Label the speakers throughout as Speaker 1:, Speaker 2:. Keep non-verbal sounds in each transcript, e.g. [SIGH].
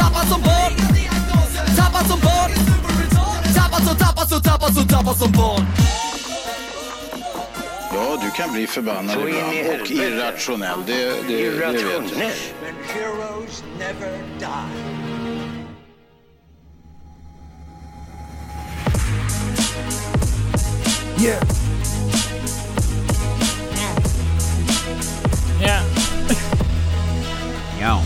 Speaker 1: Tappad som barn Tappad som barn Tappad som, tappad som, tappad som, tappad som barn
Speaker 2: Ja, du kan bli förbannad
Speaker 3: Så in i
Speaker 2: ibland och
Speaker 3: helvete.
Speaker 2: irrationell. Det, det, det vet jag.
Speaker 3: Irrationell.
Speaker 4: But heroes never die.
Speaker 5: Yeah.
Speaker 6: Yeah.
Speaker 7: Ja.
Speaker 8: Hey,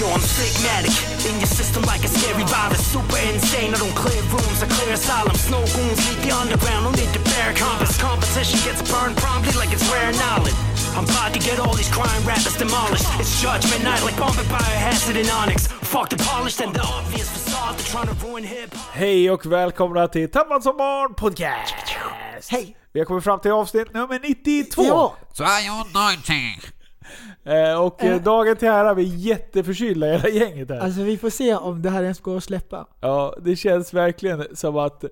Speaker 8: yo, I'm stigmatic in your system like a scary virus. Super insane, I don't clear rooms, I clear asylums. Snow goons lead the underground, no need to bear compass. Competition gets burned promptly like it's rare knowledge. I'm about to get all these crime rappers demolished. It's judgment night like bombing biohazard and onyx. Fuck the polished and the obvious facade, they're trying to ruin hip hop.
Speaker 5: Hej och välkomna till Tappad som barn podcast!
Speaker 6: Hej.
Speaker 5: Vi har kommit fram till avsnitt nummer 92.
Speaker 6: Ja.
Speaker 7: Så är jag någonting.
Speaker 5: Eh, och eh,
Speaker 6: Eh.
Speaker 5: dagen till ära, vi är jätteförkylda hela gänget här.
Speaker 6: Alltså vi får se om det här ens går att släppa.
Speaker 5: Ja, det känns verkligen som att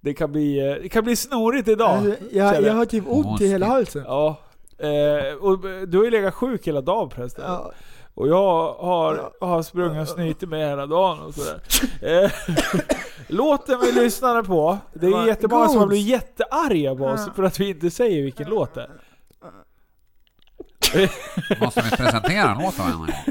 Speaker 5: det kan bli, eh, det kan bli snorigt idag.
Speaker 6: Alltså,
Speaker 5: känner
Speaker 6: jag,
Speaker 5: jag.
Speaker 6: jag har typ ont i hela halsen.
Speaker 5: Ja. Eh, och du har ju legat sjuk hela dagen förresten.
Speaker 6: Ja.
Speaker 5: Och jag har, har sprungit och snytit mig hela dagen och sådär. Eh, [LAUGHS] Låten vi lyssnade på, det är
Speaker 6: Var-
Speaker 5: jättemånga som har
Speaker 6: Goals.
Speaker 5: blivit jättearga på oss
Speaker 6: Ja.
Speaker 5: för att vi inte säger vilken låt det är.
Speaker 7: [LAUGHS] Måste vi presentera en låt då eller?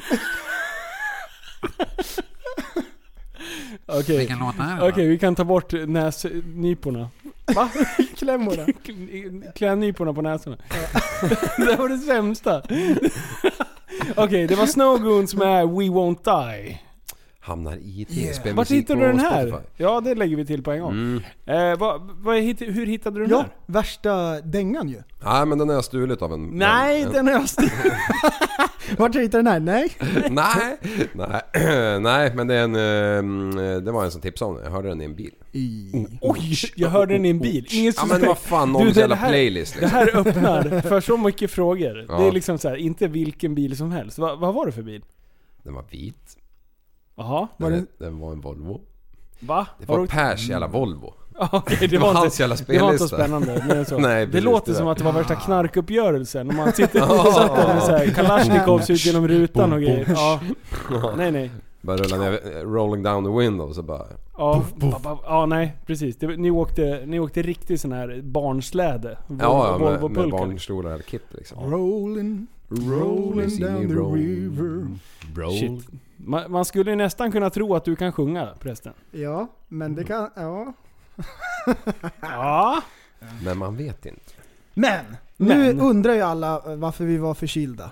Speaker 5: Okej,
Speaker 7: Vilken låt är det då?
Speaker 9: Okej, vi kan ta bort näsnyporna.
Speaker 5: [LAUGHS] va?
Speaker 7: [LAUGHS]
Speaker 9: Klämmorna. Klädnyporna på näsorna. [LAUGHS] det var
Speaker 6: [LAUGHS]
Speaker 9: det sämsta. Okej, det var Snowgoons med We Won't Die.
Speaker 10: Hamnar i tv-spelmusik
Speaker 9: Vart hittade du den
Speaker 10: på
Speaker 9: här?
Speaker 10: Spotify.
Speaker 9: Ja, det lägger vi till på en gång.
Speaker 10: Mm.
Speaker 9: Eh, vad, vad, hitt- hur hittade du den
Speaker 5: Ja.
Speaker 9: här?
Speaker 6: Värsta dängan ju.
Speaker 10: Nej men den har jag stulit av en...
Speaker 9: [LAUGHS] Nej, alltså.
Speaker 10: en,
Speaker 9: den har jag styrt.
Speaker 6: [LAUGHS] Vart hittade den här? Nej.
Speaker 10: [LAUGHS] Nej, [CLEARS THROAT] nej, nej men det, är en, eh, det var en som tipsade om den. Jag hörde den i en bil.
Speaker 9: Oj, jag hörde den i en bil. Ingen
Speaker 10: Ja men vad fan, någons
Speaker 9: den
Speaker 10: jävla
Speaker 9: här-
Speaker 10: playlist
Speaker 9: Det
Speaker 10: liksom. [LAUGHS]
Speaker 9: här öppnar för så mycket frågor.
Speaker 10: Ja.
Speaker 9: Det är liksom så här, inte vilken bil som helst. Va, vad var det för bil?
Speaker 10: Den var vit.
Speaker 9: Jaha,
Speaker 10: Den,
Speaker 6: Var det-
Speaker 10: den var en Volvo.
Speaker 9: va?
Speaker 10: Det
Speaker 9: Har
Speaker 10: var
Speaker 9: du-
Speaker 10: Pers jävla Volvo.
Speaker 9: Ja, [LAUGHS] Okej,
Speaker 10: [LAUGHS]
Speaker 9: det,
Speaker 10: Det
Speaker 9: var
Speaker 10: var
Speaker 9: inte,
Speaker 10: hans jävla
Speaker 9: det var inte
Speaker 10: spellista.
Speaker 9: spännande. Men
Speaker 10: [LAUGHS]
Speaker 9: så.
Speaker 10: Nej,
Speaker 9: det
Speaker 10: precis,
Speaker 9: låter
Speaker 10: det
Speaker 9: som
Speaker 10: där.
Speaker 9: att det var värsta knarkuppgörelsen. Om
Speaker 10: [LAUGHS]
Speaker 9: man sitter satt där med så här kalasjnikovs ut genom rutan och grejer. Ja. Nej, nej.
Speaker 10: Bara rullade ner, eh, rolling down the window så bara...
Speaker 9: Ja, ba- ba- ja nej precis. Det, ni, åkte, ni åkte riktigt sån här barnsläde. Vol-
Speaker 10: Ja, ja med, med
Speaker 9: Volvo-pulka.
Speaker 10: barnstolar och kit liksom.
Speaker 6: Rolling, rolling down the river.
Speaker 9: Shit. Man, man skulle ju nästan kunna tro att du kan sjunga prästen.
Speaker 6: Ja, men det kan... Ja.
Speaker 9: [LAUGHS] Ja.
Speaker 10: Men man vet inte.
Speaker 6: Men!
Speaker 9: Men.
Speaker 6: Nu undrar ju alla eh, varför vi var förkylda.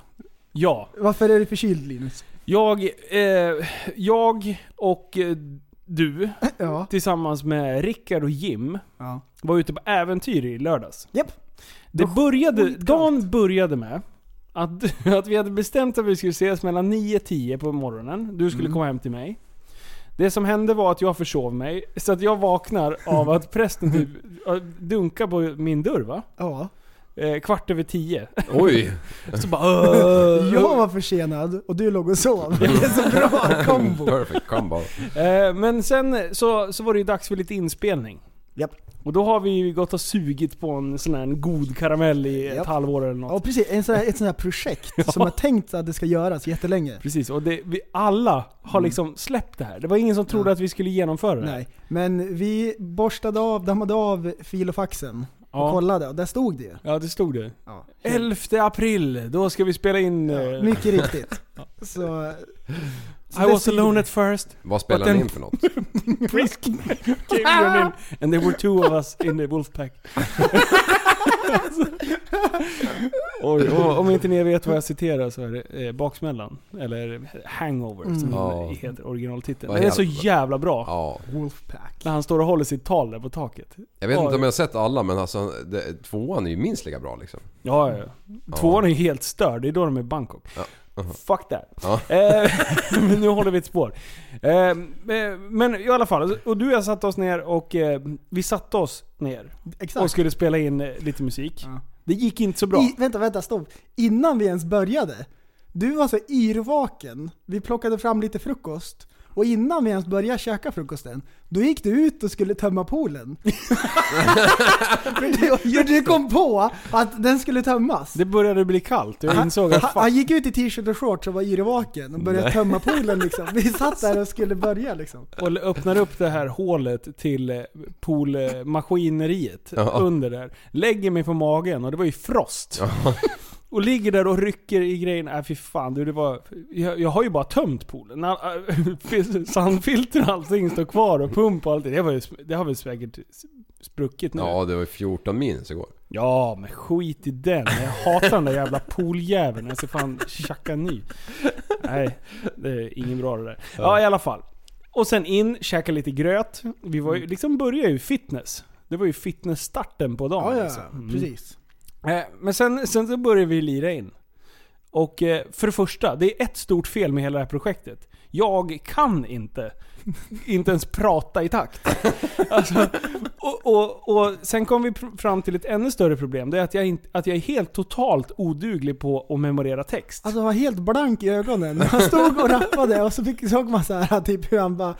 Speaker 9: Ja.
Speaker 6: Varför är du förkyld Linus?
Speaker 9: Jag, eh, jag och eh, du
Speaker 6: Ja.
Speaker 9: tillsammans med Rickard och Jim
Speaker 6: ja.
Speaker 9: var ute på äventyr i lördags.
Speaker 6: Japp.
Speaker 9: Det började,
Speaker 6: skitkallt.
Speaker 9: dagen började med att, [LAUGHS] att vi hade bestämt att vi skulle ses mellan 9-10 på morgonen. Du
Speaker 6: Mm.
Speaker 9: skulle komma hem till mig. Det som hände var att jag försov mig, så att jag vaknar av
Speaker 6: [LAUGHS]
Speaker 9: att prästen typ äh, dunkar på min dörr va?
Speaker 6: Ja.
Speaker 9: Eh, kvart över 10.
Speaker 10: Oj!
Speaker 9: [LAUGHS] Så bara "Åh."
Speaker 6: Jag var försenad och du låg och sov. Det är så
Speaker 10: [LAUGHS]
Speaker 6: bra kombo.
Speaker 10: Perfect combo.
Speaker 9: Eh, Men sen så, så var det ju dags för lite inspelning.
Speaker 6: Japp.
Speaker 9: Och då har vi ju gått och sugit på en sån här en god karamell i ett
Speaker 6: Japp.
Speaker 9: halvår eller något.
Speaker 6: Ja precis, en sån här, ett sånt här
Speaker 9: [LAUGHS]
Speaker 6: projekt som har tänkt att det ska göras jättelänge. Mm.
Speaker 9: Precis, och det, vi alla har liksom släppt det här. Det var ingen som trodde
Speaker 6: Ja.
Speaker 9: att vi skulle genomföra det. här.
Speaker 6: Nej, men vi borstade av, dammade av fil och faxen och
Speaker 9: Ja.
Speaker 6: kollade och där stod det.
Speaker 9: ja, det stod det.
Speaker 6: Ja.
Speaker 9: 11 april, då ska vi spela in... eh,
Speaker 6: Mycket
Speaker 9: [LAUGHS]
Speaker 6: riktigt. Så, så
Speaker 9: I
Speaker 6: det
Speaker 9: was
Speaker 6: stod
Speaker 9: alone
Speaker 6: det.
Speaker 9: at first,
Speaker 10: Vad spelar
Speaker 9: den-
Speaker 10: ni in för
Speaker 9: [LAUGHS]
Speaker 10: något?
Speaker 6: [LAUGHS]
Speaker 9: Prisk came
Speaker 10: [LAUGHS]
Speaker 9: running and there were two of us in the Wolfpack. Oj, och, om inte ni vet vad jag citerar så är det eh, Baksmällan, eller Hangover som
Speaker 6: Mm.
Speaker 10: Ja.
Speaker 9: det heter originaltiteln.
Speaker 10: Vad
Speaker 9: Den är så
Speaker 10: jävla-
Speaker 9: jävla bra.
Speaker 10: Ja.
Speaker 6: Wolfpack.
Speaker 9: När han står och håller sitt tal där på taket.
Speaker 10: Jag vet
Speaker 9: Ja,
Speaker 10: inte om
Speaker 9: ja.
Speaker 10: jag har sett alla men alltså det, tvåan är ju minst lika bra liksom.
Speaker 9: Ja, ja. Tvåan är helt störd, det är då de är i Bangkok.
Speaker 10: Ja.
Speaker 9: Fuck that.
Speaker 10: Ja.
Speaker 9: Eh, [LAUGHS] men nu håller vi ett spår. Eh, men i alla fall, och du och jag satte oss ner och eh, vi satte oss ner och
Speaker 6: Exakt.
Speaker 9: skulle spela in eh, lite musik.
Speaker 6: Ja.
Speaker 9: Det gick inte så bra.
Speaker 6: I, vänta, vänta, stopp. Innan vi ens började. Du var så yrvaken. Vi plockade fram lite frukost. Och innan vi ens började käka frukosten, då gick du ut och skulle tömma
Speaker 9: [LAUGHS]
Speaker 6: poolen. för, du, för du kom på att den skulle tömmas.
Speaker 9: Det började bli kallt och jag insåg att
Speaker 6: Han,
Speaker 9: fuck,
Speaker 6: han gick ut i t-shirt och shorts och var yrvaken och började tömma poolen liksom. Vi satt där och skulle börja liksom.
Speaker 9: och öppnar upp det här hålet till eh, poolmaskineriet
Speaker 10: Ja.
Speaker 9: under där. Lägger mig på magen och det var ju frost. [LAUGHS] Och ligger där och rycker i grejen. Äh, fy fan du, det var... Jag, jag har ju bara tömt poolen. All, all, [LAUGHS] sandfilter och allting står kvar och pump och allt det. Det, var ju, det har väl säkert s- spruckit nu.
Speaker 10: Ja, det var ju 14
Speaker 6: [LAUGHS]
Speaker 10: minus igår.
Speaker 9: Ja, men skit i den. Jag hatar den där jävla pooljäveln. Jag ska fan tjacka ny. Nej, det är ingen bra det där. Ja, i alla fall. Och sen in, käka lite gröt. Vi var
Speaker 6: Mm.
Speaker 9: ju, liksom började ju fitness. Det var ju fitnessstarten på dagen.
Speaker 6: Ja, ja,
Speaker 9: alltså. Mm.
Speaker 6: precis.
Speaker 9: Eh, Men sen, sen så började vi lira in. Och eh, för det första, det är ett stort fel med hela det här projektet. Jag kan inte, inte ens prata i takt. Alltså, och, och, och sen kom vi pr- fram till ett ännu större problem. Det är att jag, inte, att jag är helt totalt oduglig på att memorera text.
Speaker 6: Alltså han var helt blank i ögonen. Han stod och rappade och så fick, såg man så här typ hur han bara,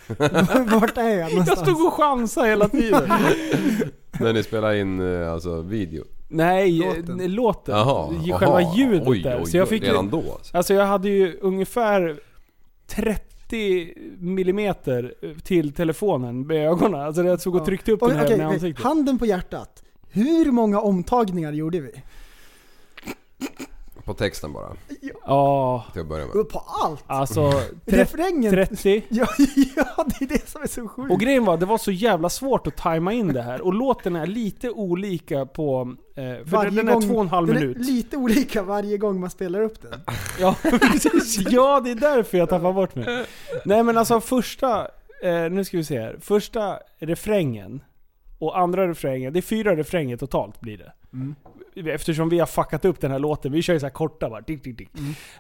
Speaker 6: vart är jag
Speaker 9: jag
Speaker 6: någonstans?
Speaker 9: stod och chansade hela tiden.
Speaker 10: När ni spelade in eh, alltså video.
Speaker 9: Nej,
Speaker 6: Låten.
Speaker 9: låten. låten.
Speaker 10: Jaha,
Speaker 9: Ju-
Speaker 10: aha.
Speaker 9: Själva ljudet
Speaker 10: oj,
Speaker 9: där.
Speaker 10: Oj,
Speaker 9: Så jag fick ju,
Speaker 10: redan då alltså.
Speaker 9: Alltså jag hade ju ungefär 30 millimeter eh, till telefonen med ögonen. Alltså jag såg och tryckte upp
Speaker 6: Oj,
Speaker 9: den här
Speaker 6: okej,
Speaker 9: med
Speaker 6: okej.
Speaker 9: ansiktet.
Speaker 6: Handen på hjärtat. Hur många omtagningar gjorde vi?
Speaker 10: På texten bara,
Speaker 9: Ja,
Speaker 10: till att börja med.
Speaker 6: På allt!
Speaker 10: [LAUGHS]
Speaker 9: alltså tre-
Speaker 6: Refrängen!
Speaker 9: 30.
Speaker 6: [LAUGHS] Ja, [LAUGHS] ja, det är det som är så sjukt.
Speaker 9: Och grejen var, det var så jävla svårt att tajma in det här. Och låten är lite olika på... Eh, för
Speaker 6: Varje
Speaker 9: den är
Speaker 6: gång-
Speaker 9: två och en halv
Speaker 6: den är
Speaker 9: minut.
Speaker 6: Lite olika varje gång man spelar upp den.
Speaker 9: Ja, [LAUGHS] precis. Ja, det är därför jag tappar bort mig. Nej men alltså första, eh, nu ska vi se här. Första refrängen och andra refrängen. Det är fyra refränger totalt blir det. Mm. Eftersom vi har fuckat upp den här låten. Vi kör ju så här korta bara. Dick, dick, dick.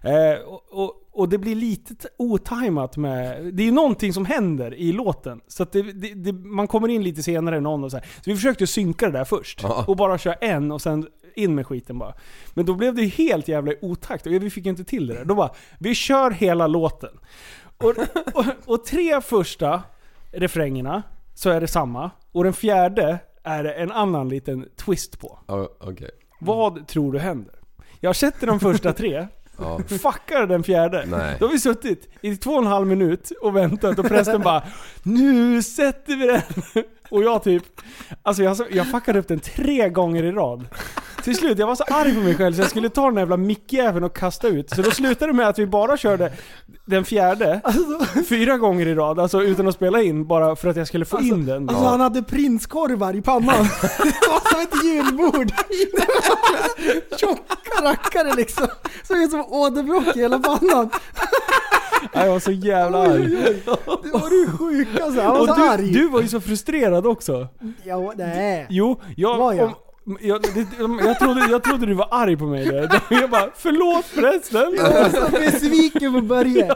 Speaker 9: Eh, och, och, och det blir lite t- otajmat med... Det är ju någonting som händer i låten. Så att det, det, det, man kommer in lite senare än någon och så här. Så vi försökte synka det där först.
Speaker 10: Ja.
Speaker 9: Och bara köra en och sen in med skiten bara. Men då blev det ju helt jävla otakt och vi fick ju inte till det där. Då bara, vi kör hela låten. Och, och, och tre första refrängerna så är det samma. Och den fjärde är det en annan liten twist på.
Speaker 10: Ja, Okej.
Speaker 9: Vad tror du händer? Jag sätter de första tre,
Speaker 10: [LAUGHS] Ja.
Speaker 9: fuckar den fjärde.
Speaker 10: Nej.
Speaker 9: Då har vi suttit i två och en halv minut och väntat och prästen bara Nu sätter vi den! Och jag typ, alltså jag, jag fuckade upp den tre gånger i rad. Till slut, jag var så arg på mig själv så jag skulle ta den här jävla mickjäveln och kasta ut. Så då slutade det med att vi bara körde den fjärde fyra gånger i rad, alltså utan att spela in, bara för att jag skulle få in den.
Speaker 6: Alltså han hade prinskorvar i
Speaker 9: [LAUGHS]
Speaker 6: pannan. Det var som ett julbord. Det var Tjocka rackare liksom. Såg ut som åderbråck i hela pannan.
Speaker 9: Ja, Jag var så jävla arg.
Speaker 6: Det var det [LAUGHS] sjukaste. alltså. Han var
Speaker 9: Och
Speaker 6: så
Speaker 9: du,
Speaker 6: arg.
Speaker 9: du var ju så frustrerad också.
Speaker 6: Ja, nej.
Speaker 9: Jo, jag...
Speaker 6: Var jag?
Speaker 9: Om, jag, det, jag, trodde, jag trodde du var arg på mig där. [LAUGHS] Jag bara, förlåt förresten.
Speaker 6: Jag var så besviken på Börje.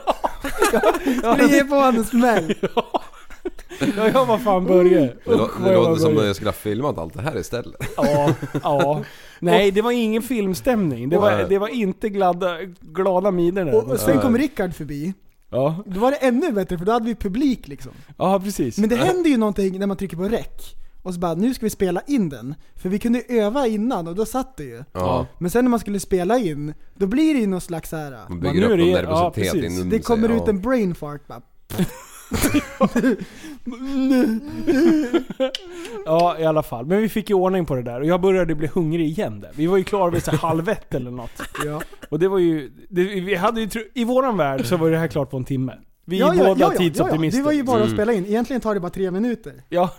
Speaker 6: Jag skulle ge på honom en smäll. Mm.
Speaker 9: Ja, jag var fan Börje.
Speaker 10: Det, lå-
Speaker 9: Usch, vad
Speaker 10: det
Speaker 9: jag var
Speaker 10: låter som att
Speaker 9: Börje.
Speaker 10: jag skulle ha filmat allt det här istället.
Speaker 9: Ja, [LAUGHS] ja. Nej, det var ingen filmstämning. Det var, det var inte glada, glada miner
Speaker 6: Och, och
Speaker 9: där.
Speaker 6: sen kom Rickard förbi.
Speaker 9: Ja,
Speaker 6: Då var det ännu bättre för då hade vi publik liksom.
Speaker 9: ja precis.
Speaker 6: Men det händer ju någonting när man trycker på rec. Och så bara, nu ska vi spela in den. För vi kunde öva innan och då satt det ju.
Speaker 10: Ja.
Speaker 6: Men sen när man skulle spela in, då blir det ju någon slags så här.
Speaker 10: Man
Speaker 9: nu
Speaker 10: bygger
Speaker 9: är
Speaker 10: upp
Speaker 9: det-
Speaker 10: någon
Speaker 9: ja,
Speaker 10: nervositet
Speaker 9: precis.
Speaker 10: inom
Speaker 6: Det
Speaker 10: sig,
Speaker 6: kommer
Speaker 10: ja.
Speaker 6: ut en brain fart bara.
Speaker 9: Ja, i alla fall. Men vi fick ju ordning på det där och jag började bli hungrig igen där. Vi var ju klara vid
Speaker 6: [LAUGHS]
Speaker 9: så här halv ett eller något.
Speaker 6: Ja.
Speaker 9: Och det var ju... Det, vi hade ju... tro- I våran värld så var det här klart på en timme. Vi är
Speaker 6: Ja, ja,
Speaker 9: båda
Speaker 6: ja, ja,
Speaker 9: tidsoptimister.
Speaker 6: Det var ju bara
Speaker 10: Mm.
Speaker 6: att spela in. Egentligen tar det bara tre minuter. [LAUGHS]
Speaker 9: Ja,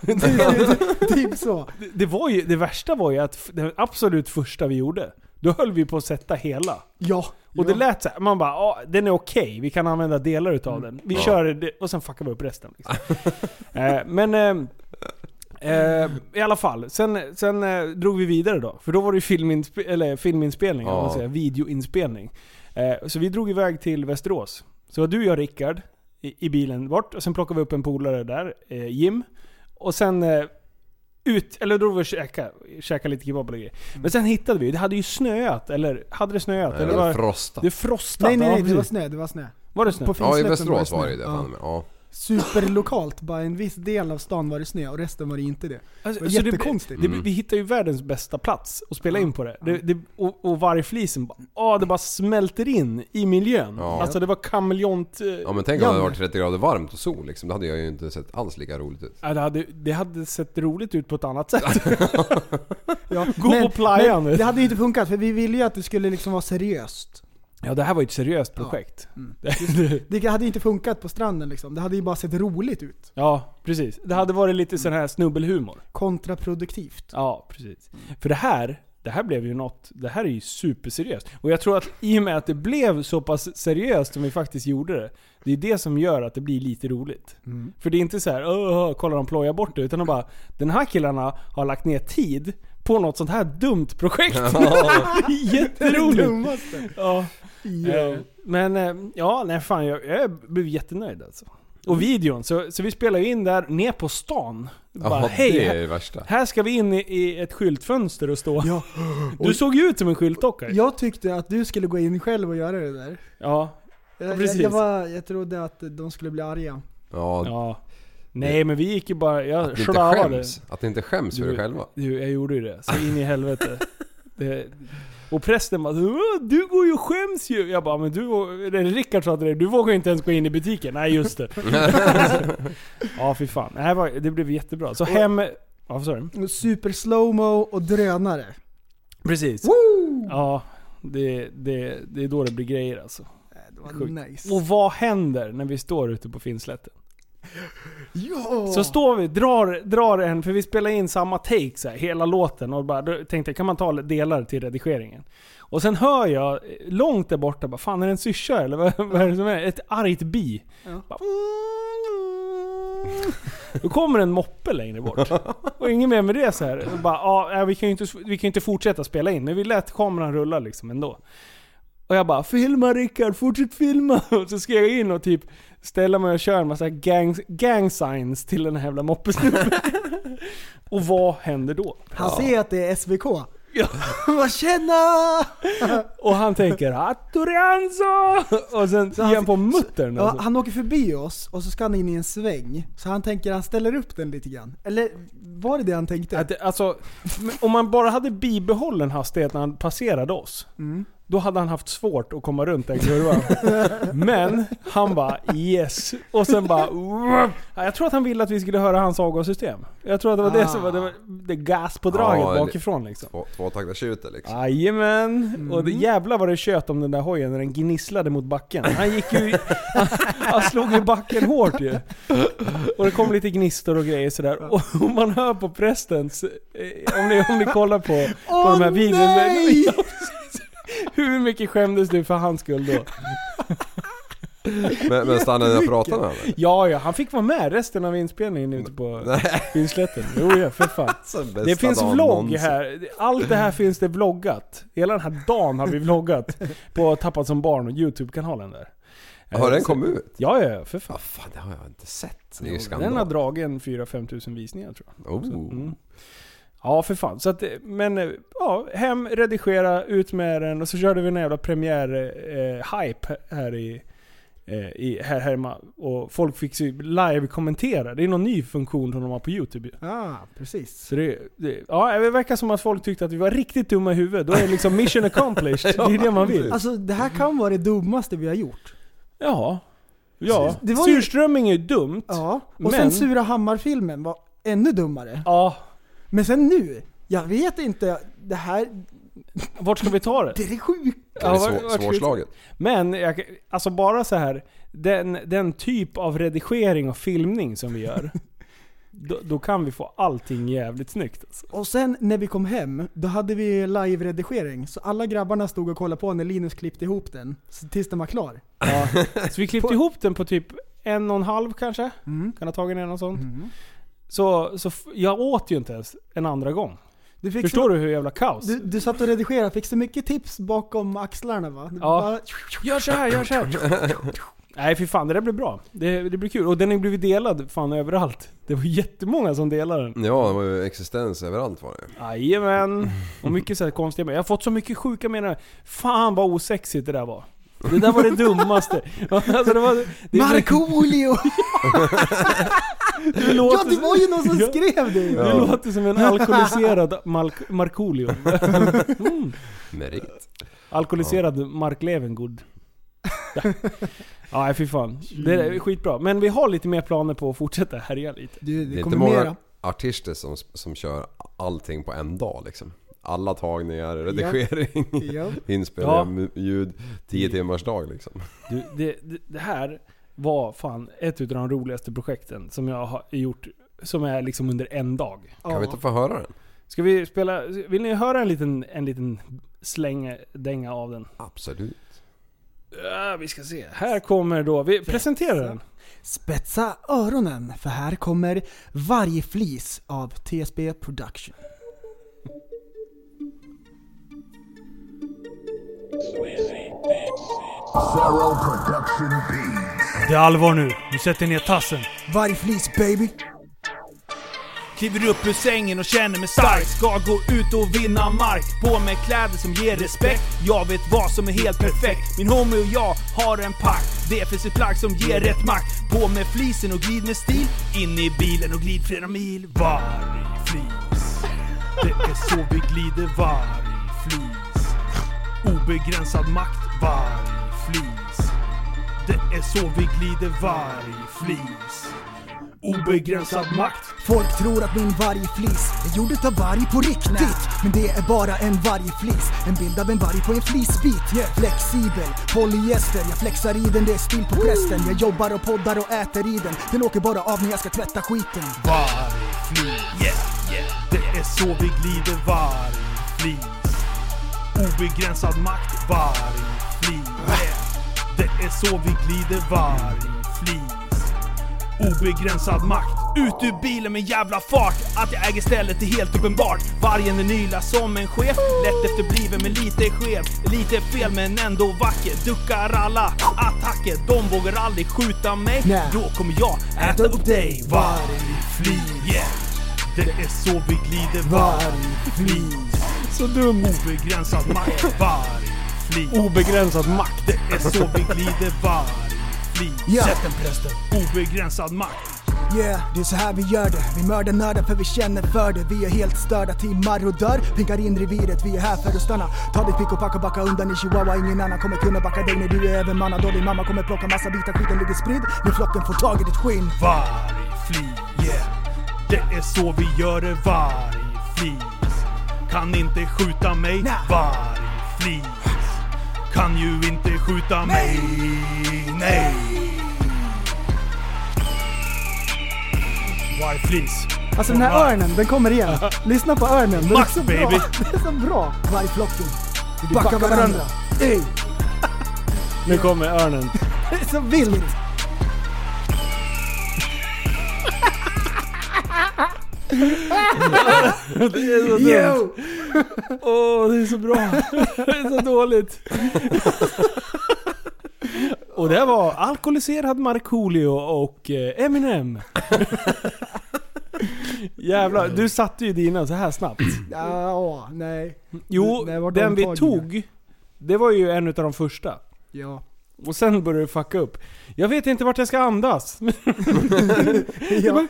Speaker 6: typ så.
Speaker 9: det- det, var ju, det värsta var ju att f- den absolut första vi gjorde, då höll vi på att sätta hela.
Speaker 6: Ja.
Speaker 9: Och det
Speaker 6: ja.
Speaker 9: lät så här, man bara ah, den är okej, vi kan använda
Speaker 6: Mm. [LAUGHS]
Speaker 9: delar utav den. Vi kör det och sen fuckar vi upp resten. Liksom. eh, men eh, Eh, I alla fall, sen, sen eh, drog vi vidare då. För då var det ju filminsp eller filminspelning,
Speaker 10: Ja.
Speaker 9: om man säger, videoinspelning. Eh, så vi drog iväg till Västerås. Så var du, jag och Rickard i, i bilen bort. Och sen plockade vi upp en polare där, eh, Jim. Och sen eh, ut, eller då drog vi och käkade, käkade lite kebab eller grejer.
Speaker 6: Mm.
Speaker 9: Men sen hittade vi, det hade ju snöat, eller hade det snöat?
Speaker 10: Nej,
Speaker 9: eller
Speaker 10: det var
Speaker 9: var,
Speaker 10: frostat.
Speaker 9: det frostat?
Speaker 6: Nej nej
Speaker 9: ja,
Speaker 6: nej, det var
Speaker 9: precis.
Speaker 6: snö. Det var snö.
Speaker 9: Var det snö?
Speaker 6: På
Speaker 10: Ja,
Speaker 6: Finnslätten
Speaker 10: i
Speaker 6: var
Speaker 10: Västerås
Speaker 6: snö.
Speaker 10: var det ju det.
Speaker 6: Ja.
Speaker 10: fan med. Ja.
Speaker 6: Superlokalt bara. En viss del av stan var det snö och resten var det inte det.
Speaker 9: Alltså,
Speaker 6: Det var
Speaker 9: så det-
Speaker 6: jättekonstigt.
Speaker 10: Mm.
Speaker 9: Det, vi hittar ju världens bästa plats att spela in på det. det, det och, och vargflisen bara, åh, det bara smälter in i miljön.
Speaker 10: Ja.
Speaker 9: Alltså det var kameleont... eh,
Speaker 10: Ja men tänk om det hade
Speaker 6: Janne.
Speaker 10: varit 30 grader varmt och sol liksom. Då hade jag ju inte sett alls lika roligt ut.
Speaker 9: ja, det, hade, det hade sett roligt ut på ett annat sätt.
Speaker 6: [LAUGHS] Ja,
Speaker 9: Gå på playan, vet du.
Speaker 6: Det hade ju inte funkat för vi ville ju att det skulle liksom vara seriöst.
Speaker 9: ja, det här var ju ett seriöst projekt.
Speaker 6: Mm. Det hade ju inte funkat på stranden liksom. Det hade ju bara sett roligt ut.
Speaker 9: Ja, precis. Det hade varit lite sån här snubbelhumor.
Speaker 6: Kontraproduktivt.
Speaker 9: Ja, precis. För det här, det här blev ju något, det här är ju superseriöst. Och jag tror att i och med att det blev så pass seriöst som vi faktiskt gjorde det, det är det som gör att det blir lite roligt.
Speaker 11: Mm.
Speaker 9: För det är inte så här, "Åh, kolla de plojar bort det, utan de bara, den här killarna har lagt ner tid på något sånt här dumt
Speaker 6: [LAUGHS]
Speaker 9: projekt. [LAUGHS] det är jätteroligt.
Speaker 6: dummaste.
Speaker 9: Ja. Eh, Men eh, ja, nej fan jag, jag blev jättenöjd alltså. Och videon, så, så vi spelade ju in där ner på stan. Bara,
Speaker 10: Ja,
Speaker 9: hej,
Speaker 10: det
Speaker 9: här-
Speaker 10: är ju värsta.
Speaker 9: här ska vi in i, i ett skyltfönster och stå.
Speaker 6: Ja.
Speaker 9: Du såg ju ut som en skyltdockare.
Speaker 6: Jag tyckte att du skulle gå in själv och göra det där.
Speaker 9: Ja.
Speaker 6: Jag, jag,
Speaker 9: precis.
Speaker 6: jag, var, jag trodde att de skulle bli arga.
Speaker 10: Ja,
Speaker 9: ja. Nej men vi gick ju bara... Jag
Speaker 10: att ni inte
Speaker 9: slarvade.
Speaker 10: skäms. Att ni inte skäms för
Speaker 9: Du-
Speaker 10: er själva.
Speaker 9: Du, jag gjorde ju det. Så in i helvete. Det, och prästen bara "Åh, du går ju och skäms ju. Jag bara men du eller Rickard sa till dig, du vågar ju inte ens gå in i butiken. Nej
Speaker 10: [LAUGHS]
Speaker 9: just det. ja fy fan. Det, här var, det blev jättebra. Så hem... Ja sorry.
Speaker 6: Super slowmo och drönare.
Speaker 9: Precis. Ja. Det, det, det är då det blir grejer alltså.
Speaker 6: Äh, Det var
Speaker 9: Sjukt.
Speaker 6: nice.
Speaker 9: Och vad händer när vi står ute på Finnslätten?
Speaker 6: ja!
Speaker 9: Så står vi, drar, drar en, för vi spelar in samma take så här, hela låten och bara, då tänkte jag kan man ta delar till redigeringen? Och sen hör jag eh, långt där borta, bara, fan är det en syrsa eller vad, [LAUGHS] vad är det som är? Ett argt bi.
Speaker 6: Ja.
Speaker 9: Bara, då kommer en moppe längre bort. Och inget mer med det så här. Och bara, ja, nej, vi kan ju inte, vi kan ju inte fortsätta spela in, men vi lät kameran rulla liksom ändå. Och jag bara 'Filma Rickard, fortsätt filma!' [LAUGHS] Och så ska jag in och typ ställa mig och köra en massa gang, gang signs till den här jävla moppesnubben. [LAUGHS] och vad händer då?
Speaker 6: Han ser att det är SVK. [LAUGHS]
Speaker 9: Ja.
Speaker 6: Vad tjena!
Speaker 9: Och han tänker 'Atturianzo!' Och sen ger han på muttern
Speaker 6: Ja,
Speaker 9: alltså.
Speaker 6: han åker förbi oss och så ska han in i en sväng. Så han tänker han ställer upp den lite grann. Eller var det det han tänkte?
Speaker 9: Att, det- alltså, men om man bara hade bibehållen hastighet när han passerade oss.
Speaker 6: Mm.
Speaker 9: Då hade han haft svårt att komma runt den kurvan. Men han bara yes. Och sen bara... "Wup." Ja, Jag tror att han ville att vi skulle höra hans avgassystem. Jag tror att det var det som var det, var det gaspådraget
Speaker 10: Ja, det-
Speaker 9: bakifrån liksom.
Speaker 10: Två- Tvåtaktartjuter liksom.
Speaker 9: Jajamän! Och det, jävlar vad det tjöt om den där hojen när den gnisslade mot backen. Han gick ju... han, [LAUGHS] han slog ju backen hårt ju. Och det kom lite gnistor och grejer sådär. Och, och man hör på prästens... Eh, om, ni, om
Speaker 12: [LAUGHS]
Speaker 9: ni kollar på, på de här videorna. [LAUGHS]
Speaker 6: nej!
Speaker 9: Hur mycket skämdes du för hans skull då?
Speaker 10: Men, men stannade ni och pratade med honom?
Speaker 9: Ja, ja, han fick vara med resten av inspelningen
Speaker 10: [LAUGHS]
Speaker 9: ute på Finnslätten. Jo, ja, för fan. Det finns vlogg här. Allt det här finns det vloggat. Hela den här dagen har vi vloggat på Tappat som barn och YouTube-kanalen där. Eh,
Speaker 10: Har den
Speaker 9: Så-
Speaker 10: kommit ut?
Speaker 9: Ja, ja, ja, för fan.
Speaker 10: Eh, Ja, fan, det har jag inte sett. Det är ju
Speaker 9: Den har
Speaker 10: skandal.
Speaker 9: dragit en 4-5 tusen visningar tror jag.
Speaker 10: Oh.
Speaker 9: Mm. Ja, för fan. Så att, eh, men eh, ja, hem, redigera, ut med den och så körde vi en jävla premiär-hype här i... eh, I, här hemma. Och folk fick ju live-kommentera. Det är någon ny funktion som de har på YouTube ju.
Speaker 6: Ah, precis.
Speaker 9: Så det, det, ja, det verkar som att folk tyckte att vi var riktigt dumma i huvudet. Då är det liksom
Speaker 10: [LAUGHS]
Speaker 9: mission accomplished. Det är det man vill.
Speaker 6: Alltså det här kan vara det dummaste vi har gjort.
Speaker 9: Ja. Ja.
Speaker 6: Det var ju-
Speaker 9: Surströmming är ju dumt. Ja.
Speaker 6: Ja. Och sen
Speaker 9: Men-
Speaker 6: Sura Hammar-filmen var ännu dummare. Men sen nu. Jag vet inte. Det här,
Speaker 9: Vart ska vi ta det?
Speaker 6: det är sjukt.
Speaker 10: Det är
Speaker 9: Ja, vart-
Speaker 10: svår,
Speaker 9: vart ska vi-
Speaker 10: svårslaget.
Speaker 9: Men, jag, alltså bara så här. Den, den typ av redigering och filmning som vi
Speaker 6: [LAUGHS]
Speaker 9: gör. då, då kan vi få allting jävligt snyggt
Speaker 6: [LAUGHS]
Speaker 9: alltså.
Speaker 6: Och sen när vi kom hem, då hade vi live-redigering. Så alla grabbarna stod och kollade på när Linus klippte ihop den. Så tills den var klar.
Speaker 9: Ja.
Speaker 6: Mm.
Speaker 9: Så vi klippte ihop den på typ en och en halv kanske. Kan ha tagit ner något sånt. Så, så f- jag åt ju inte ens en andra gång.
Speaker 6: Du fick
Speaker 9: Förstår du hur jävla kaos?
Speaker 6: Du, du satt och redigerade, fick så mycket tips bakom axlarna va? Du
Speaker 9: Ja.
Speaker 6: bara-
Speaker 9: Gör så här, gör
Speaker 6: [LAUGHS]
Speaker 9: så här. Nej fy fan, det där blir bra. Det, det blir kul. Och den har ju blivit delad fan överallt. Det var jättemånga som delade den.
Speaker 10: Ja, det var ju existens överallt var det
Speaker 9: Jajamän. Och mycket så här konstiga men Jag har fått så mycket sjuka meddelanden. Fan vad osexigt det där var. Det där var det dummaste. [LAUGHS] Alltså, det var, det,
Speaker 6: Markoolio!
Speaker 9: [LAUGHS] det
Speaker 6: ja
Speaker 9: låter,
Speaker 6: det var ju någon som
Speaker 9: Ja.
Speaker 6: skrev det ju!
Speaker 9: det låter som en alkoholiserad Malk- Markoolio. Mm.
Speaker 10: Merit.
Speaker 9: Alkoholiserad Mark Levengood. Ja. Ja, nej, fy fan. Det är skitbra. Men vi har lite mer planer på att fortsätta härja lite.
Speaker 6: Du,
Speaker 10: Det
Speaker 6: det
Speaker 10: är inte
Speaker 6: kommer
Speaker 10: många
Speaker 6: mera.
Speaker 10: artister som, som kör allting på en dag liksom. Alla tagningar, redigering,
Speaker 6: Ja.
Speaker 10: [LAUGHS] inspelning,
Speaker 9: Ja.
Speaker 10: mu- ljud. Tio timmars dag liksom.
Speaker 9: Du, det, det, det här var fan ett utav de roligaste projekten som jag har gjort. Som är liksom under en dag.
Speaker 10: Kan vi inte få höra den?
Speaker 9: Ska vi spela... Vill ni höra en liten, en liten slängdänga av den?
Speaker 10: Absolut.
Speaker 9: Ja, vi ska se. Här kommer då... Vi presenterar den.
Speaker 6: Spetsa öronen, för här kommer varje flis av TSB Production.
Speaker 9: Det är allvar nu. Du sätter ner tassen.
Speaker 6: Varje flis baby!
Speaker 13: Kliver upp ur sängen och känner mig stark. Ska gå ut och vinna mark. På mig kläder som ger respekt. Jag vet vad som är helt perfekt. Min homie och jag har en pakt. Det finns ett plagg som ger rätt makt. På med flisen och glid med stil. In i bilen och glid flera mil. Varg flis. Det är så vi glider varg flis. Obegränsad makt. Varg flis. Det är så vi glider varg flis. Obegränsad makt.
Speaker 6: Folk tror att min vargflis är gjord utav varg på riktigt. Men det är bara en vargflis. En bild av en varg på en flisbit. Flexibel, polyester. Jag flexar i den, det är stil på prästen. Jag jobbar och poddar och äter i den. Den åker bara av när jag ska tvätta skiten.
Speaker 13: Vargflis. Yeah, yeah. Det är så vi glider vargflis. Obegränsad makt vargflis. Yeah. Det är så vi glider vargflis. Obegränsad makt. Ut ur bilen med jävla fart. Att jag äger stället är helt uppenbart. Vargen är nyla som en chef. Lätt efterbliven men lite skev. Lite fel men ändå vacker. Duckar alla attacker. De vågar aldrig skjuta mig.
Speaker 6: Nej.
Speaker 13: Då kommer jag äta upp dig. Vargflis. Yeah. Det är så vi glider. Vargflis.
Speaker 9: Så dum.
Speaker 13: Obegränsad makt. Vargflis.
Speaker 9: Obegränsad makt.
Speaker 13: Det är så vi glider vargflis.
Speaker 6: Ja.
Speaker 13: Sätt den prästen. Obegränsad makt.
Speaker 6: Yeah, det är så här vi gör det. Vi mördar nördar för vi känner för det. Vi är helt störda, timmar och dör. Pinkar in reviret, vi är här för att stanna. Ta ditt pick och pack och backa undan i chihuahua. Ingen annan kommer kunna backa dig när du är övermannad. Och din mamma kommer plocka massa bitar, skiten ligger spridd. När flocken får tag i ditt skinn.
Speaker 13: Vargflis. Yeah. Det är så vi gör det. Vargflis. Kan inte skjuta mig.
Speaker 6: Nej.
Speaker 13: Vargflis. Kan ju inte skjuta mig. Nej. Vargflis.
Speaker 6: Alltså den här örnen, den kommer
Speaker 9: [LAUGHS]
Speaker 6: igen. Lyssna på örnen, den
Speaker 13: Max,
Speaker 6: är så bra.
Speaker 13: baby.
Speaker 6: [LAUGHS] Den är så bra. Vargflocken, vi backar varandra. Ey,
Speaker 9: Nu kommer
Speaker 10: [LAUGHS]
Speaker 9: örnen.
Speaker 6: det är så
Speaker 9: [LAUGHS]
Speaker 6: vilt. Yo!
Speaker 9: Åh, det är så bra. Det är så dåligt. [LAUGHS] Och det var alkoholiserad Markoolio och eh, [LAUGHS] Eminem. Jävlar, du satte ju dina så här snabbt.
Speaker 6: Ja, åh, nej.
Speaker 9: Jo,
Speaker 6: Det- det var de
Speaker 9: den vi
Speaker 6: tagna.
Speaker 9: tog, det var ju en utav de första. [LAUGHS]
Speaker 6: Ja.
Speaker 9: Och sen började du fucka upp. Jag vet inte vart jag ska [LAUGHS] andas.
Speaker 6: ja. [LAUGHS]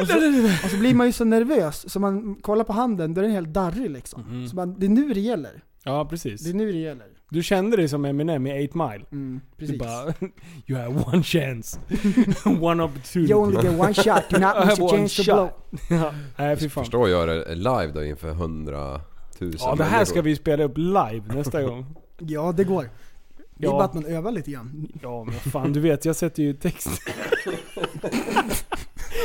Speaker 6: Och, så, och så blir man ju så nervös så man kollar på handen, då är den helt darrig liksom.
Speaker 9: Mm.
Speaker 6: Så man, det är nu det gäller.
Speaker 9: Ja,
Speaker 6: Det
Speaker 9: precis.
Speaker 6: är nu det gäller.
Speaker 9: Du kände dig som Eminem i 8 Mile.
Speaker 6: Mm,
Speaker 9: Du
Speaker 6: precis.
Speaker 9: bara, [LAUGHS] you have
Speaker 6: [LAUGHS]
Speaker 9: one chance. one opportunity.
Speaker 6: You only get one shot, do not
Speaker 9: [LAUGHS] I
Speaker 6: miss
Speaker 9: have
Speaker 6: a
Speaker 9: one
Speaker 6: chance to blow.
Speaker 9: shot. Ja, Nej fy fan.
Speaker 10: Förstå att göra det live då inför hundratusen
Speaker 9: Ja, det här ska
Speaker 10: människor.
Speaker 9: vi spela upp live nästa gång.
Speaker 6: Ja, det går. Det är
Speaker 9: Ja.
Speaker 6: bara att man övar lite grann.
Speaker 9: Ja men
Speaker 6: [LAUGHS]
Speaker 9: fan du vet, jag sätter ju text. [LAUGHS]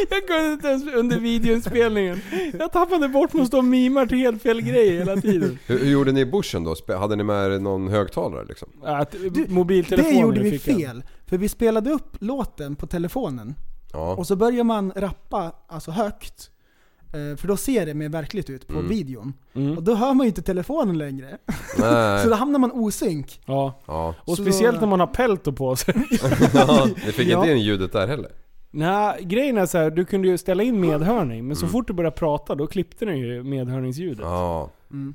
Speaker 9: Jag kunde inte ens under videoinspelningen. Jag tappade bort mig och stå och mimar till helt fel grejer hela tiden.
Speaker 10: Hur, hur gjorde ni i bushen då? Spe- Hade ni med er någon högtalare liksom?
Speaker 9: Äh, Att
Speaker 6: Du,
Speaker 9: mobiltelefonen
Speaker 6: Det gjorde vi
Speaker 9: fick jag.
Speaker 6: fel, för vi spelade upp låten på telefonen.
Speaker 10: Ja.
Speaker 6: Och så börjar man rappa alltså högt. Eh, För då ser det mer verkligt ut på
Speaker 10: Mm.
Speaker 6: videon.
Speaker 9: Mm.
Speaker 6: Och då hör man ju inte telefonen längre. [LAUGHS]
Speaker 10: Nej.
Speaker 6: så då hamnar man osynk.
Speaker 9: Ja.
Speaker 10: Ja.
Speaker 9: Och
Speaker 6: Så-
Speaker 9: speciellt när man har pelto
Speaker 6: [LAUGHS]
Speaker 9: på sig.
Speaker 10: [LAUGHS] ja, det fick
Speaker 9: Ja.
Speaker 10: inte in ljudet där heller.
Speaker 9: Nej, grejen är så här, du kunde ju ställa in medhörning, men så
Speaker 10: Mm.
Speaker 9: fort du började prata då klippte den ju medhörningsljudet.
Speaker 10: Ja.
Speaker 6: Mm.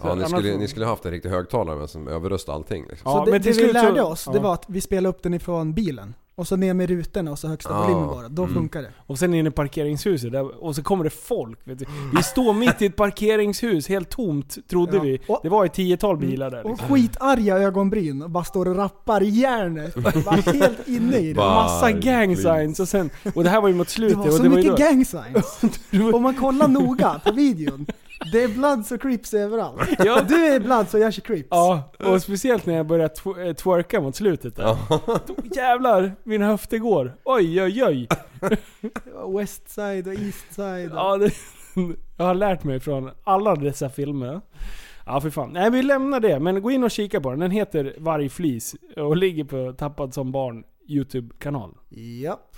Speaker 9: Så
Speaker 10: Ja, ni
Speaker 9: Typ. annars
Speaker 10: skulle,
Speaker 9: får-
Speaker 10: ni skulle haft en riktig högtalare men som överröstade allting. Liksom.
Speaker 9: Ja,
Speaker 6: så det,
Speaker 9: men till
Speaker 6: det vi
Speaker 9: slut så-
Speaker 6: lärde oss, det
Speaker 9: ja.
Speaker 6: var att vi spelade upp den ifrån bilen. Och så ner med rutorna och så högsta
Speaker 10: Ja.
Speaker 6: volymen bara. Då
Speaker 10: Mm.
Speaker 6: funkar det.
Speaker 9: Och sen inne i parkeringshuset där, och så kommer det folk. Vet du. Vi står mitt i ett parkeringshus, helt tomt trodde
Speaker 6: Ja. Mm.
Speaker 9: vi. Det var ett tiotal bilar där.
Speaker 6: Och
Speaker 9: Liksom.
Speaker 6: skitarga ögonbryn och bara står och rappar i järnet. Bara [LAUGHS] helt inne i det.
Speaker 9: Massa gang signs och sen... Och det här var ju mot
Speaker 6: Det
Speaker 9: slutet.
Speaker 6: var
Speaker 9: och
Speaker 6: så
Speaker 9: det var ju
Speaker 6: mycket
Speaker 9: då-
Speaker 6: gang
Speaker 9: [LAUGHS]
Speaker 6: signs. Om man kollar noga på videon. Det är Bloods och Crips överallt.
Speaker 9: Ja.
Speaker 6: Du är Bloods och jag är Crips.
Speaker 9: Ja, och speciellt när jag började tw- eh, twerka mot slutet där. Då, jävlar, mina höfter går. Oj, oj, oj.
Speaker 6: Westside och Eastside.
Speaker 9: Ja, det, jag har lärt mig från alla dessa filmer. Ja, för fan. Nej, vi lämnar det. Men gå in och kika på den. Den heter Vargflis och ligger på Tappad som barn YouTube-kanal.
Speaker 6: Japp.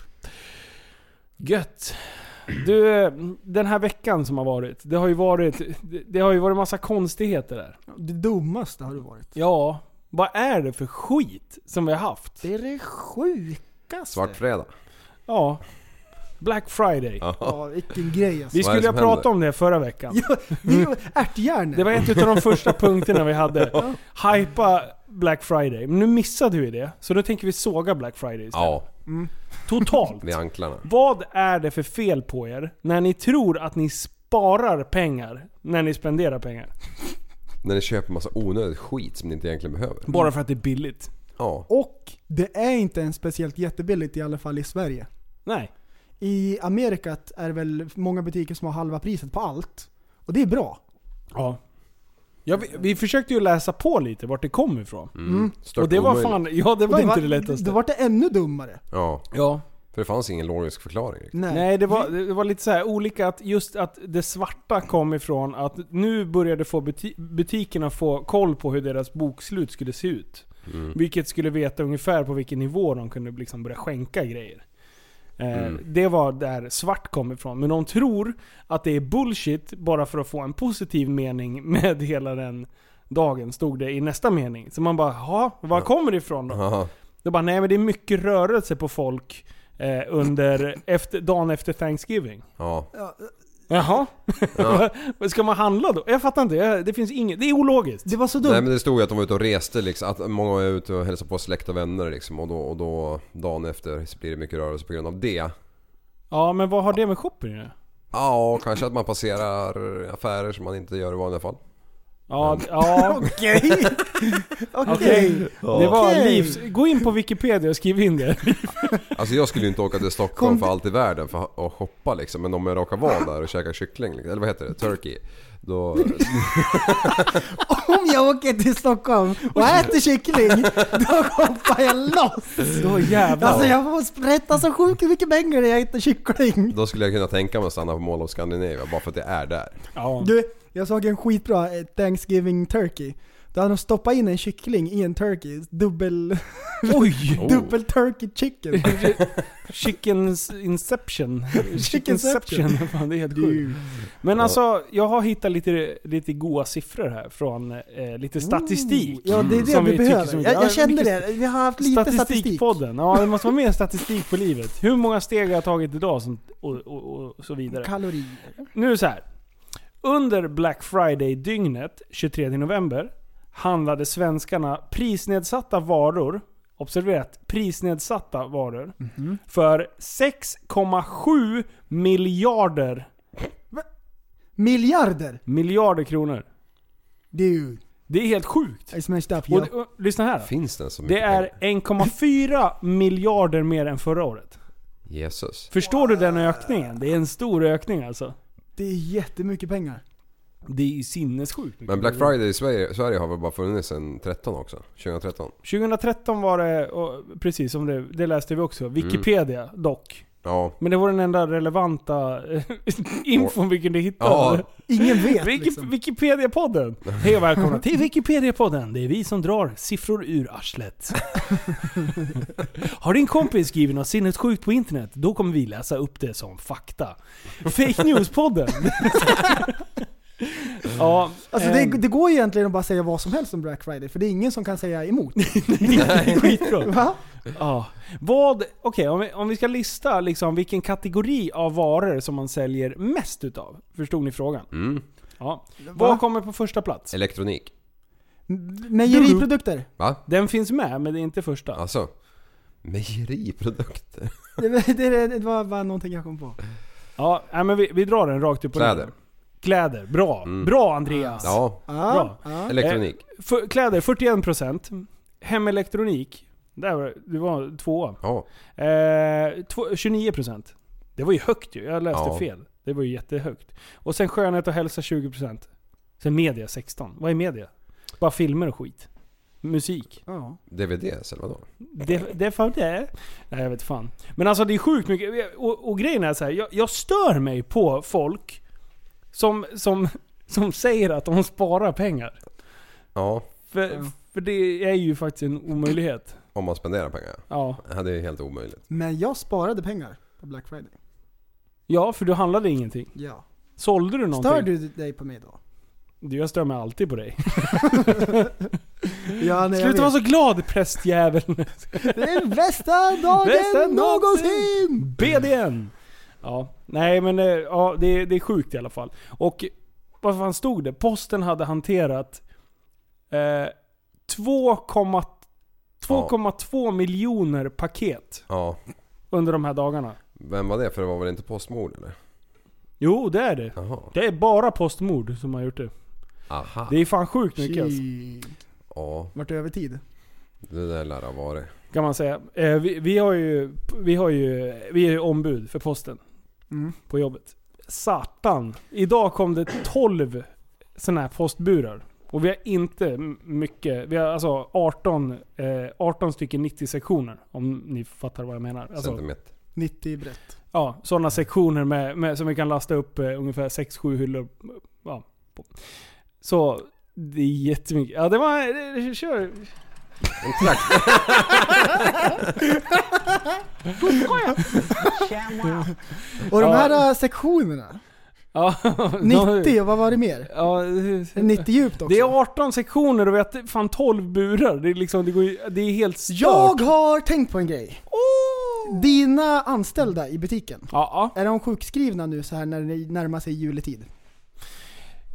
Speaker 9: Gött. Du, eh, den här veckan som har varit. Det har ju varit, det- det har ju varit massa konstigheter där.
Speaker 6: Det dummaste har du varit.
Speaker 9: Ja, vad är det för skit som vi har haft?
Speaker 6: Det är det sjukaste.
Speaker 10: Svart fredag.
Speaker 9: Ja. Black Friday.
Speaker 6: Ja, vilken grej alltså.
Speaker 9: Vi skulle ju ha pratat om det förra veckan.
Speaker 6: Ja, vi var ärtjärnor.
Speaker 9: Det var en av de första punkterna vi hade. Hypa Black Friday. Men nu missade vi det, så nu tänker vi såga Black Friday istället.
Speaker 10: Ja,
Speaker 6: Mm.
Speaker 9: Totalt.
Speaker 10: vid anklarna.
Speaker 9: Vad är det för fel på er när ni tror att ni sparar pengar när ni spenderar pengar?
Speaker 10: När ni köper massa onödigt skit som ni inte egentligen behöver.
Speaker 9: Bara för att det är billigt.
Speaker 10: Ja.
Speaker 6: Och det är inte ens speciellt jättebilligt i alla fall i Sverige.
Speaker 9: Nej.
Speaker 6: I Amerika är det väl många butiker som har halva priset på allt. Och det är bra.
Speaker 9: Ja. Ja, vi, vi försökte ju läsa på lite vart det kom ifrån.
Speaker 6: Mm.
Speaker 10: Stört
Speaker 9: Och det var
Speaker 10: omöjligt.
Speaker 9: fan... Ja, det var
Speaker 6: Och
Speaker 9: inte det lättaste.
Speaker 6: Då vart det ännu dummare.
Speaker 10: Ja.
Speaker 9: Ja.
Speaker 10: För det fanns ingen logisk förklaring. liksom. riktigt.
Speaker 6: Nej.
Speaker 9: Nej, det var, det var lite så här olika att just att det svarta kom ifrån att nu började få buti- butikerna få koll på hur deras bokslut skulle se ut.
Speaker 10: Mm.
Speaker 9: Vilket skulle veta ungefär på vilken nivå de kunde liksom börja skänka grejer. Eh,
Speaker 10: Mm.
Speaker 9: Det var där svart kom ifrån. Men de tror att det är bullshit bara för att få en positiv mening med hela den dagen, stod det i nästa mening. Så man bara, "Jaha, var kommer det ifrån då?
Speaker 10: Ja.
Speaker 9: Då bara, nej men det är mycket rörelse på folk eh,
Speaker 10: [LAUGHS]
Speaker 9: under, efter, dagen efter Thanksgiving.
Speaker 10: Ja.
Speaker 9: Jaha?
Speaker 10: Ja.
Speaker 9: Vad [LAUGHS] Ska man handla då? Jag fattar inte, jag, det finns inget, det är ologiskt.
Speaker 6: Det var så dumt.
Speaker 10: Nej men det stod ju att de var ute och reste liksom, att många var ute och hälsade på släkt och vänner liksom och då, och då dagen efter så blir det mycket rörelse på grund av det.
Speaker 9: Ja men vad har det med shopping att göra?
Speaker 10: Ja, och kanske att man passerar affärer som man inte gör i vanliga fall.
Speaker 9: Ja, d- ja.
Speaker 6: [LAUGHS]
Speaker 9: [LAUGHS]
Speaker 6: Okej. Okej.
Speaker 9: Okej. Det var
Speaker 6: Okej.
Speaker 9: livs... Gå in på Wikipedia och skriv in det.
Speaker 6: [LAUGHS]
Speaker 10: Alltså jag skulle ju inte åka till Stockholm
Speaker 6: Kom-
Speaker 10: för allt i världen för att shoppa liksom. Men om jag råkar vara där och käka kyckling, liksom, eller vad heter det? Turkey. Då...
Speaker 6: [LAUGHS] Om jag åker till Stockholm och äter kyckling, då hoppar jag loss.
Speaker 9: [LAUGHS] Då
Speaker 6: Alltså
Speaker 9: jävlar.
Speaker 6: jag får sprätta så sjukt mycket pengar när jag äter kyckling.
Speaker 10: Då skulle jag kunna tänka mig att stanna på Mall of Scandinavia bara för att jag är där.
Speaker 9: Ja.
Speaker 6: Du, jag såg en skitbra eh, Thanksgiving Turkey. Då hade de stoppat in en kyckling i en turkey. Dubbel,
Speaker 9: Oj!
Speaker 6: [LAUGHS] dubbel turkey chicken.
Speaker 9: [LAUGHS]
Speaker 6: [LAUGHS]
Speaker 9: Chickens Inception.
Speaker 6: Chickenception.
Speaker 9: Fan, det är helt sjukt. Men alltså, jag har hittat lite, lite goa siffror här från eh, lite statistik.
Speaker 6: Ja, det är det
Speaker 9: Som
Speaker 6: vi,
Speaker 9: vi tycker
Speaker 6: behöver.
Speaker 9: som-
Speaker 6: Jag,
Speaker 9: ja,
Speaker 6: jag kände
Speaker 9: mycket
Speaker 6: det. Vi har haft lite statistik.
Speaker 9: Statistikpodden. Ja, det måste vara mer statistik på livet. Hur många steg har jag tagit idag och, sånt- och, och, och så vidare.
Speaker 6: Kalorier.
Speaker 9: Nu är det så här. Under Black Friday-dygnet 23 november handlade svenskarna prisnedsatta varor, observerat prisnedsatta varor,
Speaker 6: Mhm.
Speaker 9: för 6,7 miljarder,
Speaker 6: Miljarder!
Speaker 9: miljarder kronor.
Speaker 6: Dude,
Speaker 9: Det är helt sjukt.
Speaker 6: I smashed up.
Speaker 9: Och,
Speaker 6: Ja.
Speaker 9: och, lyssna här. då.
Speaker 10: Finns det ens så mycket
Speaker 9: Det är
Speaker 10: pengar?
Speaker 9: 1,4 miljarder mer än förra året.
Speaker 10: Jesus.
Speaker 9: Förstår du den ökningen? Det är en stor ökning alltså.
Speaker 6: Det är jättemycket pengar.
Speaker 9: Det är ju sinnessjukt.
Speaker 10: Men Black Friday i Sverige, Sverige har väl bara funnits sedan 13 också? 2013?
Speaker 9: 2013 var det, och precis som det, det läste vi också, Wikipedia dock.
Speaker 10: Mm. Ja.
Speaker 9: Men det var den enda relevanta eh, [LAUGHS] infon vi kunde hitta.
Speaker 10: Ja.
Speaker 9: Ingen
Speaker 10: vet,
Speaker 9: Wiki,
Speaker 10: [LAUGHS]
Speaker 9: Wikipedia-podden. Hej och välkomna till Wikipedia-podden. Det är vi som drar siffror ur
Speaker 10: [LAUGHS]
Speaker 9: arslet. Har din kompis skrivit något sinnessjukt på internet? Då kommer vi läsa upp det som fakta. Fake News-podden. ja,
Speaker 6: Alltså det,
Speaker 9: ehm,
Speaker 6: det går ju egentligen att bara säga vad som helst om Black Friday, för det är ingen som kan säga
Speaker 9: [LAUGHS]
Speaker 6: emot.
Speaker 9: Skitbra.
Speaker 6: Va?
Speaker 9: Ja. Vad, okej om, vi, om vi ska lista liksom vilken kategori av varor som man säljer mest utav. Förstod ni frågan?
Speaker 10: Mm.
Speaker 9: Ja. Vad kommer på första plats?
Speaker 10: Elektronik.
Speaker 6: Mejeriprodukter.
Speaker 10: Va?
Speaker 9: Den finns med, men det är inte första.
Speaker 10: Alltså. Mejeriprodukter.
Speaker 6: Det, [LAUGHS] det, det var bara någonting jag kom på.
Speaker 9: Ja, nej, men vi, vi drar den rakt upp och
Speaker 10: Kläder.
Speaker 9: ner. Kläder. Bra.
Speaker 10: Mm.
Speaker 9: Bra Andreas.
Speaker 10: Ja.
Speaker 9: Bra.
Speaker 10: Ja. Elektronik.
Speaker 9: Eh, för, kläder 41%. Hemelektronik. Där var, det- det var tvåa.
Speaker 10: Ja.
Speaker 9: Eh, två, 29%. Det var ju högt ju. Jag läste
Speaker 10: Ja.
Speaker 9: fel. Det var ju jättehögt. Och sen skönhet och hälsa 20%. Sen media 16%. Vad är media? Bara filmer och skit. Musik.
Speaker 10: DVDs eller vadå?
Speaker 9: Det, det får det. Nej jag vet fan. Men alltså det är sjukt mycket. Och, och grejen är så här, jag, jag stör mig på folk som, som, som säger att de sparar pengar.
Speaker 10: Ja.
Speaker 9: För, för det är ju faktiskt en omöjlighet.
Speaker 10: Om man spenderar pengar.
Speaker 9: Ja.
Speaker 10: Det är helt omöjligt.
Speaker 6: Men jag sparade pengar på Black Friday.
Speaker 9: Ja, för du handlade ingenting.
Speaker 6: Ja.
Speaker 9: Sålde du någonting?
Speaker 6: Stör du dig på mig då?
Speaker 9: Du, jag stör mig alltid på dig.
Speaker 6: [LAUGHS] Ja, nej, jag vet.
Speaker 9: Sluta vara så
Speaker 6: [LAUGHS]
Speaker 9: glad prästjäveln.
Speaker 6: Det är bästa dagen
Speaker 9: Bästa
Speaker 6: någonsin!
Speaker 9: BDN! Ja, nej men eh, ja, det, det är sjukt i alla fall. Och vad fan stod det? Posten hade hanterat eh, 2,2 2,2 miljoner paket
Speaker 10: Ja.
Speaker 9: under de här dagarna.
Speaker 10: Vem var det? För det var väl inte postmord eller?
Speaker 9: Jo, det är det. Det är bara postmord som har gjort det.
Speaker 10: Aha.
Speaker 9: Det är fan sjukt mycket alltså.
Speaker 10: Ja.
Speaker 6: Vart övertid?
Speaker 10: Det där lär ha varit.
Speaker 9: Kan man säga. Eh, vi, vi har ju, vi har ju, vi är ju ombud för posten.
Speaker 6: Mm.
Speaker 9: På jobbet. Satan. Idag kom det 12 sådana här postburar. Och vi har inte m- mycket, vi har alltså 18, eh, 18 stycken 90-sektioner. Om ni fattar vad jag menar. Alltså,
Speaker 10: Centimeter.
Speaker 6: 90 brett.
Speaker 9: Ja, sådana sektioner med, med, som vi kan lasta upp eh, ungefär 6-7 hyllor ja, på. Så det är jättemycket. Ja, det var... eh, Kör. En
Speaker 6: Och de här äh, sektionerna.
Speaker 9: [LAUGHS] Ja,
Speaker 6: 90 och vad var det mer?
Speaker 9: Ja,
Speaker 6: 90 djupt också.
Speaker 9: Det är 18 sektioner och vi har t- fan 12 burar. Det är, liksom, det går, ju- det är helt stört.
Speaker 6: Jag har tänkt på en grej. Dina anställda i butiken. Är de sjukskrivna nu så här när det närmar sig juletid?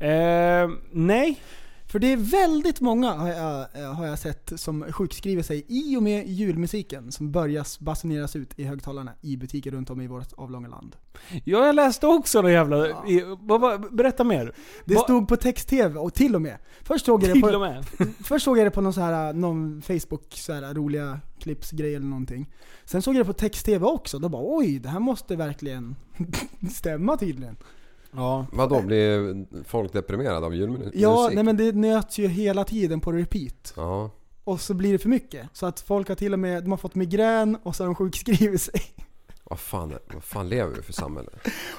Speaker 9: Ehm, nej.
Speaker 6: För det är väldigt många har jag, eh, har jag sett som sjukskriver sig i och med julmusiken som börjar basuneras ut i högtalarna i butiker runt om i vårt avlånga land.
Speaker 9: Ja, jag läste också det jävla... i- vad var- berätta mer.
Speaker 6: Det
Speaker 9: Va-
Speaker 6: stod på text-tv och till och med. Först såg jag det
Speaker 9: Till och
Speaker 6: på,
Speaker 9: med.
Speaker 6: först såg jag det på någon, så här, någon Facebook så här, roliga klippsgrej eller någonting. Sen såg jag det på text-tv också. Då bara oj, det här måste verkligen [LAUGHS] stämma tydligen.
Speaker 9: Ja.
Speaker 10: Vadå, blir folk deprimerade av julmusik?
Speaker 6: Ja, nej men det nöts ju hela tiden på repeat.
Speaker 10: Ja.
Speaker 6: Och så blir det för mycket. Så att folk har till och med de har fått migrän och så har de sjukskrivit sig. [LAUGHS]
Speaker 10: Vad fan, är- vad fan lever vi för samhälle?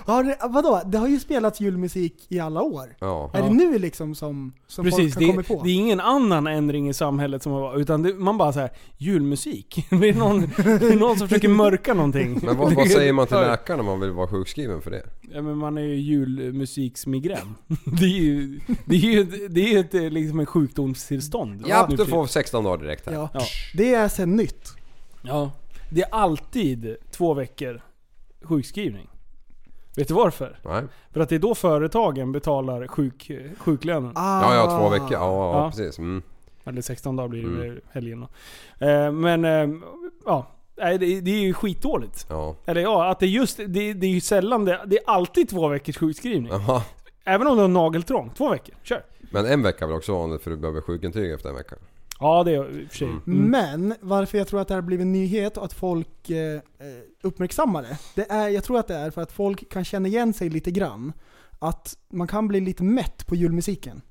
Speaker 6: Har det, vadå? Det har ju spelats julmusik i alla år.
Speaker 10: Ja.
Speaker 6: Är det nu liksom som, som folk
Speaker 9: Precis,
Speaker 6: har
Speaker 9: det,
Speaker 6: kommit på?
Speaker 9: det är ingen annan ändring i samhället som har varit, utan det, man bara så här julmusik. [LAUGHS] Det är någon, det är någon som försöker mörka någonting.
Speaker 10: Men vad, vad säger man till läkaren om man vill vara sjukskriven för det?
Speaker 9: Ja, men man är ju julmusiksmigrän. [LAUGHS] Det är ju, det är ju, ett- det är ju ett, eh, liksom en sjukdomstillstånd.
Speaker 10: Ja,
Speaker 9: Nu
Speaker 10: du
Speaker 9: för-
Speaker 10: får 16 dagar direkt här.
Speaker 6: Ja. Det är sen nytt.
Speaker 9: Ja. Det är alltid två veckor sjukskrivning. Vet du varför?
Speaker 10: Nej.
Speaker 9: För att det är då företagen betalar sjuk, sjuklönen.
Speaker 6: Ah.
Speaker 10: Ja, ja, två veckor. Ja, ja, precis. Mm.
Speaker 9: Eller 16 dagar blir det
Speaker 10: Mm.
Speaker 9: mm. helgen då. Eh, men, eh, ja. Nej, det, det är ju skitdåligt.
Speaker 10: Ja.
Speaker 9: Eller ja, att det är just, det, det är ju sällan det, det är alltid två veckors sjukskrivning.
Speaker 10: Jaha.
Speaker 9: Även om du har nageltrång, två veckor. Kör!
Speaker 10: Men en vecka är väl också vanligt för du behöver sjukintyg efter en vecka?
Speaker 9: Ja, det är i och för
Speaker 10: Mm.
Speaker 9: sig.
Speaker 6: Men varför jag tror att det här har blivit en nyhet och att folk eh, eh, uppmärksammar det. det är, jag tror att det är för att folk kan känna igen sig lite grann. Att man kan bli lite mätt på julmusiken.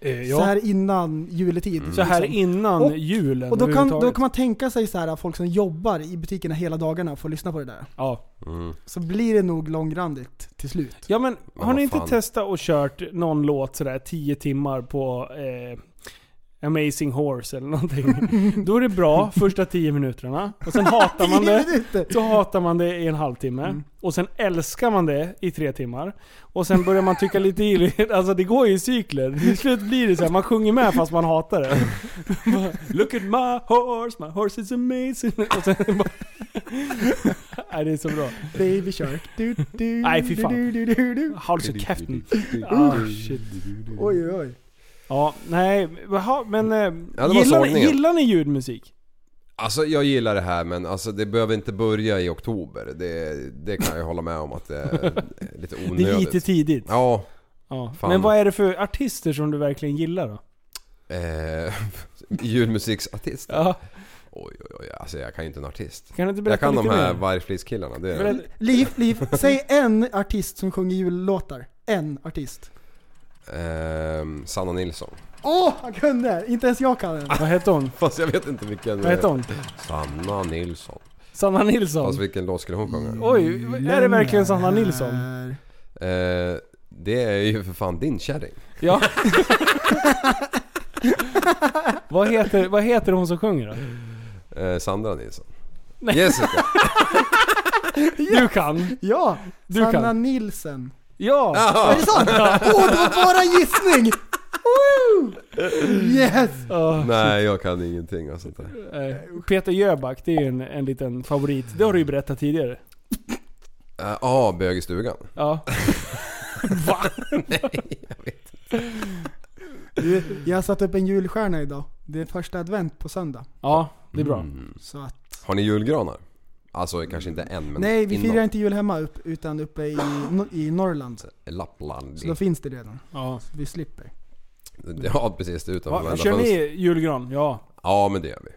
Speaker 9: Eh, ja.
Speaker 6: Så här innan juletid.
Speaker 10: Mm.
Speaker 6: liksom.
Speaker 9: Så här innan
Speaker 6: och,
Speaker 9: julen
Speaker 6: Och då kan, då
Speaker 9: överhuvudtaget.
Speaker 6: kan man tänka sig så här att folk som jobbar i butikerna hela dagarna får lyssna på det där.
Speaker 9: Ja.
Speaker 10: Mm.
Speaker 6: Så blir det nog långrandigt till slut.
Speaker 9: Ja men
Speaker 6: Men
Speaker 9: har
Speaker 6: vad
Speaker 9: ni inte
Speaker 6: fan.
Speaker 9: testat och kört någon låt sådär 10 timmar på eh, Amazing Horse eller
Speaker 10: [LAUGHS]
Speaker 9: någonting. Då är det bra första 10 minuterna. Och sen hatar man
Speaker 6: 10
Speaker 9: det. Så hatar man det i en halvtimme. Och sen älskar man det i tre timmar. Och sen börjar man tycka lite illa. [LAUGHS] Alltså det går ju i cykler. Till slut blir det så här, man sjunger med fast man hatar det. [LAUGHS] Bara, Look at my horse, my horse is amazing. Och sen bara... [LAUGHS] Nej det är så bra.
Speaker 6: Baby Shark. Du, du,
Speaker 9: [LAUGHS] Nej fy fan.
Speaker 6: Du, du, du, du.
Speaker 9: Håll så
Speaker 10: [LAUGHS]
Speaker 9: käften.
Speaker 6: Ah,
Speaker 9: shit.
Speaker 6: Oj, oj, oj.
Speaker 9: Ja, nej. Jaha, men eh,
Speaker 10: Ja, det var
Speaker 9: gillar, ni,
Speaker 10: sågningen.
Speaker 9: gillar ni ljudmusik?
Speaker 10: Alltså jag gillar det här men alltså, det behöver inte börja i oktober. Det, det kan jag hålla med om att det är lite onödigt.
Speaker 9: Det är lite tidigt.
Speaker 10: Ja.
Speaker 9: Ja.
Speaker 10: Fan.
Speaker 9: Men vad är det för artister som du verkligen gillar då?
Speaker 10: Eh, [LAUGHS] Julmusiksartister?
Speaker 9: Ja.
Speaker 10: Oj, oj, oj. Alltså jag kan ju inte en artist.
Speaker 9: Kan du inte
Speaker 10: jag
Speaker 9: berätta
Speaker 10: kan de
Speaker 9: lite
Speaker 10: här
Speaker 9: mer?
Speaker 10: vargfliskillarna. Det är...
Speaker 6: L- Liv, Liv, säg en artist som sjunger jullåtar. En artist.
Speaker 10: Ehm, Sanna Nilsson.
Speaker 6: Åh, han kunde! Inte ens jag kan den.
Speaker 9: Vad heter hon?
Speaker 10: [LAUGHS] Fast jag vet inte vilken...
Speaker 9: Vad heter hon?
Speaker 10: Sanna Nilsson.
Speaker 9: Sanna Nilsson?
Speaker 10: Fast vilken låt skulle hon sjunga?
Speaker 9: Oj, är det verkligen Sanna Nilsson?
Speaker 10: Eh, det är ju för fan din kärring.
Speaker 9: Ja. vad, heter, vad heter hon som sjunger
Speaker 10: [LAUGHS]
Speaker 9: då?
Speaker 10: [LAUGHS] Eh, Sandra Nilsson.
Speaker 9: Nej.
Speaker 10: Jessica.
Speaker 9: [LAUGHS] Du kan.
Speaker 6: Ja,
Speaker 9: Du
Speaker 6: Sanna
Speaker 9: kan.
Speaker 6: Nilsen.
Speaker 9: Ja!
Speaker 10: Jaha.
Speaker 6: Är det
Speaker 10: [LAUGHS]
Speaker 6: sant? Åh, det var bara en gissning! Woo! Yes!
Speaker 10: Nej, jag kan ingenting alltså, av sånt där.
Speaker 9: Eh, Peter Jöback, det är ju en, en liten favorit. Det har du ju berättat tidigare.
Speaker 10: Eh, Ja, Bög i stugan.
Speaker 9: Ja.
Speaker 10: [LAUGHS]
Speaker 9: Va?
Speaker 6: Du, jag har satt upp en julstjärna idag. Det är första advent på söndag.
Speaker 9: Ja, det är bra.
Speaker 10: Mm.
Speaker 6: Så att,
Speaker 10: Har ni julgranar? Alltså kanske inte än men
Speaker 6: nej, vi
Speaker 10: innan.
Speaker 6: firar inte jul hemma upp, utan uppe i, no- i Norrland.
Speaker 10: Lappland.
Speaker 6: Så då finns det redan.
Speaker 9: Ja.
Speaker 6: Så vi slipper.
Speaker 10: Ja precis, det är utanför
Speaker 9: Va,
Speaker 10: varenda
Speaker 9: kör
Speaker 10: fönster.
Speaker 9: ni julgran? Ja.
Speaker 10: Ja men det gör vi.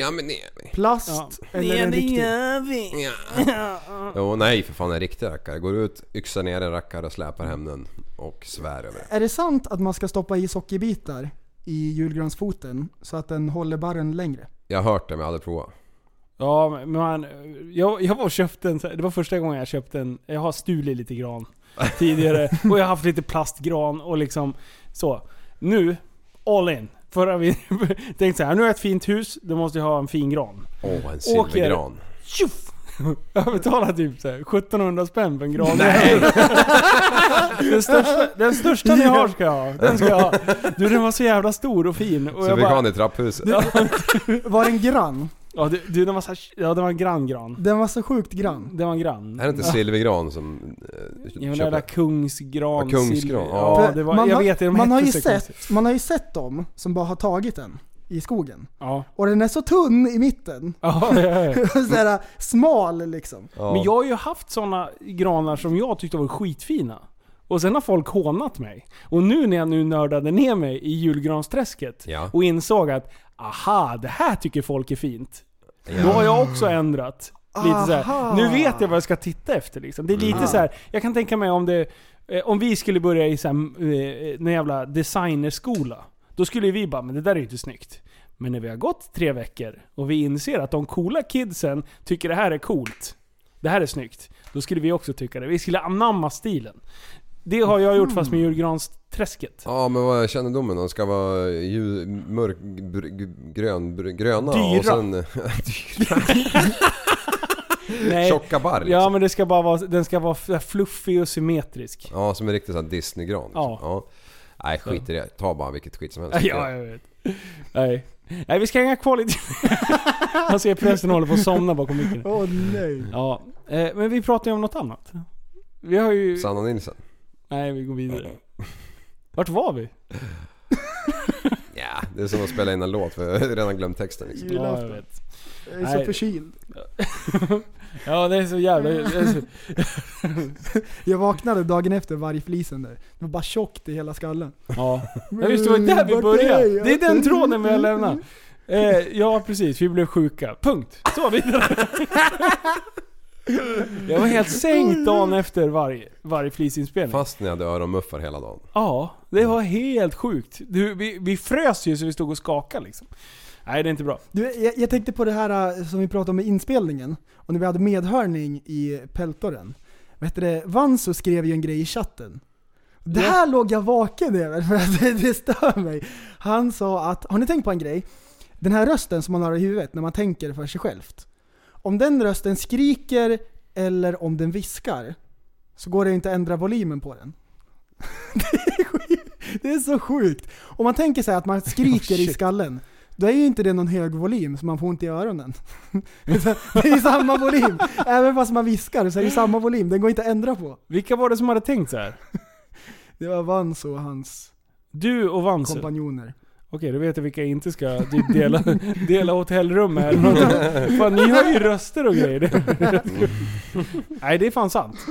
Speaker 10: Ja men det gör vi.
Speaker 6: Plast
Speaker 9: Ja.
Speaker 6: eller en riktig?
Speaker 9: vi.
Speaker 10: Jo nej för fan en riktig rackare. Går ut, yxar ner en rackare, släpar hem den och svär över det.
Speaker 6: Är det sant att man ska stoppa i sockerbitar i julgransfoten så att den håller barren längre?
Speaker 10: Jag har hört det men jag har aldrig provat.
Speaker 9: Ja, men man, jag, jag var och köpte en, så här- det var första gången jag köpte en, jag har stulit
Speaker 10: [LAUGHS]
Speaker 9: lite gran tidigare och jag har haft lite plastgran och liksom så. Nu, all in. Förra vi [LAUGHS] tänkte så här, nu har jag ett fint hus, då måste jag ha en fin gran.
Speaker 10: Åh en silvergran.
Speaker 9: tjoff! [LAUGHS] Jag betalade typ så här, 1700 spänn för en gran.
Speaker 10: Nej!
Speaker 9: [LAUGHS] Den största, den största ni har ska jag ha. Den ska jag ha. Du den var så jävla stor och fin. Och
Speaker 10: Så
Speaker 9: jag
Speaker 10: vi
Speaker 9: bara,
Speaker 10: kan i trapphuset.
Speaker 6: [LAUGHS] Var den grann?
Speaker 9: ja, du, du, den var så här, ja, den var en granngran.
Speaker 6: Den var så sjukt grann.
Speaker 9: Den var en grann.
Speaker 10: Är det inte
Speaker 9: Ja.
Speaker 10: silvergran som...
Speaker 9: Ja,
Speaker 10: Eh,
Speaker 9: men den där
Speaker 10: köper?
Speaker 9: kungsgran.
Speaker 10: Ja, kungsgran,
Speaker 9: silver-
Speaker 10: ja.
Speaker 9: ja. det var,
Speaker 6: man,
Speaker 9: jag
Speaker 6: har-
Speaker 9: vet inte, de
Speaker 6: man, har
Speaker 9: hette
Speaker 6: ju
Speaker 9: så
Speaker 6: sett, man har ju sett dem som bara har tagit den i skogen.
Speaker 9: Ja.
Speaker 6: Och den är så tunn i mitten.
Speaker 9: Ja, ja,
Speaker 6: [LAUGHS]
Speaker 9: ja.
Speaker 6: Såhär smal liksom.
Speaker 9: Men jag har ju haft sådana granar som jag tyckte var skitfina. Och sen har folk hånat mig. Och nu när jag nu nördade ner mig i julgransträsket
Speaker 10: Ja.
Speaker 9: och insåg att aha, det här tycker folk är fint. Då har jag också ändrat. Lite så
Speaker 6: Aha.
Speaker 9: här. Nu vet jag vad jag ska titta efter liksom. Det är lite
Speaker 6: Mm.
Speaker 9: så här. jag kan tänka mig om det... eh, Om vi skulle börja i så här, eh, någon jävla designerskola. Då skulle vi bara, men det där är ju inte snyggt. Men när vi har gått tre veckor och vi inser att de coola kidsen tycker det här är coolt. Det här är snyggt. Då skulle vi också tycka det. Vi skulle anamma stilen. Det har jag gjort fast med
Speaker 10: Mm.
Speaker 9: julgransträsket.
Speaker 10: Ja men vad är kännedomen? De ska vara ljus, mörk, br, grön, br, gröna
Speaker 9: Dyra.
Speaker 10: och sen... [LAUGHS] dyra.
Speaker 9: Nej.
Speaker 10: Tjocka barr liksom.
Speaker 9: Ja men det ska bara vara, den ska vara f- fluffig och symmetrisk.
Speaker 10: Ja, som en riktig sån här Disney-gran. Liksom.
Speaker 9: Ja.
Speaker 10: Ja. Nej, skit i det. Ta bara vilket skit som helst.
Speaker 9: [LAUGHS] Ja, jag vet. Nej. Nej, vi ska hänga kvar lite. Han ser prästen håller på Alltså, att somna bakom micken.
Speaker 10: [LAUGHS]
Speaker 6: Åh nej.
Speaker 9: Ja, eh, men vi pratar ju om något annat. Vi har ju...
Speaker 10: Sanna Nilsson.
Speaker 9: Nej, vi går vidare. Vart var vi?
Speaker 10: [LAUGHS] Ja, [LAUGHS] det är som att spela in en låt för jag har redan glömt texten liksom.
Speaker 9: Ja, jag vet.
Speaker 6: Jag är
Speaker 9: Nej.
Speaker 6: så förkyld.
Speaker 9: [LAUGHS] Ja, det är
Speaker 6: [LAUGHS]
Speaker 9: så jävla... det är så-
Speaker 6: Jag vaknade dagen efter vargflisen där. Det var bara tjockt i hela skallen.
Speaker 9: Ja. Ja just det, var där vi började. Det är den tråden vi har lämnat. Eh, ja precis, vi blev sjuka. Punkt. Så vidare. Jag var
Speaker 6: [LAUGHS]
Speaker 9: helt sänkt dagen efter varje, varje flisinspelning.
Speaker 10: Fast ni hade öronmuffar hela dagen.
Speaker 9: Ja, det var helt sjukt. Du, vi, vi frös ju så vi stod och skakade liksom. Nej, det är inte bra.
Speaker 6: Du, jag, jag tänkte på det här eh, som vi pratade om med inspelningen, och när vi hade medhörning i Peltoren. Vad heter det? Vanso skrev ju en grej i chatten. Det här låg jag vaken över, [LAUGHS] för att det, det stör mig. Han sa att, har ni tänkt på en grej? Den här rösten som man har i huvudet när man tänker för sig självt. Om den rösten skriker eller om den viskar, så går det inte att ändra volymen på den. [LAUGHS] Det är så sjukt. Om man tänker sig att
Speaker 9: [LAUGHS]
Speaker 6: man skriker i skallen, då är ju inte det någon hög volym så man får inte i öronen. [LAUGHS] Utan det är ju samma volym. Även fast man viskar så är det ju samma volym. Den går inte att ändra på.
Speaker 9: Vilka var det som hade tänkt så här?
Speaker 6: [LAUGHS] Det var Vanso och hans
Speaker 9: Du och Vanse.
Speaker 6: kompanjoner.
Speaker 9: Okej, då vet jag vilka jag inte ska
Speaker 6: [LAUGHS]
Speaker 9: typ dela, dela hotellrum med eller något. Fan, ni har ju röster och grejer.
Speaker 6: [LAUGHS]
Speaker 9: [LAUGHS] Nej, det är fan sant. Ja,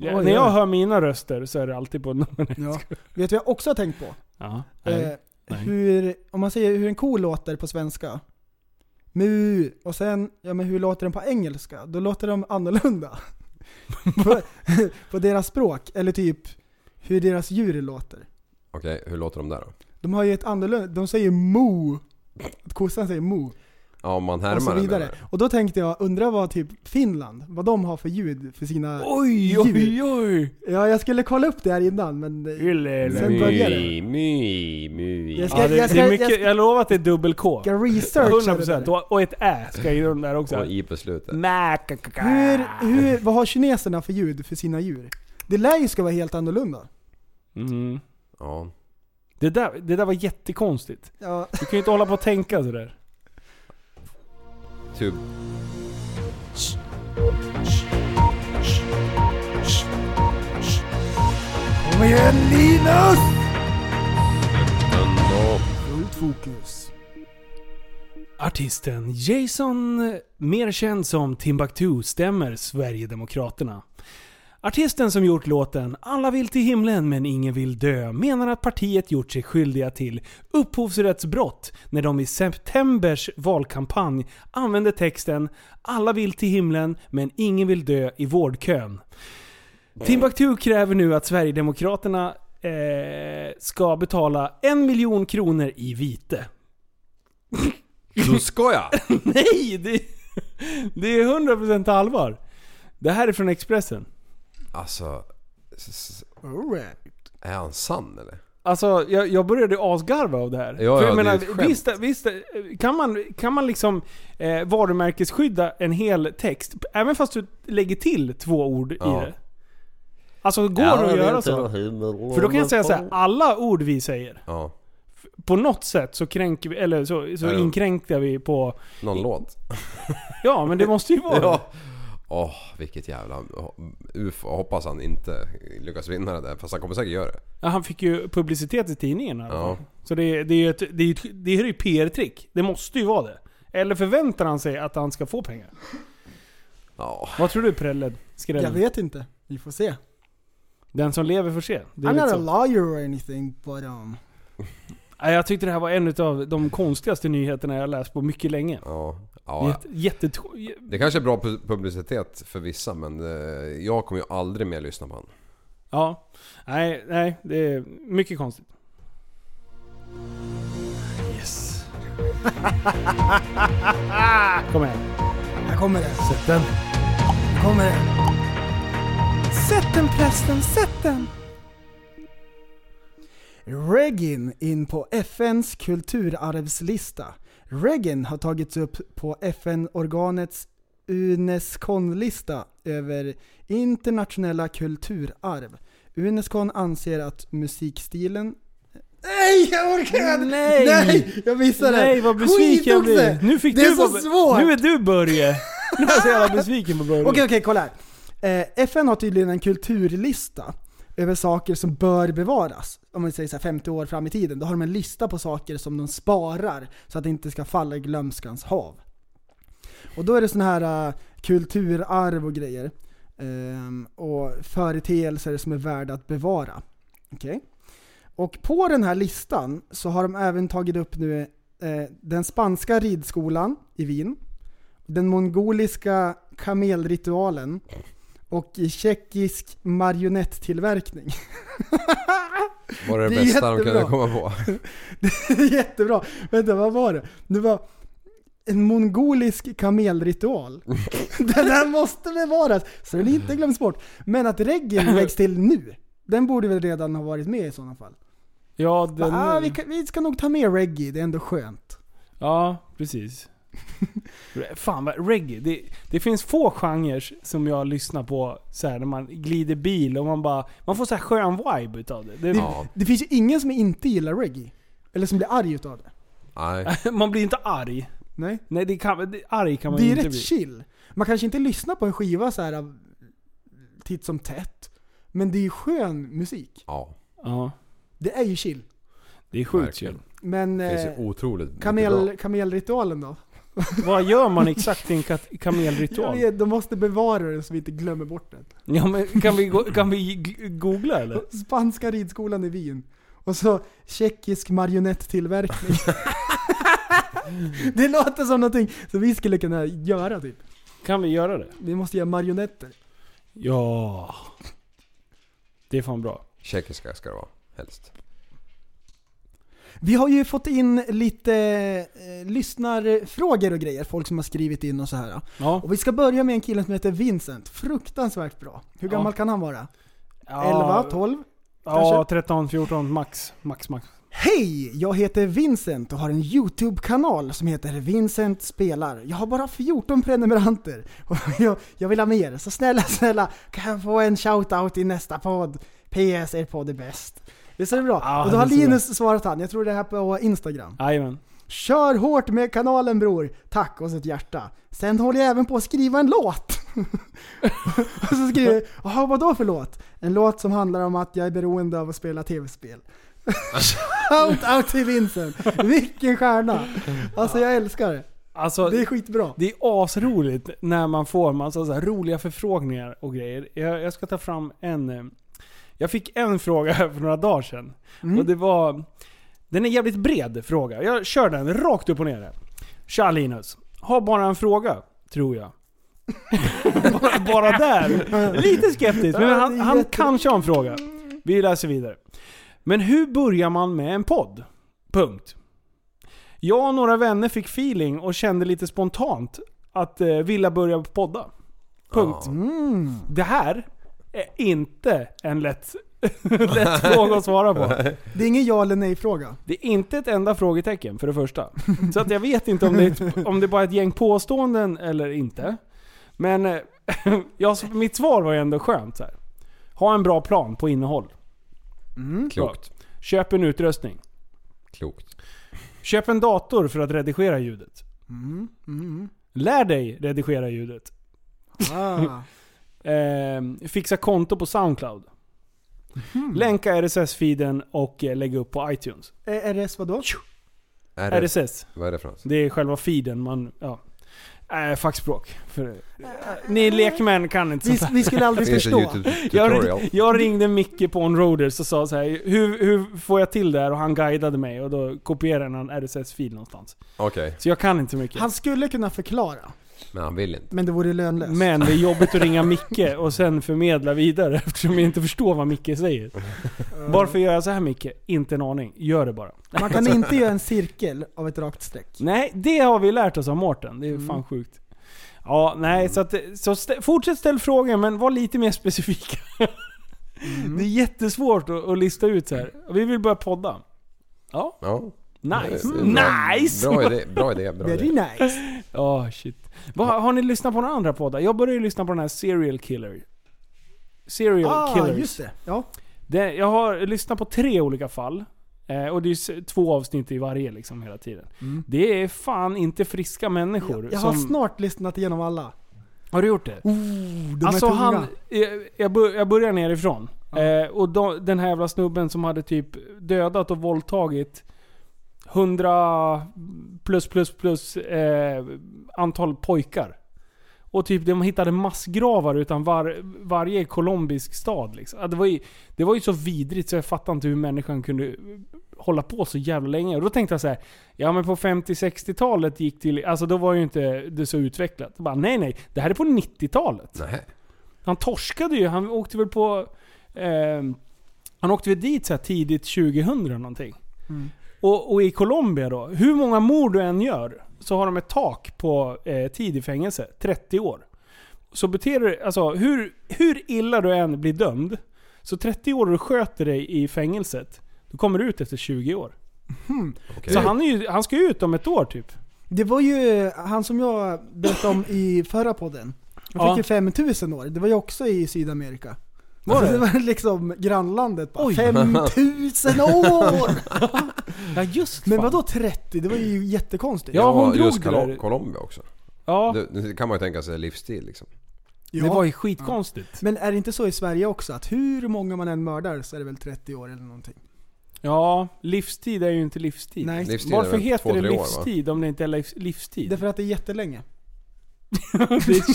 Speaker 6: Mm. Oj,
Speaker 9: när jag
Speaker 6: oj.
Speaker 9: hör mina röster så är det alltid på [LAUGHS] någon.
Speaker 6: Ja. Vet du vad jag också har tänkt på?
Speaker 9: Ja.
Speaker 6: Eh,
Speaker 9: Nej. Nej.
Speaker 6: hur, om man säger hur en ko låter på svenska. Mu. Och sen, ja men hur låter den på engelska? Då låter de
Speaker 9: [LAUGHS]
Speaker 6: annorlunda. på, på deras språk. Eller typ hur deras djur låter.
Speaker 10: Okej, hur låter de där då?
Speaker 6: De har ju ett annorlunda, de säger mo. Att Kossan säger mo.
Speaker 10: Ja, om man
Speaker 6: och så
Speaker 10: härmar den
Speaker 6: Alltså, vidare.
Speaker 10: menar jag.
Speaker 6: Och då tänkte jag, undra vad typ Finland, vad de har för ljud för sina
Speaker 9: Oj,
Speaker 6: djur.
Speaker 9: oj, oj! eh,
Speaker 6: Ja, jag skulle kolla upp det här innan men... eh, Sen började det.
Speaker 10: My, my, my.
Speaker 6: Jag ska-
Speaker 9: Ja, det,
Speaker 6: jag ska-
Speaker 9: det är mycket,
Speaker 6: jag
Speaker 9: jag,
Speaker 6: ska-
Speaker 9: lovar att det är dubbel K.
Speaker 6: Jag researchade det
Speaker 9: 100%
Speaker 6: där.
Speaker 9: och, och ett Ä ska i den där också.
Speaker 10: Och i på slutet.
Speaker 9: Hur?
Speaker 6: Hur, hur, vad har kineserna för ljud för sina djur? Det lär ju ska vara helt annorlunda.
Speaker 9: Mm.
Speaker 10: Ja.
Speaker 9: Det, där, det där var jättekonstigt.
Speaker 6: Ja,
Speaker 9: Du kan ju inte hålla på och tänka sådär.
Speaker 10: Tub.
Speaker 6: Kom igen Linus!
Speaker 10: Ändå.
Speaker 6: Fullt fokus.
Speaker 9: Artisten Jason, mer känd som Timbuktu, stämmer Sverigedemokraterna. Artisten som gjort låten “Alla vill till himlen men ingen vill dö” menar att partiet gjort sig skyldiga till upphovsrättsbrott när de i septembers valkampanj använde texten “Alla vill till himlen men ingen vill dö i vårdkön”. Eh. Timbuktu kräver nu att Sverigedemokraterna eh, ska betala en miljon kronor i vite.
Speaker 10: Du skojar!
Speaker 9: [LAUGHS] Nej! Det, det är 100% allvar. Det här är från Expressen.
Speaker 10: Alltså, s- s-
Speaker 6: All right.
Speaker 10: är han sann eller?
Speaker 9: Alltså jag, jag började asgarva av det här.
Speaker 10: ja,
Speaker 9: jag
Speaker 10: det är ett skämt.
Speaker 9: visst, visst, kan man, kan man liksom eh, varumärkesskydda en hel text? Även fast du lägger till två ord
Speaker 10: Ja.
Speaker 9: i det. Alltså går det att göra så? För då kan jag säga så här, alla ord vi säger,
Speaker 10: Ja.
Speaker 9: på något sätt så kränker vi, eller så, så
Speaker 10: Ja.
Speaker 9: inkränktar vi på...
Speaker 10: Någon låt?
Speaker 9: Ja men det måste ju vara
Speaker 10: [LAUGHS] Ja. Åh, vilket jävla ufo. Hoppas han inte lyckas vinna det där. Fast han kommer säkert göra det.
Speaker 9: Ja, han fick ju publicitet i tidningen i alla
Speaker 10: Ja.
Speaker 9: fall. Så det, det är ju ett, det är, ju ett- det här är ju PR-trick. Det måste ju vara det. Eller förväntar han sig att han ska få pengar?
Speaker 10: Ja.
Speaker 9: Vad tror du Prelled?
Speaker 6: Jag
Speaker 9: Skrällen?
Speaker 6: vet inte. Vi får se.
Speaker 9: Den som lever får se. Det är
Speaker 6: I'm
Speaker 9: lite
Speaker 6: not a
Speaker 9: så.
Speaker 6: lawyer or anything but um...
Speaker 9: Ja, jag tyckte det här var en av de konstigaste nyheterna jag läst på mycket länge.
Speaker 10: Ja. ja.
Speaker 9: Jätte, jättetro-
Speaker 10: Det kanske är bra pu- publicitet för vissa men eh, jag kommer ju aldrig mer lyssna på honom.
Speaker 9: ja. Nej, nej. Det är mycket konstigt. Yes. Kom igen.
Speaker 6: Här kommer det.
Speaker 9: Sätt den.
Speaker 6: Här kommer det. Sätt den prästen, sätt den! Regin in på FNs kulturarvslista. Regin har tagits upp på FN-organets Unescon-lista över internationella kulturarv. Unescon anser att musikstilen... [LAUGHS] Nej, jag orkar inte!
Speaker 9: Nej!
Speaker 6: Nej! Jag missade!
Speaker 9: Nej vad besviken jag
Speaker 6: Skit också!
Speaker 9: blir. Nu fick
Speaker 6: Det är
Speaker 9: du
Speaker 6: så
Speaker 9: vara-
Speaker 6: svårt!
Speaker 9: Nu är du Börje. Nu är jag så jävla besviken på Börje.
Speaker 6: Okej, okej, kolla här. Eh, FN har tydligen en kulturlista över saker som bör bevaras. Om man säger så här 50 år fram i tiden, då har de en lista på saker som de sparar så att det inte ska falla i glömskans hav. Och då är det sån här eh, kulturarv och grejer. ehm, och företeelser som är värda att bevara. Okej? Och på den här listan så har de även tagit upp nu eh, den spanska ridskolan i Wien. Den mongoliska kamelritualen och i tjeckisk marionetttillverkning. [LAUGHS]
Speaker 10: Var det det
Speaker 6: Det är
Speaker 10: bästa de kunde
Speaker 6: jättebra.
Speaker 10: komma på?
Speaker 6: Det är jättebra. Vänta, vad var det? Det var en mongolisk kamelritual. [LAUGHS] Den där måste bevaras så den inte glöms bort. Men att reggae läggs till nu, den borde väl redan ha varit med i sådana fall.
Speaker 9: Ja,
Speaker 6: Va,
Speaker 9: den...
Speaker 6: ah, vi, kan, vi ska nog ta med reggae, det är ändå skönt.
Speaker 9: Ja, precis. [LAUGHS] Re- Fan vad, reggae. Det, det finns få genrer som jag lyssnar på så här när man glider bil och man bara... Man får så här skön vibe utav det. det
Speaker 6: Det, det finns ju ingen som inte gillar reggae. Eller som blir arg utav det.
Speaker 9: [LAUGHS] man blir inte arg.
Speaker 6: Nej.
Speaker 9: Nej, det kan, det, arg kan man
Speaker 6: det
Speaker 9: ju
Speaker 6: är
Speaker 9: inte
Speaker 6: rätt
Speaker 9: bli.
Speaker 6: chill. Man kanske inte lyssnar på en skiva så här av- titt som tätt. Men det är ju skön musik.
Speaker 10: Ja.
Speaker 9: Ja.
Speaker 6: Det är ju chill.
Speaker 9: Det är sjukt
Speaker 10: Verkligen.
Speaker 9: chill.
Speaker 6: Men
Speaker 10: Det finns ju
Speaker 6: eh,
Speaker 10: otroligt mycket bra.
Speaker 6: kamel, kamelritualen då?
Speaker 9: [LAUGHS] Vad gör man exakt i
Speaker 6: [LAUGHS]
Speaker 9: en kat-
Speaker 6: Jag
Speaker 9: kamelritual?
Speaker 6: vet, de måste bevara den så vi inte glömmer bort den.
Speaker 9: Ja, men kan vi, gå- kan vi g- googla eller?
Speaker 6: [LAUGHS] Spanska ridskolan i Wien. Och så tjeckisk
Speaker 9: [LAUGHS]
Speaker 6: marionetttillverkning. det låter som någonting som vi skulle kunna göra typ.
Speaker 9: Kan vi göra det?
Speaker 6: Vi måste göra marionetter.
Speaker 9: Ja. Det är fan bra.
Speaker 10: Tjeckiska ska det vara, helst.
Speaker 6: Vi har ju fått in lite eh, lyssnarfrågor och grejer, folk som har skrivit in och så här.
Speaker 9: Ja.
Speaker 6: Och vi ska börja med en kille som heter Vincent. Fruktansvärt bra. Hur gammal
Speaker 9: Ja.
Speaker 6: kan han vara? 11,
Speaker 9: Ja.
Speaker 6: 12?
Speaker 9: Ja, 13, 14 max. Max, max.
Speaker 6: Hej! Jag heter Vincent och har en YouTube-kanal som heter Vincent spelar. Jag har bara 14 prenumeranter [LAUGHS] och jag, jag vill ha mer, så snälla, snälla kan jag få en shoutout i nästa podd? PS, er podd är bäst. Visst är det bra?
Speaker 9: Ja,
Speaker 6: och då har
Speaker 9: det är så bra.
Speaker 6: Linus svarat han, jag tror det här på Instagram.
Speaker 9: Jajamän.
Speaker 6: Kör hårt med kanalen bror! Tack och så ett hjärta. Sen håller jag även på att skriva en låt. [LAUGHS] och så skriver jag, jaha vadå för låt? En låt som handlar om att jag är beroende av att spela tv-spel. [LAUGHS] Shout out till Vincent! Vilken stjärna! Alltså jag älskar det.
Speaker 9: Alltså,
Speaker 6: Det är skitbra.
Speaker 9: Det är asroligt när man får massa så här roliga förfrågningar och grejer. Jag, jag ska ta fram en. eh, Jag fick en [LAUGHS] fråga här för några dagar sedan.
Speaker 6: Mm.
Speaker 9: Och det var... Den är jävligt bred fråga. Jag kör den rakt upp och ner här. Tja Linus. Har bara en fråga, tror jag. [LAUGHS] bara, bara där. Lite skeptisk, men han, han kanske har en fråga. Vi läser vidare. Men hur börjar man med en podd? Punkt. Jag och några vänner fick feeling och kände lite spontant att eh, vilja börja podda. Punkt. Det här är inte en lätt, [LAUGHS] lätt fråga att svara på.
Speaker 6: Det är ingen ja eller nej fråga.
Speaker 9: Det är inte ett enda frågetecken för det första. Så att jag vet inte om det, är ett, om det bara är ett gäng påståenden eller inte. Men eh, [LAUGHS] ja, så mitt svar var ju ändå skönt. Så här. Ha en bra plan på innehåll.
Speaker 6: Mm.
Speaker 10: Klokt.
Speaker 9: Köp en utrustning.
Speaker 10: Klokt.
Speaker 9: Köp en dator för att redigera ljudet.
Speaker 6: Mm,
Speaker 9: Lär dig redigera ljudet. [LAUGHS]
Speaker 6: Ah.
Speaker 9: Eh, fixa konto på Soundcloud.
Speaker 6: Hmm.
Speaker 9: Länka RSS-feeden och eh, lägga upp på iTunes.
Speaker 6: Eh, RS vadå?
Speaker 10: RS.
Speaker 9: RSS.
Speaker 10: Vad är det för något?
Speaker 9: Det är själva feeden man... Ja. Äh, fackspråk. För, eh, ni lekmän kan inte
Speaker 6: Vi,
Speaker 9: sånt här.
Speaker 6: vi skulle
Speaker 9: [LAUGHS]
Speaker 6: aldrig
Speaker 10: Finns en
Speaker 6: förstå.
Speaker 9: Jag,
Speaker 10: YouTube-tutorial.
Speaker 9: ring- jag ringde Micke på Onroaders och sa så här, hur, hur får jag till det här? Och han guidade mig och då kopierade han en RSS-fil någonstans.
Speaker 10: Okej,
Speaker 9: Så jag kan inte mycket.
Speaker 6: Han skulle kunna förklara,
Speaker 10: men han vill inte.
Speaker 6: men det vore lönlöst.
Speaker 9: Men det är
Speaker 6: [LAUGHS]
Speaker 9: jobbigt att ringa Micke och sen förmedla vidare eftersom jag inte förstår vad Micke säger.
Speaker 6: Eh.
Speaker 9: Varför gör jag så här Micke? Inte en aning. Gör det bara.
Speaker 6: Man kan inte göra en cirkel av ett rakt streck.
Speaker 9: Nej, det har vi lärt oss av Mårten. Det är fan
Speaker 6: Mm.
Speaker 9: sjukt. Ja, nej, så, att, så stä, fortsätt ställ frågor men var lite mer specifika.
Speaker 6: Mm.
Speaker 9: Det är jättesvårt att, att lista ut så här. Vi vill börja podda. Ja,
Speaker 10: Ja.
Speaker 9: nice.
Speaker 10: Det är bra-
Speaker 9: Nice!
Speaker 10: Bra idé, bra idé. Bra
Speaker 6: Very
Speaker 10: idé.
Speaker 6: nice.
Speaker 9: [LAUGHS] Ja, Ah, shit. Vad- har ni lyssnat på några andra poddar? Jag började ju lyssna på den här Serial Killer. Serial
Speaker 6: Ah,
Speaker 9: Killers.
Speaker 6: just det. Ja.
Speaker 9: Det, jag har lyssnat på tre olika fall. Eh, och det är s- två avsnitt i varje liksom hela tiden. Det är fan inte friska människor.
Speaker 6: Mm. Jag, jag har
Speaker 9: som-
Speaker 6: snart lyssnat igenom alla.
Speaker 9: Har du gjort det?
Speaker 6: Oh, de
Speaker 9: alltså
Speaker 6: är tunga.
Speaker 9: han... Jag, jag, bör, jag börjar nerifrån. Eh, och de, den här jävla snubben som hade typ dödat och våldtagit 100 plus plus plus eh, antal pojkar. Och typ de hittade massgravar utan var, varje colombisk stad. Liksom. Ja, Det, var ju, det var ju så vidrigt så jag fattar inte hur människan kunde hålla på så jävla länge. Och då tänkte jag så här, ja men på 50-60-talet gick till, alltså då var ju inte det så utvecklat. Jag bara, nej nej, det här är på 90-talet. Han torskade ju, han åkte väl på... Eh, han åkte väl dit så här tidigt 2000 någonting.
Speaker 14: Mm.
Speaker 9: Och, och i Colombia då, hur många mord du än gör så har de ett tak på eh, tid i fängelse, 30 år. Så beter du alltså hur, hur illa du än blir dömd, så 30 år och du sköter dig i fängelset, då kommer du ut efter 20 år. Mm. Så han, är ju, han ska ju ut om ett år typ.
Speaker 6: Det var ju han som jag berättade om i förra podden. Han fick
Speaker 9: Ja.
Speaker 6: ju 5000 år. Det var ju också i Sydamerika.
Speaker 9: Var
Speaker 6: Alltså,
Speaker 9: det?
Speaker 6: det var liksom grannlandet bara, 5000 år!
Speaker 9: [LAUGHS] ja just
Speaker 6: Men vadå 30? Det var ju jättekonstigt.
Speaker 10: just Colo- Colombia också.
Speaker 9: Ja.
Speaker 10: Det, det kan man ju tänka sig livsstil liksom.
Speaker 9: Det var ju skitkonstigt.
Speaker 6: Men är det inte så i Sverige också? Att hur många man än mördar så är det väl 30 år eller någonting?
Speaker 9: Ja, livstid är ju inte livstid.
Speaker 6: Nej.
Speaker 10: Livstid är
Speaker 9: Varför
Speaker 10: väl
Speaker 9: heter
Speaker 10: två,
Speaker 9: det
Speaker 10: tre år, va?
Speaker 9: livstid om det inte är livs- livstid?
Speaker 6: Därför att det är jättelänge.
Speaker 9: Det,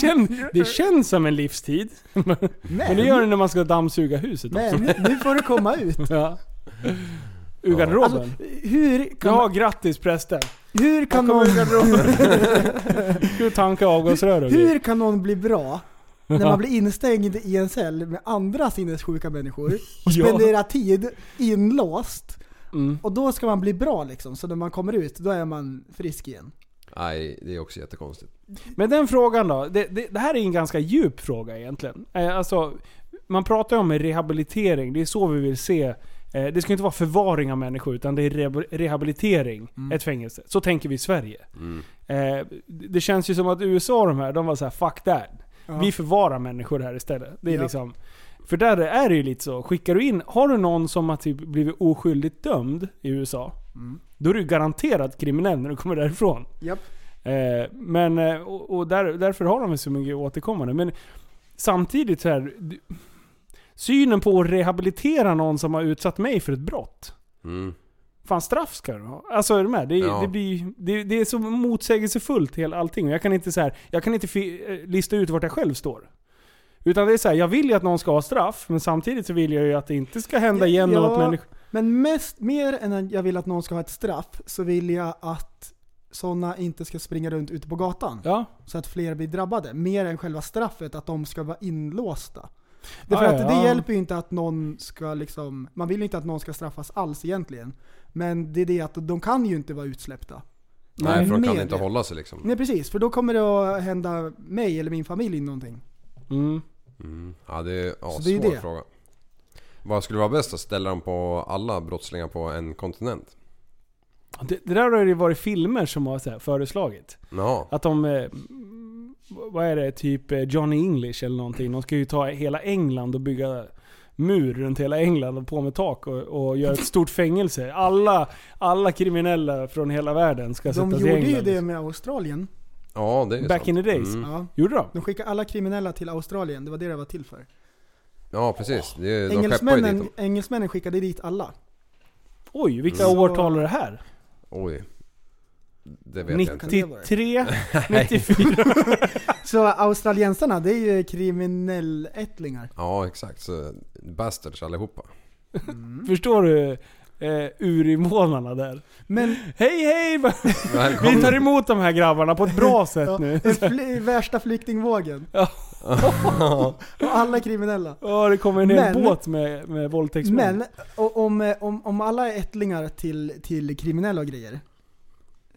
Speaker 6: [LAUGHS]
Speaker 9: kän, det känns som en livstid. Men, men det gör det när man ska dammsuga huset också.
Speaker 6: Men nu får du komma ut.
Speaker 9: [LAUGHS] Ja. Ur garderoben.
Speaker 6: Alltså, hur kan
Speaker 9: ja,
Speaker 6: man- [LAUGHS]
Speaker 9: grattis prästen.
Speaker 6: Hur kan
Speaker 9: Jag
Speaker 6: någon...
Speaker 9: kommer ur garderoben. Ska du tanka avgasrör och
Speaker 6: Hur
Speaker 9: grejer?
Speaker 6: kan någon bli bra när
Speaker 9: [LAUGHS]
Speaker 6: man blir instängd i en cell med andra sinnessjuka människor och
Speaker 9: Ja.
Speaker 6: spenderar tid inlåst?
Speaker 9: Mm.
Speaker 6: Och då ska man bli bra liksom, så när man kommer ut, då är man frisk igen.
Speaker 10: Nej, det är också jättekonstigt.
Speaker 9: Men den frågan då. Det, det, det här är en ganska djup fråga egentligen. Eh, alltså, man pratar ju om rehabilitering. Det är så vi vill se. Eh, det ska inte vara förvaring av människor utan det är rehabil- rehabilitering.
Speaker 6: Mm.
Speaker 9: Ett fängelse. Så tänker vi i Sverige.
Speaker 15: Mm,
Speaker 9: Eh, det känns ju som att USA och de här, de var så här 'fuck that'
Speaker 13: Ja.
Speaker 9: Vi förvarar människor här istället. Det är
Speaker 13: Ja.
Speaker 9: liksom, för där är det ju lite så, skickar du in, har du någon som har typ blivit oskyldigt dömd i USA, då är du garanterat kriminell när du kommer därifrån.
Speaker 6: Japp.
Speaker 9: Eh, men, eh, och, och där, därför har de väl så mycket återkommande. Men samtidigt så här, d- synen på att rehabilitera någon som har utsatt mig för ett brott.
Speaker 10: Mm.
Speaker 9: Fan straff ska du ha. Alltså är du med? Det,
Speaker 10: Ja.
Speaker 9: det, blir, det, det är så motsägelsefullt hela allting. Jag kan inte, så här, jag kan inte fi, eh, lista ut vart jag själv står. Utan det är så här, jag vill ju att någon ska ha straff, men samtidigt så vill jag ju att det inte ska hända igen
Speaker 6: Ja,
Speaker 9: och att människor...
Speaker 6: Men mest, mer än att jag vill att någon ska ha ett straff, så vill jag att sådana inte ska springa runt ute på gatan. Så att fler blir drabbade. Mer än själva straffet, att de ska vara inlåsta. Därför
Speaker 9: Ja,
Speaker 6: att
Speaker 9: ja,
Speaker 6: det
Speaker 9: ja.
Speaker 6: hjälper ju inte att någon ska liksom, man vill ju inte att någon ska straffas alls egentligen. Men det är det att de kan ju inte vara utsläppta.
Speaker 10: Nej, för de kan
Speaker 6: Med
Speaker 10: inte
Speaker 6: det.
Speaker 10: hålla sig liksom.
Speaker 6: Nej precis, för då kommer det att hända mig eller min familj någonting.
Speaker 10: Mm. Ja, det är ja,
Speaker 6: Så
Speaker 10: en
Speaker 6: det är
Speaker 10: svår
Speaker 6: det.
Speaker 10: fråga. Vad skulle vara bäst att ställa dem på alla brottslingar på en kontinent?
Speaker 9: Det, det där har ju varit filmer som har så här föreslagit.
Speaker 10: Ja.
Speaker 9: Att de... eh, Vad är det? Typ eh, Johnny English eller någonting. De ska ju ta hela England och bygga mur runt hela England och på med tak och, och göra ett stort fängelse. Alla, alla kriminella från hela världen ska
Speaker 6: De
Speaker 9: sättas i
Speaker 6: gjorde ju
Speaker 9: England.
Speaker 6: det med Australien.
Speaker 10: Ja, det är ju
Speaker 9: Back
Speaker 10: sant.
Speaker 9: in the days.
Speaker 10: Mm.
Speaker 6: Ja.
Speaker 9: Gjorde de?
Speaker 6: De skickade alla kriminella till Australien, det var det det var till för.
Speaker 10: Ja, precis. Det, är- de skeppar ju dit
Speaker 6: Engelsmännen,
Speaker 10: dem.
Speaker 6: engelsmännen skickade dit alla.
Speaker 9: Oj, vilka
Speaker 6: Mm.
Speaker 9: årtal är det här?
Speaker 10: Oj. Det vet jag inte.
Speaker 9: 93,
Speaker 10: [LAUGHS] Nej.
Speaker 9: 94.
Speaker 6: [LAUGHS] Så australiensarna, det är ju kriminellättlingar.
Speaker 10: [LAUGHS] Ja, exakt. Så bastards allihopa.
Speaker 9: Förstår du eh, urinvånarna där?
Speaker 6: Men
Speaker 9: hej hej! [LAUGHS]
Speaker 10: Välkommen.
Speaker 9: Vi tar emot de här grabbarna på ett bra sätt
Speaker 6: Ja,
Speaker 9: nu.
Speaker 6: den fly- värsta flyktingvågen.
Speaker 9: Ja.
Speaker 6: Och alla är kriminella.
Speaker 9: Ja, [LAUGHS] det kommer en hel
Speaker 6: Men-
Speaker 9: båt med, med våldtäktsmän.
Speaker 6: Men och om, eh, om, om alla är ättlingar till, till kriminella och grejer.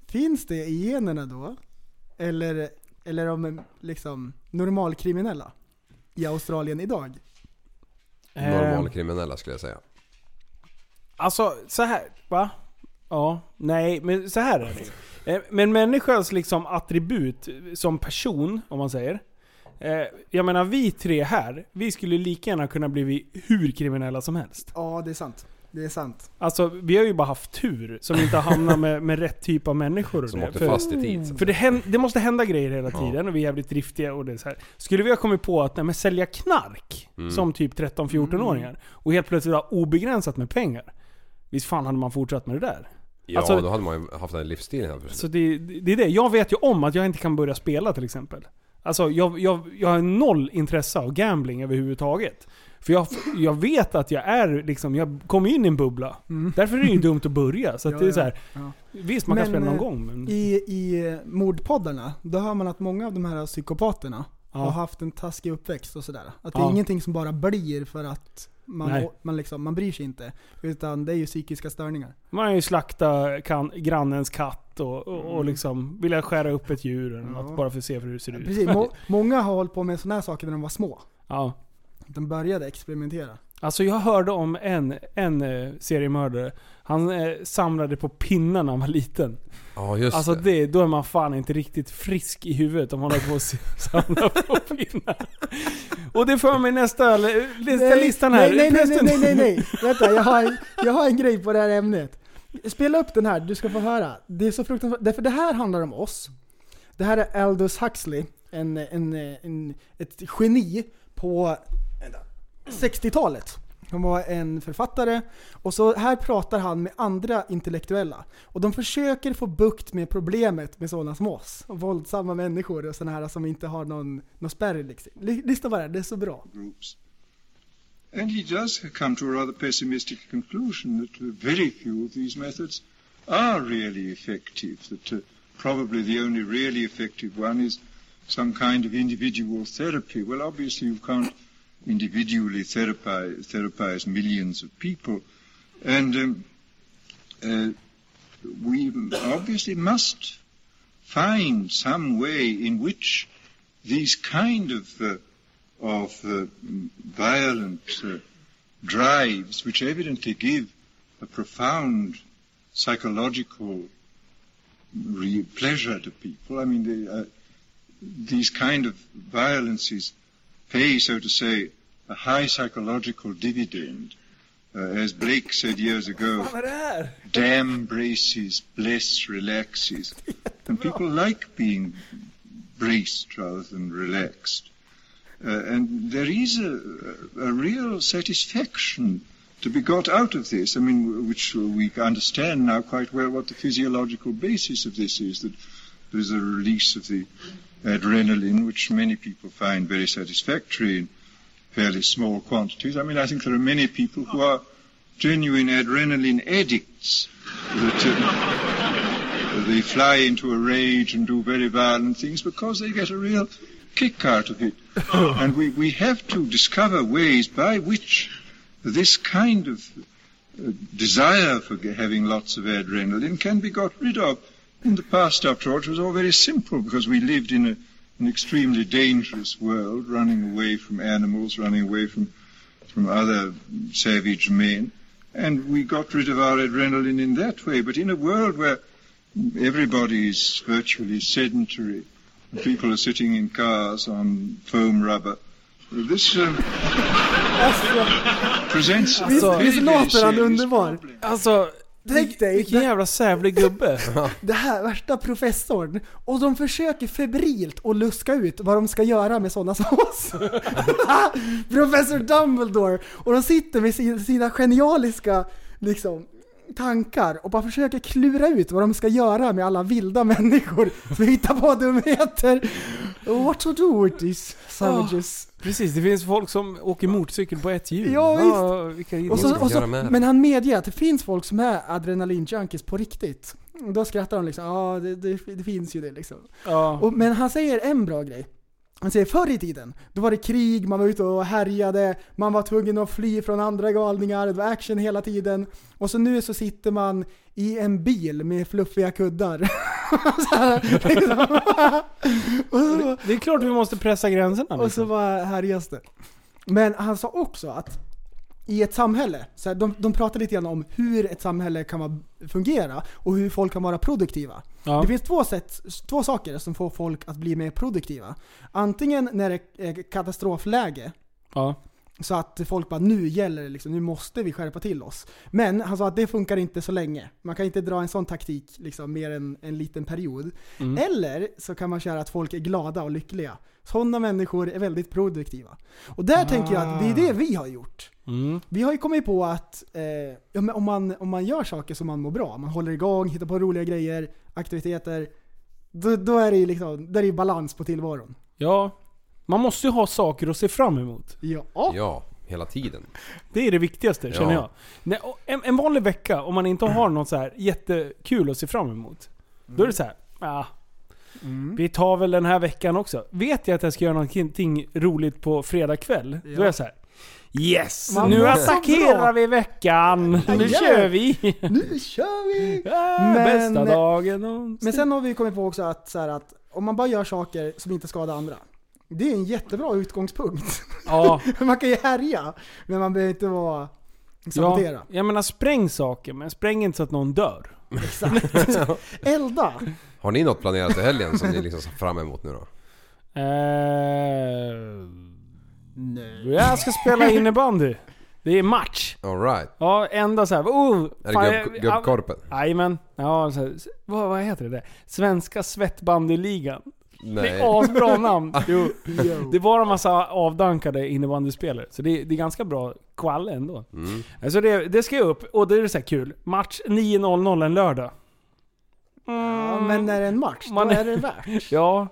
Speaker 6: Finns det i generna då? Eller, eller om eh, liksom normalkriminella? I Australien idag?
Speaker 9: Ehm.
Speaker 10: Normalkriminella skulle jag säga.
Speaker 9: Alltså så här, va? Ja, nej, men så här är det ju. Eh, Men människans liksom attribut eh, som person, om man säger. Eh, Jag menar vi tre här, vi skulle lika gärna kunna bli hur kriminella som helst.
Speaker 6: Ja, det är sant. Det är sant.
Speaker 9: Alltså vi har ju bara haft tur som inte har hamnat med, med rätt typ av människor. och
Speaker 10: Som
Speaker 9: det.
Speaker 10: åkte
Speaker 9: För-
Speaker 10: fast i tid, så att
Speaker 9: För det, hän- det måste hända grejer hela tiden och vi är jävligt driftiga och det är så här. Skulle vi ha kommit på att nej, men sälja knark
Speaker 10: Mm.
Speaker 9: som typ 13-14-åringar och helt plötsligt ha obegränsat med pengar. Visst fan hade man fortsatt med det där?
Speaker 10: Ja,
Speaker 9: Alltså-
Speaker 10: då hade man ju haft en livsstil här.
Speaker 9: Så det, det är det. Jag vet ju om att jag inte kan börja spela till exempel. Alltså jag, jag, jag har noll intresse av gambling överhuvudtaget. För jag, jag vet att jag är liksom, jag kommer in i en bubbla. Därför är det ju dumt att börja. Så att
Speaker 6: Mm. Ja,
Speaker 9: det är
Speaker 6: ja,
Speaker 9: så här,
Speaker 6: ja.
Speaker 9: Visst, man kan spela någon
Speaker 6: eh,
Speaker 9: gång, men-
Speaker 6: I, i eh, mordpoddarna, då hör man att många av de här psykopaterna
Speaker 9: Ja.
Speaker 6: har haft en taskig uppväxt och sådär. Att det är
Speaker 9: Ja.
Speaker 6: ingenting som bara blir för att man,
Speaker 9: Nej.
Speaker 6: man, liksom, man bryr sig inte. Utan det är ju psykiska störningar.
Speaker 9: Man har ju slaktat kan, grannens katt och, och,
Speaker 6: Mm.
Speaker 9: och liksom vilja skära upp ett djur eller något bara för att se hur det ser ut.
Speaker 6: Precis, må, många har hållit på med sådana här saker när de var små.
Speaker 9: ja.
Speaker 6: De började experimentera.
Speaker 9: Alltså jag hörde om en, en eh, seriemördare. Han eh, samlade på pinnar när han var liten.
Speaker 10: Ja, just
Speaker 9: alltså
Speaker 10: det.
Speaker 9: det. Då är man fan inte riktigt frisk i huvudet om man håller på och se- [LAUGHS] samlar på pinnar. Och det för mig nästa, nästa listan här.
Speaker 6: Nej, nej, nej,
Speaker 9: Förresten-
Speaker 6: nej, nej, nej. Vänta, jag har, en- jag har en grej på det här ämnet. Spela upp den här, du ska få höra. Det är så fruktansvärt. Därför det här handlar om oss. Det här är Aldous Huxley, en, en, en, ett geni på vänta, 60-talet. Han var en författare och så här pratar han med andra intellektuella. Och de försöker få bukt med problemet med sådana som oss. Våldsamma människor och sådana här som inte har någon, någon spärr liksom. Ly- Lyssna bara, det är så bra.
Speaker 14: groups. And he does come to a rather pessimistic conclusion that uh, very few of these methods are really effective, that uh, probably the only really effective one is some kind of individual therapy. Well, obviously, you can't individually therapize, therapize millions of people. And um, uh, we obviously must find some way in which these kind of uh, of uh, violent uh, drives, which evidently give a profound psychological re- pleasure to people. I mean, they, uh, these kind of violences pay, so to say, a high psychological dividend. Uh, as Blake said years ago, damn braces, bless relaxes. And people like being braced rather than relaxed. Uh, and there is a, a real satisfaction to be got out of this. I mean, w- which we understand now quite well what the physiological basis of this is. That there's a release of the adrenaline, which many people find very satisfactory in fairly small quantities. I mean, I think there are many people who are genuine adrenaline addicts. That, uh, they fly into a rage and do very violent things because they get a real kick out of it. and we, we have to discover ways by which this kind of uh, desire for g- having lots of adrenaline can be got rid of. In the past, after all, it was all very simple because we lived in a, an extremely dangerous world, running away from animals, running away from, from other savage men. And we got rid of our adrenaline in that way. But in a world where everybody is virtually sedentary, and people are sitting in cars on foam rubber, this um, presents a
Speaker 9: Alltså-
Speaker 14: very, very serious
Speaker 6: underbar?
Speaker 9: Alltså,
Speaker 6: Tänk dig,
Speaker 9: vilken
Speaker 6: det-
Speaker 9: jävla
Speaker 10: [LAUGHS]
Speaker 9: sävlig gubbe.
Speaker 6: det här värsta professorn. Och de försöker febrilt att luska ut vad de ska göra med sådana som oss. [LAUGHS] Professor Dumbledore. Och de sitter med sin- sina genialiska liksom, tankar och bara försöker klura ut vad de ska göra med alla vilda människor [LAUGHS] som hittar på dumheter. What to do with these savages?
Speaker 9: Precis, det finns folk som åker motorcykel på ett hjul.
Speaker 6: Ja,
Speaker 9: vilka
Speaker 6: Och
Speaker 9: idioter.
Speaker 6: så, och så, men han medger att det finns folk som är adrenalinjunkies på riktigt. Då skrattar de liksom, ja det, det, det finns ju det liksom.
Speaker 9: Ja.
Speaker 6: Och, men han säger en bra grej. Han säger förr i tiden, då var det krig, man var ute och härjade, man var tvungen att fly från andra galningar, det var action hela tiden. Och så nu så sitter man i en bil med fluffiga kuddar. [LAUGHS] så här,
Speaker 9: [LAUGHS]
Speaker 6: liksom. och så,
Speaker 9: det är klart vi måste pressa gränserna. liksom.
Speaker 6: Och så bara härjas det. Men han sa också att i ett samhälle, så här, de, de pratar lite grann om hur ett samhälle kan vara- fungera och hur folk kan vara produktiva.
Speaker 9: Ja.
Speaker 6: Det finns två, sätt, två saker som får folk att bli mer produktiva. Antingen när det är katastrofläge,
Speaker 9: Ja.
Speaker 6: så att folk bara nu gäller det liksom, nu måste vi skärpa till oss. Men han sa att det funkar inte så länge. Man kan inte dra en sån taktik liksom, mer än en liten period.
Speaker 9: Mm.
Speaker 6: Eller så kan man köra att folk är glada och lyckliga. Sådana människor är väldigt produktiva. Och där tänker jag att det är det vi har gjort.
Speaker 9: Ah. Mm.
Speaker 6: Vi har ju kommit på att eh, ja, men om, man, om man gör saker som man mår bra, man håller igång, hittar på roliga grejer, aktiviteter. Då, då är det ju liksom, där är ju balans på tillvaron.
Speaker 9: Ja. Man måste ju ha saker att se fram emot.
Speaker 6: Ja.
Speaker 10: Ja, hela tiden.
Speaker 9: Det är det viktigaste känner
Speaker 10: Ja.
Speaker 9: jag. Nej, och en, en vanlig vecka, om man inte har något så här jättekul att se fram emot. Då är det så här, ah,
Speaker 6: Mm.
Speaker 9: vi tar väl den här veckan också. Vet jag att jag ska göra någonting roligt på fredag kväll, då är jag så här. Yes!
Speaker 6: Man
Speaker 9: nu
Speaker 6: mår så bra."
Speaker 9: attackerar vi veckan! Nu
Speaker 6: Jajamän.
Speaker 9: kör vi! [LAUGHS]
Speaker 6: Nu kör vi!
Speaker 9: Ah. bästa dagen
Speaker 6: Men sen har vi kommit på också att, så här, att om man bara gör saker som inte skadar andra. Det är en jättebra utgångspunkt.
Speaker 9: Ja.
Speaker 6: [LAUGHS] man kan ju härja, men man behöver inte vara liksom, sabotera.
Speaker 9: Ja, jag menar spräng saker, men spräng inte så att någon dör. [LAUGHS]
Speaker 6: Elda!
Speaker 10: Har ni något planerat i helgen som ni liksom ser fram emot nu då?
Speaker 9: Nej. Eh, Jag ska spela innebandy. Det är match.
Speaker 10: Alright.
Speaker 9: Ja, enda såhär... Oh,
Speaker 10: Är det
Speaker 9: fan,
Speaker 10: gubb-
Speaker 9: jag-
Speaker 10: gubbkorpen?
Speaker 9: Jajamän. Ja, så här, s- vad, vad heter det? där? Svenska Svettbandyligan. Det
Speaker 10: Nej. [LAUGHS]
Speaker 9: är asbra namn. Jo.
Speaker 10: Jo.
Speaker 9: Det var en massa avdankade innebandyspelare. Så det, det är ganska bra kvalle ändå.
Speaker 10: Mm.
Speaker 9: Alltså det, det ska jag upp och det är så här kul. Match 9.00 en lördag. Mm.
Speaker 6: Ja, men när det är en match, då är det värt.
Speaker 9: [LAUGHS] ja,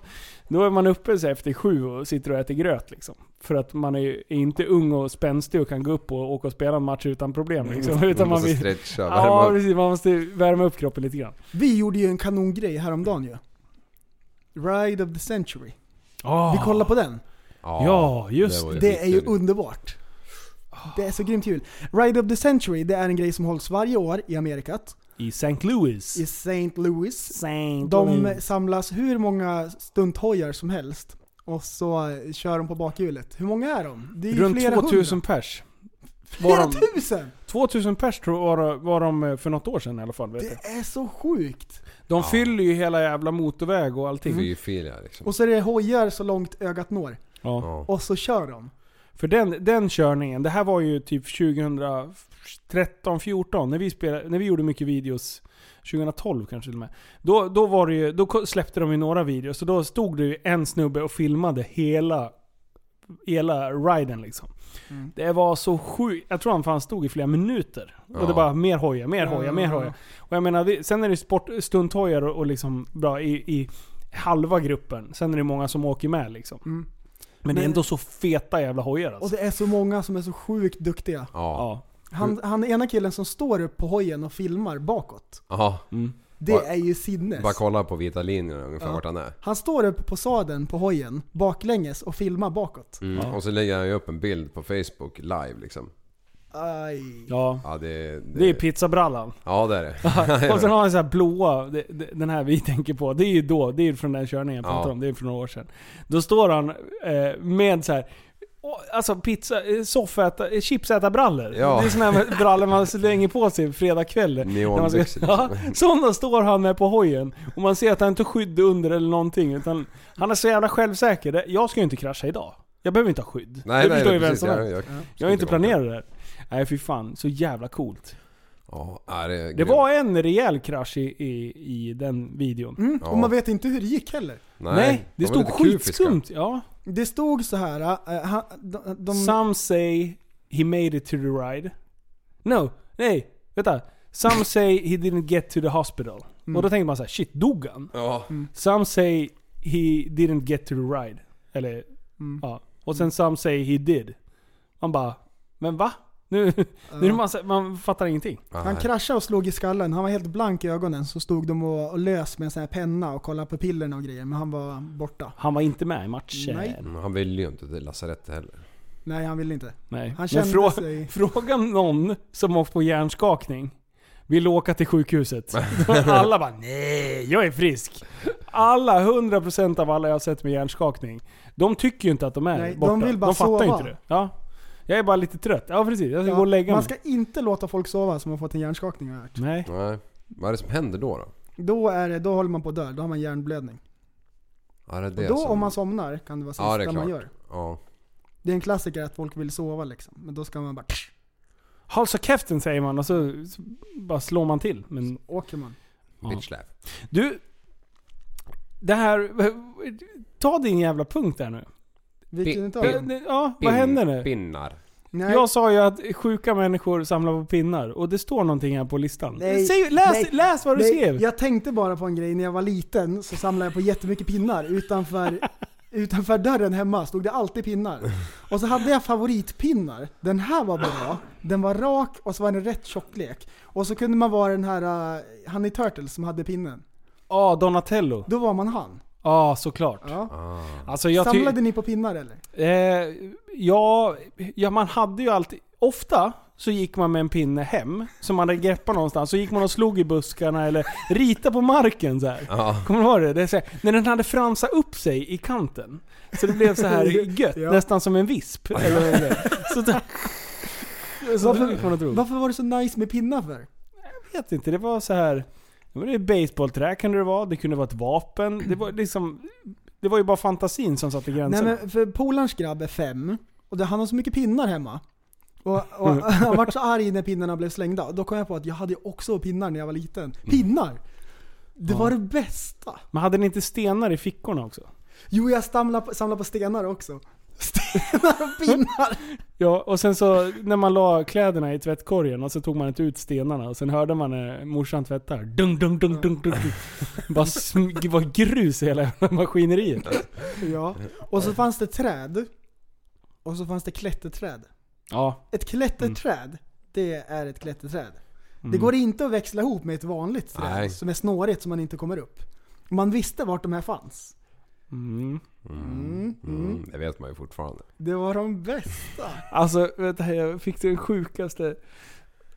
Speaker 9: då är man uppe så här efter sju och sitter och äter gröt liksom. För att man är ju inte ung och spänstig och kan gå upp och åka och spela en match utan problem. Liksom.
Speaker 10: Mm.
Speaker 9: [LAUGHS]
Speaker 10: Man
Speaker 9: Utan
Speaker 10: måste
Speaker 9: vill-
Speaker 10: stretcha, värma
Speaker 9: Ja,
Speaker 10: upp.
Speaker 9: precis. Man måste värma upp kroppen lite grann.
Speaker 6: Vi gjorde ju en kanongrej häromdagen ju. Ride of the Century.
Speaker 9: Ah.
Speaker 6: Vi kollar på den.
Speaker 9: Ja, Ja, just det var
Speaker 6: det.
Speaker 9: ju
Speaker 6: Det är ju
Speaker 9: skitkul.
Speaker 6: underbart. Det är så grymt kul. Ride of the Century, det är en grej som hålls varje år i Amerikat.
Speaker 9: I St. Louis.
Speaker 6: I St. Louis.
Speaker 9: Saint
Speaker 6: de
Speaker 9: Louis.
Speaker 6: samlas hur många stunthojar som helst. Och så eh, kör de på bakhjulet. Hur många är de? Det är ju
Speaker 9: Runt
Speaker 6: flera
Speaker 9: 2000
Speaker 6: hundra.
Speaker 9: pers. Var
Speaker 6: Flera
Speaker 9: de,
Speaker 6: tusen!
Speaker 9: 2000 pers tror jag var, var de eh, för något år sedan i alla fall. Vet jag.
Speaker 6: Det är så sjukt.
Speaker 9: De fyller ju hela jävla motorväg och allting.
Speaker 10: Fyrfiliga liksom.
Speaker 6: Och så är det hojar så långt ögat når.
Speaker 9: Ja.
Speaker 6: Och så kör de.
Speaker 9: För den, den körningen, det här var ju typ 2013, 14 när vi, spelade, när vi gjorde mycket videos. 2012 kanske till och med. Då, då, var det ju, då ko- släppte de ju några videos och då stod det ju en snubbe och filmade hela, hela riden liksom. Det var så sjukt. Jag tror han fan stod i flera minuter.
Speaker 13: Ja.
Speaker 9: Och det bara mer hoja, mer hoja, mer
Speaker 13: Ja.
Speaker 9: hoja. Och jag menar, vi- sen är det sport, stunthojar och, och liksom bra i, i halva gruppen. Sen är det många som åker med liksom.
Speaker 6: Mm.
Speaker 9: Men det är
Speaker 6: Men-
Speaker 9: ändå så feta jävla hojar alltså.
Speaker 6: Och det är så många som är så sjukt duktiga.
Speaker 10: Ja.
Speaker 9: Mm.
Speaker 6: Han, han ena killen som står upp på hojen och filmar bakåt.
Speaker 10: Ja.
Speaker 6: Det
Speaker 10: Bara-
Speaker 6: är ju sinnes.
Speaker 10: Bara kolla på vita linjerna ungefär
Speaker 6: Ja.
Speaker 10: vart han är.
Speaker 6: Han står upp på sadeln på hojen baklänges och filmar bakåt.
Speaker 10: Mm. Och så lägger han ju upp en bild på Facebook live liksom.
Speaker 6: Aj.
Speaker 9: Ja.
Speaker 10: Ja, det, det...
Speaker 9: Det är pizzabrallan.
Speaker 10: Ja det är det.
Speaker 9: [LAUGHS] och sen har han så här blåa, det- det- den här vi tänker på. Det är ju då, det är ju från den körningen jag pratade
Speaker 10: Ja.
Speaker 9: om. Det är från några år sedan. Då står han eh, med så här. och- Alltså pizza, eh, soffäta, eh, chipsätarbrallor.
Speaker 10: Ja.
Speaker 9: Det är
Speaker 10: [LAUGHS]
Speaker 9: såna här brallor man slänger på sig fredagkväll. när man
Speaker 10: Neonbyxor,
Speaker 9: ska- ja, Sådana står han med på hojen. Och man ser att han inte har skydd under eller någonting. Utan han är så jävla självsäker. Det- Jag ska ju inte krascha idag. Jag behöver inte ha skydd.
Speaker 10: Nej, nej,
Speaker 9: det förstår
Speaker 10: nej,
Speaker 9: ju vem
Speaker 10: precis.
Speaker 9: som
Speaker 10: Jag-
Speaker 9: helst.
Speaker 10: jag-
Speaker 9: Jag,
Speaker 10: ska
Speaker 9: har ju
Speaker 10: inte
Speaker 9: inte planerat det här. Nej fy fan, så jävla coolt.
Speaker 10: Ja, är det, är
Speaker 9: Det
Speaker 10: grymt.
Speaker 9: var en rejäl krasch i, i, i den videon.
Speaker 6: Mm.
Speaker 10: Ja.
Speaker 6: Och man vet inte hur det gick heller.
Speaker 10: Nej,
Speaker 9: Nej,
Speaker 10: de
Speaker 9: det
Speaker 10: är
Speaker 9: stod
Speaker 10: lite kufiska.
Speaker 9: skitskumt. Ja.
Speaker 6: Det stod så här. eh, han, de, de,
Speaker 9: Some say he made it to the ride. No, nej, vänta.
Speaker 6: [LAUGHS]
Speaker 9: Some say he didn't get to the hospital.
Speaker 6: Mm.
Speaker 9: Och då tänker man så här, shit dog han?
Speaker 10: Ja.
Speaker 9: Some say he didn't get to the ride. Eller,
Speaker 6: Mm.
Speaker 9: ja. Och sen some say he did. Man bara, men va? Nu, [LAUGHS] nu är det massa, man fattar ingenting.
Speaker 10: Ah,
Speaker 6: han kraschade och slog i skallen. Han var helt blank i ögonen. Så stod de och, och lös med en sån här penna och kollade på pillerna och grejer. Men han var borta.
Speaker 9: Han var inte med i matchen.
Speaker 6: Nej.
Speaker 10: Mm, Han ville ju inte till lasarettet heller.
Speaker 6: Nej, han ville inte.
Speaker 9: Nej.
Speaker 6: Han
Speaker 9: Men
Speaker 6: kände
Speaker 9: frå
Speaker 6: sig...
Speaker 9: [LAUGHS] fråga någon som åkt på hjärnskakning. Vill åka
Speaker 6: [LAUGHS]
Speaker 9: till sjukhuset. alla bara nej, jag är frisk. Alla, 100% av alla jag har sett med hjärnskakning. De tycker ju inte att de är
Speaker 6: Nej, de
Speaker 9: borta.
Speaker 6: vill bara
Speaker 9: de fattar ju
Speaker 6: sova.
Speaker 9: inte det. Ja. Jag är bara lite trött. Ja precis, jag ska
Speaker 6: Ja,
Speaker 9: gå och lägga
Speaker 6: man
Speaker 9: mig.
Speaker 6: ska inte låta folk sova som har fått en hjärnskakning har jag hört.
Speaker 9: Nej.
Speaker 10: Nej. Vad är det som händer då? Då,
Speaker 6: Då, är det, då håller man på att dö. Då har man hjärnblödning.
Speaker 10: ja, det är det
Speaker 6: och då
Speaker 10: som...
Speaker 6: om man somnar kan det vara sista
Speaker 10: Ja, det är
Speaker 6: man
Speaker 10: klart.
Speaker 6: gör.
Speaker 10: Ja.
Speaker 6: Det är en klassiker att folk vill sova liksom. Men då ska man bara...
Speaker 9: Hals och käften säger man och så, så bara slår man till. Men,
Speaker 6: åker man.
Speaker 9: Ja.
Speaker 10: Bitch slap.
Speaker 9: Du, det här... Ta din jävla punkt där nu.
Speaker 6: Vilken utav
Speaker 9: Pin-
Speaker 6: dem?
Speaker 9: Ja, vad händer nu?
Speaker 10: Pinnar.
Speaker 6: Nej.
Speaker 9: Jag sa ju att sjuka människor samlar på pinnar och det står någonting här på listan.
Speaker 6: Nej,
Speaker 9: Säg, läs,
Speaker 6: nej,
Speaker 9: läs vad du
Speaker 6: nej.
Speaker 9: skrev! [LAUGHS]
Speaker 6: Jag tänkte bara på en grej. När jag var liten så samlade jag på jättemycket pinnar utanför utanför dörren hemma stod det alltid pinnar. Och så hade jag favoritpinnar. Den här var bra, den var rak och så var den rätt tjocklek. Och så kunde man vara den här, uh, han i Turtles som hade pinnen.
Speaker 9: Ja, ah, Donatello.
Speaker 6: Då var man han.
Speaker 9: Ja, såklart.
Speaker 6: Ja.
Speaker 10: Ah.
Speaker 9: Alltså, jag ty-
Speaker 6: Samlade ni på pinnar eller?
Speaker 9: Eh, ja, ja, man hade ju alltid... Ofta så gick man med en pinne hem, som man hade greppat någonstans. Så gick man och slog i buskarna eller ritade på marken så här.
Speaker 10: Ja.
Speaker 9: Kommer du ihåg det? det är så här, när den hade fransat upp sig i kanten. Så det blev
Speaker 6: [LAUGHS]
Speaker 9: så här gött, nästan som en visp. Eller
Speaker 10: [LAUGHS]
Speaker 9: vad det är. så där. Så gick man och
Speaker 6: Varför,
Speaker 9: drog.
Speaker 6: varför var det så nice med pinnar för?
Speaker 9: Jag vet inte, det var så här... Det var ju baseballträ kunde det vara, det kunde vara ett vapen. Det var liksom... Det var ju bara fantasin som satte
Speaker 6: Nej
Speaker 9: gränserna.
Speaker 6: men för polarns grabb är fem, och det, han har så mycket pinnar hemma. Och, och
Speaker 9: Mm.
Speaker 6: [LAUGHS] han vart så arg när pinnarna blev slängda. Då kom jag på att jag hade ju också pinnar när jag var liten. Pinnar! Det
Speaker 9: Ja.
Speaker 6: var det bästa!
Speaker 9: Men hade ni inte stenar i fickorna också?
Speaker 6: Jo, jag samlade på, samlade på stenar också. Stenar och pinnar!
Speaker 9: Ja, och sen så när man la kläderna i tvättkorgen och så tog man inte ut stenarna och sen hörde man när morsan tvättar. Dung, dung, dung, dung, dung. dung. Bara sm- var grus i hela [LAUGHS] jävla maskineriet.
Speaker 6: Ja. Och så fanns det träd. Och så fanns det klätterträd.
Speaker 9: Ja.
Speaker 6: Ett klätterträd, det är ett klätterträd. Det
Speaker 9: Mm.
Speaker 6: går inte att växla ihop med ett vanligt träd
Speaker 9: Nej.
Speaker 6: som är snårigt som man inte kommer upp. Man visste vart de här fanns.
Speaker 9: Mm.
Speaker 6: Mm,
Speaker 10: Mm, det vet man ju fortfarande.
Speaker 6: Det var de bästa.
Speaker 9: Alltså, vänta här, jag fick den sjukaste...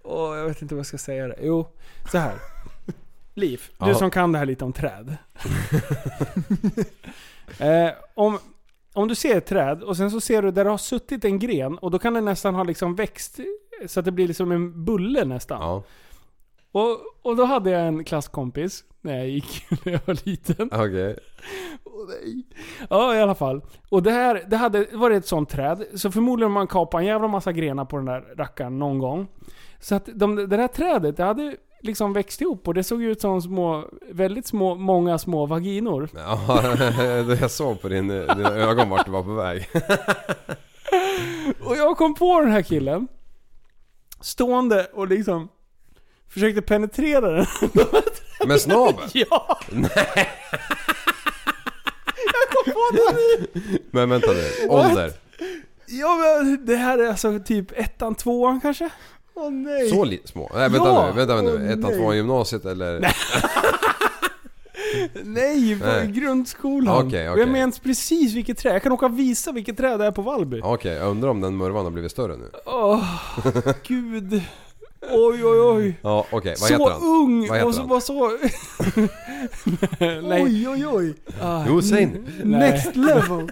Speaker 9: Åh, jag vet inte vad jag ska säga. Det. Jo, så här. [LAUGHS] Liv, du
Speaker 10: Ja.
Speaker 9: som kan det här lite om träd. [LAUGHS] eh, om, om du ser ett träd och sen så ser du där det har suttit en gren och då kan den nästan ha liksom växt så att det blir liksom en bulle nästan. Och, och då hade jag en klasskompis när jag gick, [LAUGHS] när jag var liten.
Speaker 10: Okej.
Speaker 9: Ja, i alla fall. Och det här, det hade varit ett sånt träd, så förmodligen man kapade en jävla massa grenar på den där rackaren någon gång. Så att de, det där trädet, det hade liksom växt ihop och det såg ut som små, väldigt små, många små vaginor.
Speaker 10: Ja, [LAUGHS] jag såg på din, dina ögon vart du var på
Speaker 9: [LAUGHS]
Speaker 10: väg.
Speaker 9: Och jag kom på den här killen. Stående och liksom försökte penetrera den. [LAUGHS]
Speaker 10: Med snabeln?
Speaker 9: Ja!
Speaker 10: Nej.
Speaker 9: Jag kom på det nu!
Speaker 10: Men vänta nu, ålder?
Speaker 9: Ja men det här är alltså typ ettan, tvåan kanske?
Speaker 6: Åh nej!
Speaker 10: Så li- små? Nej vänta
Speaker 9: Ja.
Speaker 10: nu, vänta
Speaker 9: Åh,
Speaker 10: nu. Ettan,
Speaker 9: nej.
Speaker 10: tvåan, gymnasiet eller? Nej.
Speaker 9: Nej, på
Speaker 10: Nej.
Speaker 9: grundskolan.
Speaker 10: Okej, okej.
Speaker 9: Och jag minns precis vilket träd. Jag kan åka och visa vilket träd det är på Valby.
Speaker 10: Okej, jag undrar om den murvan har blivit större nu? [LAUGHS]
Speaker 9: Åh, gud. Oj, oj, oj.
Speaker 10: Ja, okej. Vad
Speaker 9: så
Speaker 10: heter han?
Speaker 9: ung
Speaker 10: Vad heter
Speaker 9: och så
Speaker 10: han?
Speaker 9: var så...
Speaker 6: [LAUGHS]
Speaker 9: Nej.
Speaker 6: Oj, oj, oj.
Speaker 9: Ah,
Speaker 10: Jo, säg
Speaker 9: n-
Speaker 10: nu.
Speaker 9: nej.
Speaker 6: Next level.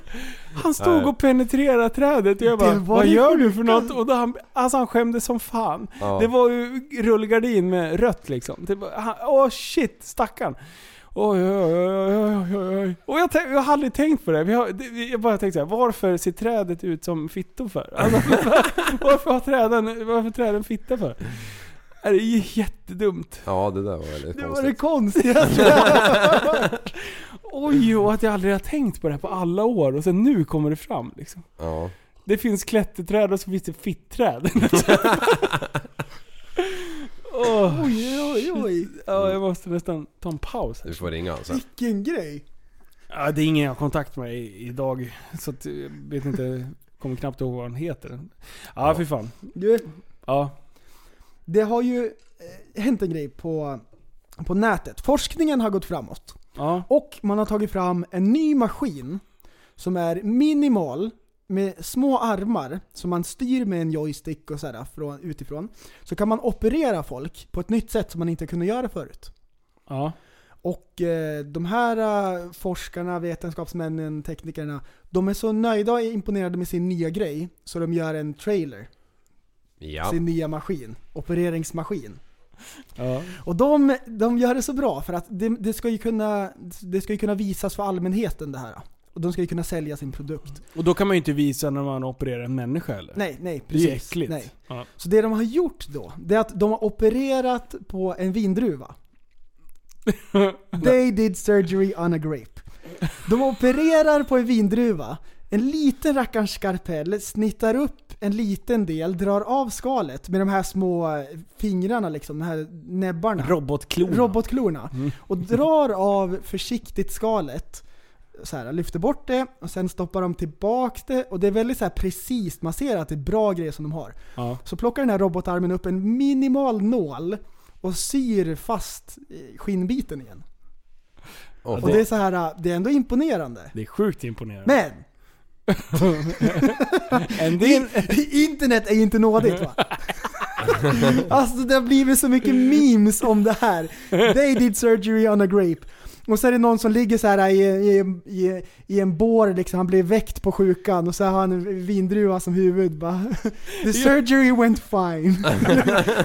Speaker 9: Han stod
Speaker 10: Nej.
Speaker 9: och penetrerade trädet och jag bara
Speaker 6: Det var
Speaker 9: Vad
Speaker 6: det
Speaker 9: gör du för något? Och då han, alltså han skämdes som fan.
Speaker 10: Ja.
Speaker 9: Det var ju rullgardin med rött liksom. Typ, han, åh shit, stackarn. Oj, oj, oj, oj, oj, oj, oj. Och jag, tänk, jag har aldrig tänkt på det. Vi har, det- vi- jag bara tänkte såhär, varför ser trädet ut som fittor för? Alltså, [LAUGHS] varför har träden, varför har träden fitta för? Det är ju jättedumt.
Speaker 10: Ja, det där var väldigt
Speaker 9: Det var
Speaker 10: konstigt.
Speaker 9: det konstigaste jag har hört.
Speaker 10: [LAUGHS]
Speaker 9: Oj, och att jag aldrig har tänkt på det här på alla år och sen nu kommer det fram liksom.
Speaker 10: Ja.
Speaker 9: Det finns klätterträd och så finns
Speaker 10: [LAUGHS]
Speaker 9: det fittträd. oh,
Speaker 6: oj, oj, oj.
Speaker 9: Ja, jag måste nästan ta en paus här.
Speaker 10: Du får ringa alltså. han sen.
Speaker 6: Vilken grej.
Speaker 9: Ja, det är ingen jag har kontakt med i- idag. Så att jag vet inte, kommer knappt ihåg vad han heter. Ja, fy fan.
Speaker 6: Du,
Speaker 9: Ja.
Speaker 6: det har ju eh, hänt en grej på, på nätet. Forskningen har gått framåt. Och man har tagit fram en ny maskin som är minimal med små armar som man styr med en joystick och sådär från, utifrån. Så kan man operera folk på ett nytt sätt som man inte kunde göra förut.
Speaker 9: Ja.
Speaker 6: Och eh, de här eh, forskarna, vetenskapsmännen, teknikerna, de är så nöjda och imponerade med sin nya grej så de gör en trailer.
Speaker 10: Ja.
Speaker 6: Sin nya maskin. Opereringsmaskin.
Speaker 10: [LAUGHS]
Speaker 9: Ja.
Speaker 6: Och de, de gör det så bra för att det, det, ska ju kunna, det ska ju kunna visas för allmänheten det här. Och de ska ju kunna sälja sin produkt.
Speaker 9: Och då kan man ju inte visa när man opererar en människa eller?
Speaker 6: Nej, nej
Speaker 9: Det är
Speaker 6: precis.
Speaker 9: ju äckligt.
Speaker 6: Nej.
Speaker 9: Ja.
Speaker 6: Så det de har gjort då, det är att de har opererat på en
Speaker 9: [LAUGHS]
Speaker 6: vindruva. They did surgery on a grape. De opererar på en vindruva. En liten rackarns skarpell snittar upp en liten del, drar av skalet med de här små fingrarna liksom, de här näbbarna.
Speaker 9: Robotklorna. Mm.
Speaker 6: Robotklorna. Och drar av försiktigt skalet så här, lyfter bort det och sen stoppar de tillbaka det. Och det är väldigt så här precis, man ser att det är bra grejer som de har.
Speaker 9: Ja.
Speaker 6: Så plockar den här robotarmen upp en minimal nål och syr fast eh, skinnbiten igen.
Speaker 9: Ja,
Speaker 6: och det är så här, eh, det är ändå imponerande.
Speaker 9: det är sjukt imponerande.
Speaker 6: Men! I- Internet är ju inte nådigt va? [LAUGHS] alltså det har blivit så mycket memes om det här. They did surgery on a grape. Och så är det någon som ligger så här i, i, i, i en bår liksom, han blir väckt på sjukan och så har han en vindruva som huvud bara. [LAUGHS] The surgery went fine.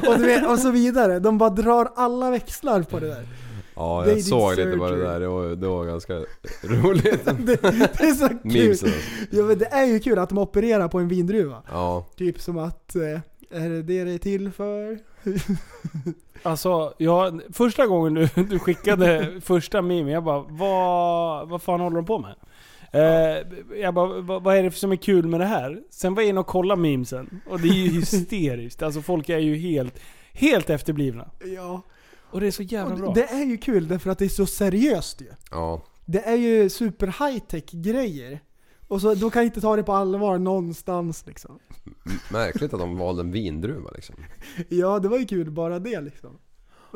Speaker 6: [LAUGHS] och, du vet, och så vidare. De bara drar alla växlar på det där.
Speaker 10: Ja,
Speaker 6: They
Speaker 10: jag
Speaker 6: did
Speaker 10: såg lite bara det
Speaker 6: surgery. [LAUGHS]
Speaker 10: där. Det var, det var ganska
Speaker 9: [LAUGHS]
Speaker 10: roligt.
Speaker 6: Det, det är så kul.
Speaker 10: Memes alltså.
Speaker 6: Ja, men det är ju kul att de opererar på en vindruva.
Speaker 10: Ja.
Speaker 6: Typ som att, eh, är det det det är till för? [LAUGHS]
Speaker 9: Alltså, jag, första gången du, du skickade första memen, jag bara vad, vad fan håller de på med? Eh, jag bara, vad, vad är det som är kul med det här? Sen var jag inne och kollade memesen och det är ju hysteriskt. Alltså folk är ju helt, helt efterblivna.
Speaker 6: Ja.
Speaker 9: Och det är så jävla bra.
Speaker 6: Det är ju kul därför att det är så seriöst ju.
Speaker 10: Ja.
Speaker 6: Det är ju super high tech grejer. Och så, då kan jag inte ta det på allvar någonstans liksom.
Speaker 10: Märkligt att de valde en vindruva liksom.
Speaker 6: Ja, det var ju kul bara det liksom. [LAUGHS]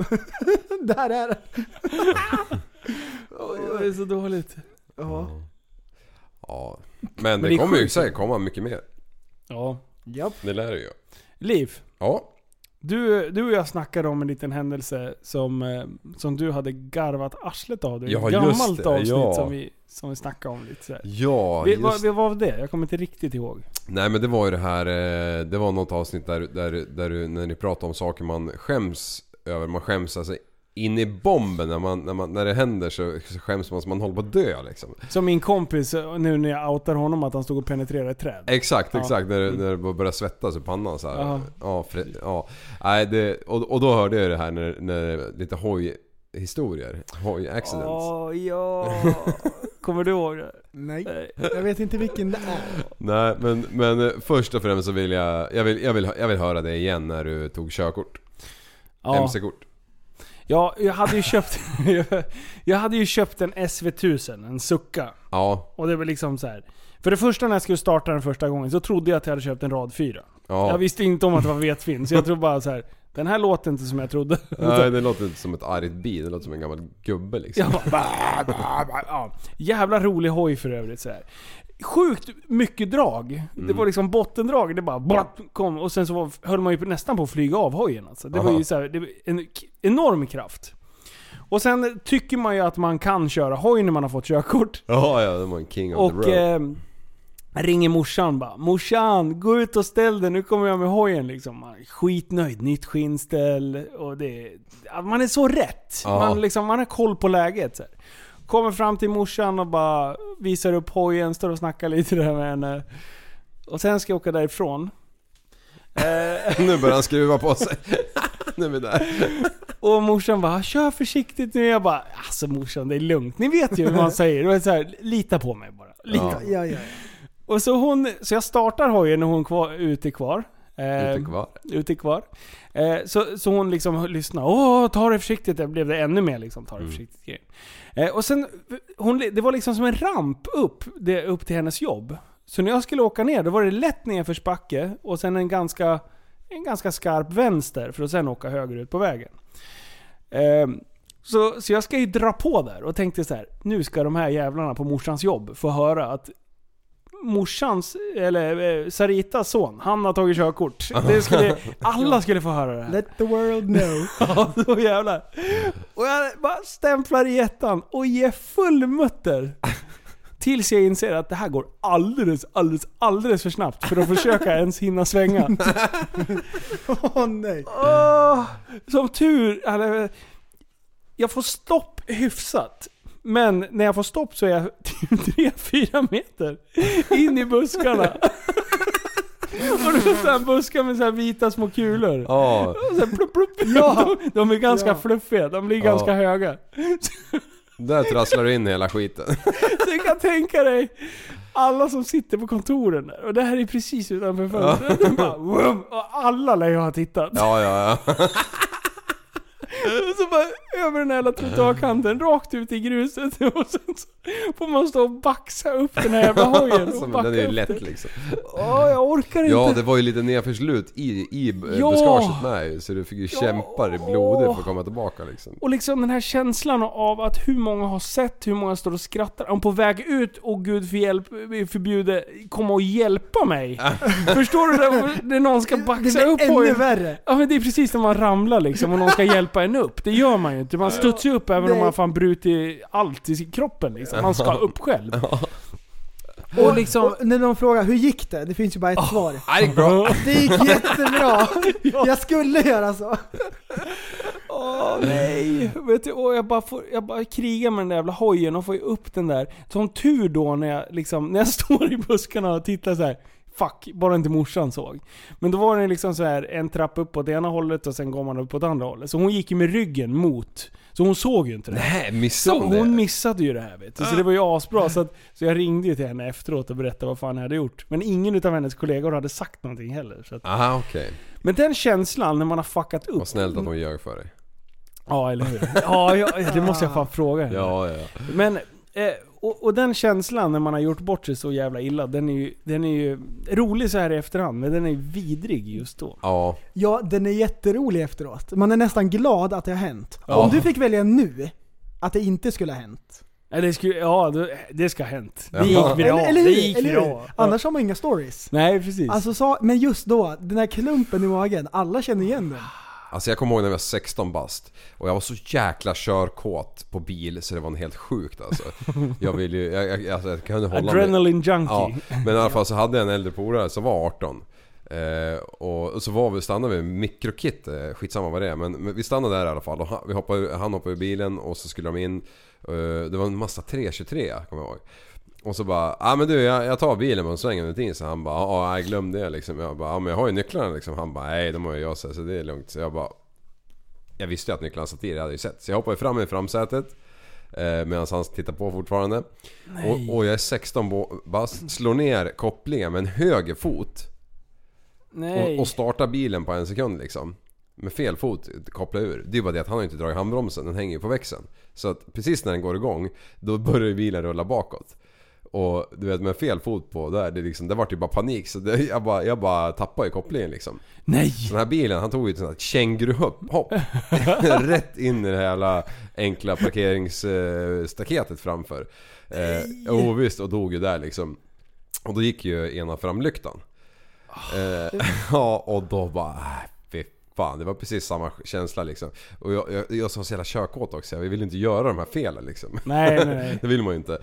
Speaker 6: Där är det.
Speaker 9: det är så dåligt.
Speaker 6: Ja.
Speaker 10: Ja. Men det,
Speaker 9: det är
Speaker 10: kommer ju
Speaker 9: sjukt.
Speaker 10: säkert komma mycket mer.
Speaker 9: Ja.
Speaker 10: Det lär det ju.
Speaker 9: Liv.
Speaker 10: Ja.
Speaker 9: Du, du och jag snackade om en liten händelse som, eh, som du hade garvat arslet av. Det är
Speaker 10: Ja,
Speaker 9: ett
Speaker 10: just
Speaker 9: gammalt
Speaker 10: det,
Speaker 9: avsnitt
Speaker 10: ja.
Speaker 9: som, vi, som vi snackade om lite sådär.
Speaker 10: Ja,
Speaker 9: vi,
Speaker 10: just
Speaker 9: vad, vi- vad var det? Jag kommer inte riktigt ihåg.
Speaker 10: Nej men det var ju det här, eh, det var något avsnitt där, där, där du- när ni pratade om saker man skäms över. Man skäms alltså in i bomben när, man, när, man, när det händer så så skäms man som man håller på att dö liksom.
Speaker 9: Som min kompis, eh, nu när jag outar honom att han stod och penetrerade ett träd.
Speaker 10: Exakt,
Speaker 9: Ja.
Speaker 10: exakt. När, när det börjar svettas i pannan så här.
Speaker 9: Ja.
Speaker 10: Ja. Ja, fre, ja. Nej, det, och, och då hörde jag det här när, när lite hoj historier. Hoj accidents.
Speaker 9: ja. Kommer du ihåg det?
Speaker 6: Nej, jag vet inte vilken det är.
Speaker 10: Nej men, men eh, först och främst så vill jag, jag vill, jag vill, jag vill höra det igen när du tog körkort.
Speaker 9: Ja.
Speaker 10: MC-kort.
Speaker 9: Ja, jag hade ju köpt, [LAUGHS] jag hade ju köpt en SV1000, en Succa.
Speaker 10: Ja.
Speaker 9: Och det var liksom så här. För det första när jag skulle starta den första gången så trodde jag att jag hade köpt en rad 4.
Speaker 10: Ja.
Speaker 9: Jag visste inte om att det var vetfin, så jag tror bara så här. Den här låter inte som jag trodde.
Speaker 10: Nej det låter inte som ett argt bi, det låter som en gammal gubbe liksom.
Speaker 9: Jag bara, bah, bah, bah, ja. Jävla rolig hoj för övrigt så här. Sjukt mycket drag. Det var liksom bottendrag. Det bara blapp, kom och sen så var, höll man ju nästan på att flyga av hojen alltså. Det var
Speaker 10: Aha.
Speaker 9: ju så här, det var en k- enorm kraft. Och sen tycker man ju att man kan köra hoj när man har fått körkort.
Speaker 10: Ja, ja, det var en king of
Speaker 9: Och
Speaker 10: the road.
Speaker 9: eh, ringer morsan bara. Morsan, gå ut och ställ dig. Nu kommer jag med hojen liksom. Man är skitnöjd. Nytt skinnställ. Och det, ja, man är så rätt.
Speaker 10: Ja.
Speaker 9: Man, liksom, man har koll på läget. Så här. Kommer fram till morsan och bara visar upp hojen. Står och snackar lite där med henne. Och sen ska jag åka därifrån.
Speaker 10: nu börjar han skruva på sig. [LAUGHS] nu är vi där.
Speaker 9: Och morsan bara 'Kör försiktigt nu' Jag bara 'Alltså morsan det är lugnt, ni vet ju hur man säger' Det var så här, 'Lita på mig bara'
Speaker 6: Ja, ja, ja.
Speaker 9: Och så, hon, så jag startar hojen när hon kvar, ute kvar. Eh,
Speaker 10: Ute kvar.
Speaker 9: Ute kvar. Eh, så, så hon liksom lyssnar. Åh, ta det försiktigt. Det blev det ännu mer liksom.
Speaker 10: Mm.
Speaker 9: Ta det försiktigt. grejen. Eh, och sen, hon, det var liksom som en ramp upp, det, upp till hennes jobb. Så när jag skulle åka ner, då var det lätt nedförsbacke och sen en ganska, en ganska skarp vänster för att sen åka höger ut på vägen. Ehm, så, så jag ska ju dra på där och tänkte så här, nu ska de här jävlarna på morsans jobb få höra att morsans, eller eh, Saritas son, han har tagit körkort. Det skulle, alla skulle få höra det här.
Speaker 6: Let the world know.
Speaker 9: [LAUGHS] Ja, då jävlar. Och jag bara stämplar i ettan och ger full mutter. Tills jag inser att det här går alldeles, alldeles, alldeles för snabbt för att
Speaker 6: [LAUGHS]
Speaker 9: försöka ens hinna svänga.
Speaker 6: Åh nej.
Speaker 9: Åh, som tur... Eller, jag får stopp hyfsat. Men när jag får stopp så är jag [LAUGHS] typ 3-4 meter in i buskarna. Och det är så här buskar med så här vita små kulor.
Speaker 10: Ja,
Speaker 9: Och sen plupp, plupp.
Speaker 6: Ja.
Speaker 9: De, de är ganska
Speaker 6: Ja.
Speaker 9: fluffiga, de blir
Speaker 10: Ja.
Speaker 9: ganska höga. [LAUGHS]
Speaker 10: där trasslar du in hela skiten.
Speaker 9: Så du kan tänka dig alla som sitter på kontoren där. Och det här är precis utanför fönstret. De bara, "Vroom", och alla lär ju ha tittat.
Speaker 10: Ja, ja, ja.
Speaker 9: Och [LAUGHS] så bara över den här jävla trottoarkanten, rakt ut i gruset. [LAUGHS] Och sen så får man stå och baxa upp den här jävla hojen.
Speaker 10: [LAUGHS] Alltså,
Speaker 9: Och
Speaker 10: men
Speaker 9: backa
Speaker 10: den är ju
Speaker 9: upp
Speaker 10: lätt
Speaker 9: den.
Speaker 10: liksom.
Speaker 9: Åh, jag orkar inte.
Speaker 10: Ja, det var ju lite nedförslut i, i eh,
Speaker 9: Ja.
Speaker 10: buskaget med ju, Så du fick ju kämpa dig blodig för att komma tillbaka liksom.
Speaker 9: Och liksom den här känslan av att hur många har sett, hur många står och skrattar. Om på väg ut, och gud för hjälp, förbjude, kom och
Speaker 10: [LAUGHS]
Speaker 9: hjälpa mig. Förstår du? det? När någon ska baxa
Speaker 6: blir
Speaker 9: upp
Speaker 6: ännu
Speaker 9: hojen.
Speaker 6: värre.
Speaker 9: Ja men det är precis när man ramlar liksom och
Speaker 10: [LAUGHS]
Speaker 9: någon ska hjälpa en upp. Det gör man ju inte. Man studsar ju upp även om
Speaker 6: Nej.
Speaker 9: man fan brutit allt i sin kroppen liksom. Man ska upp själv.
Speaker 6: Och,
Speaker 9: liksom-
Speaker 6: och när någon frågar hur gick det? Det finns ju bara ett
Speaker 9: [LAUGHS]
Speaker 6: svar.
Speaker 10: Det gick bra.
Speaker 6: Det gick jättebra. Jag skulle göra så.
Speaker 9: Åh nej! [LAUGHS] Vet du, åh, jag, bara får, jag bara krigar med den där jävla hojen och får ju upp den där. Som tur då när jag, liksom, när jag [LAUGHS] står i buskarna och tittar så här. Fuck, bara inte morsan såg. Men då var den liksom så här en trappa upp åt ena hållet och sen går man upp åt andra hållet. Så hon gick ju med ryggen mot. Så hon såg ju inte det.
Speaker 10: Nej, Äh, missade
Speaker 9: så
Speaker 10: hon det?
Speaker 9: Hon missade ju det här vet du. Så det var ju asbra. Så, att, så jag ringde ju till henne efteråt och berättade vad fan jag hade gjort. Men ingen utav hennes kollegor hade sagt någonting heller. Så att,
Speaker 10: Aha, okej.
Speaker 9: men den känslan när man har fuckat upp.
Speaker 10: Vad snällt att hon gör för dig.
Speaker 9: Ja, eller hur? Ja, ja, det måste jag
Speaker 6: Ah.
Speaker 9: fan fråga henne.
Speaker 10: Ja, ja.
Speaker 9: Men, eh, och, och den känslan när man har gjort bort sig så jävla illa, den är ju, den är ju rolig så här i efterhand, men den är vidrig just då.
Speaker 10: Ja.
Speaker 6: Ja, den är jätterolig efteråt. Man är nästan glad att det har hänt.
Speaker 9: Ja.
Speaker 6: Om du fick välja nu, att det inte skulle ha hänt.
Speaker 9: Ja, det, skulle, ja, det- det ska ha hänt. Det
Speaker 6: Ja.
Speaker 9: gick bra.
Speaker 6: Eller, eller
Speaker 9: det
Speaker 6: hur?
Speaker 9: gick
Speaker 6: eller hur?
Speaker 9: bra.
Speaker 6: Annars har man inga stories.
Speaker 9: Nej, precis.
Speaker 6: Alltså, sa- men just då, den här klumpen i magen, alla känner igen den.
Speaker 10: Alltså jag kommer ihåg när jag var 16 bast och jag var så jäkla körkåt på bil så det var en helt sjukt
Speaker 9: [LAUGHS]
Speaker 10: alltså. Jag ville ju, jag, jag, alltså, jag kunde hålla mig-
Speaker 9: Adrenaline junkie.
Speaker 10: Ja, men i
Speaker 9: [LAUGHS]
Speaker 10: alla fall så hade jag en äldre polare som var 18. Eh, och och så var vi, stannade vi i Mikrokit, eh, skitsamma vad det är men, men vi stannade där i alla fall och han, vi hoppade, han hoppade ur bilen och så skulle de in. Eh, det var en massa 323 kommer jag ihåg. Och så bara, ja ah, men du jag, jag tar bilen men svänger inte in så han bara, ja ah, jag glömde det liksom. Jag bara, ja ah, men jag har ju nycklarna liksom. Han bara, nej de har ju jag så här, så det är lugnt. Så jag bara, jag visste ju att nycklarna satt i, det hade jag ju sett. Så jag hoppade fram i framsätet. Eh, Medan han tittar på fortfarande.
Speaker 16: Nej.
Speaker 10: Och, och jag är 16 bo- bast, slår ner kopplingen med en höger fot.
Speaker 9: Nej.
Speaker 10: Och, och startar bilen på en sekund liksom. Med fel fot koppla ur. Det är ju bara det att han har ju inte dragit handbromsen, den hänger ju på växeln. Så att precis när den går igång, då börjar ju bilen rulla bakåt. Och du vet med fel fot på där, det, liksom, det vart ju bara panik så det, jag, bara, jag bara tappade ju kopplingen liksom.
Speaker 9: Nej!
Speaker 10: Den här bilen, han tog ju ett sånt här känguruhopp.
Speaker 9: [LAUGHS]
Speaker 10: hopp. Rätt in i det här jävla enkla parkeringsstaketet framför. Eh, jo, visst, och dog ju där liksom. Och då gick ju ena framlyktan.
Speaker 9: Ah.
Speaker 10: Eh, [LAUGHS] ja, och då bara... äh, Fy fan, det var precis samma känsla liksom. Och jag, jag, jag som var så jävla körkåt också, vi ville inte göra de här felen liksom.
Speaker 9: Nej, nej, nej.
Speaker 10: [LAUGHS] det vill man ju inte.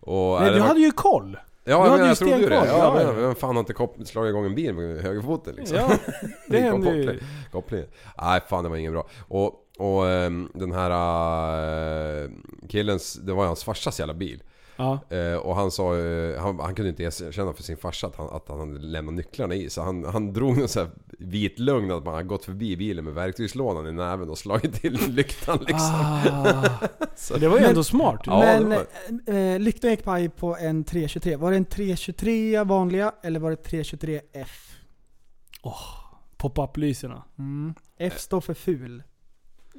Speaker 10: Och,
Speaker 9: Nej,
Speaker 10: äh,
Speaker 9: du
Speaker 10: det var-
Speaker 9: hade ju koll.
Speaker 10: Ja,
Speaker 9: du
Speaker 10: men
Speaker 9: hade
Speaker 10: jag trodde ju det.
Speaker 9: stenkoll.
Speaker 10: Ja, men vem fan har inte kop- slagit igång en bil med högerfoten liksom? [LAUGHS]
Speaker 9: Ja, det
Speaker 10: Gick av
Speaker 9: händer ju.
Speaker 10: koppling- Kopplingen. Nej, fan det var ingen bra. Och, och ehm, den här eh, killens, det var ju hans farsas jävla bil.
Speaker 9: Ja.
Speaker 10: Eh, och han sa eh, han, han kunde inte erkänna för sin farsa att han, att han hade lämnat nycklarna i. Så han, han drog någon sån här vit lögn att man hade gått förbi bilen med verktygslådan i näven och slagit till [LAUGHS] lyktan liksom. [LAUGHS]
Speaker 9: Ah. Det var ju
Speaker 6: Men-
Speaker 9: ändå smart.
Speaker 10: Ja, det
Speaker 6: Men
Speaker 10: var det.
Speaker 6: eh, lyktan gick paj på en 323. Var det en 323 vanliga eller var det 323F?
Speaker 9: Pop-up-lyserna.
Speaker 6: Mm. F står för ful.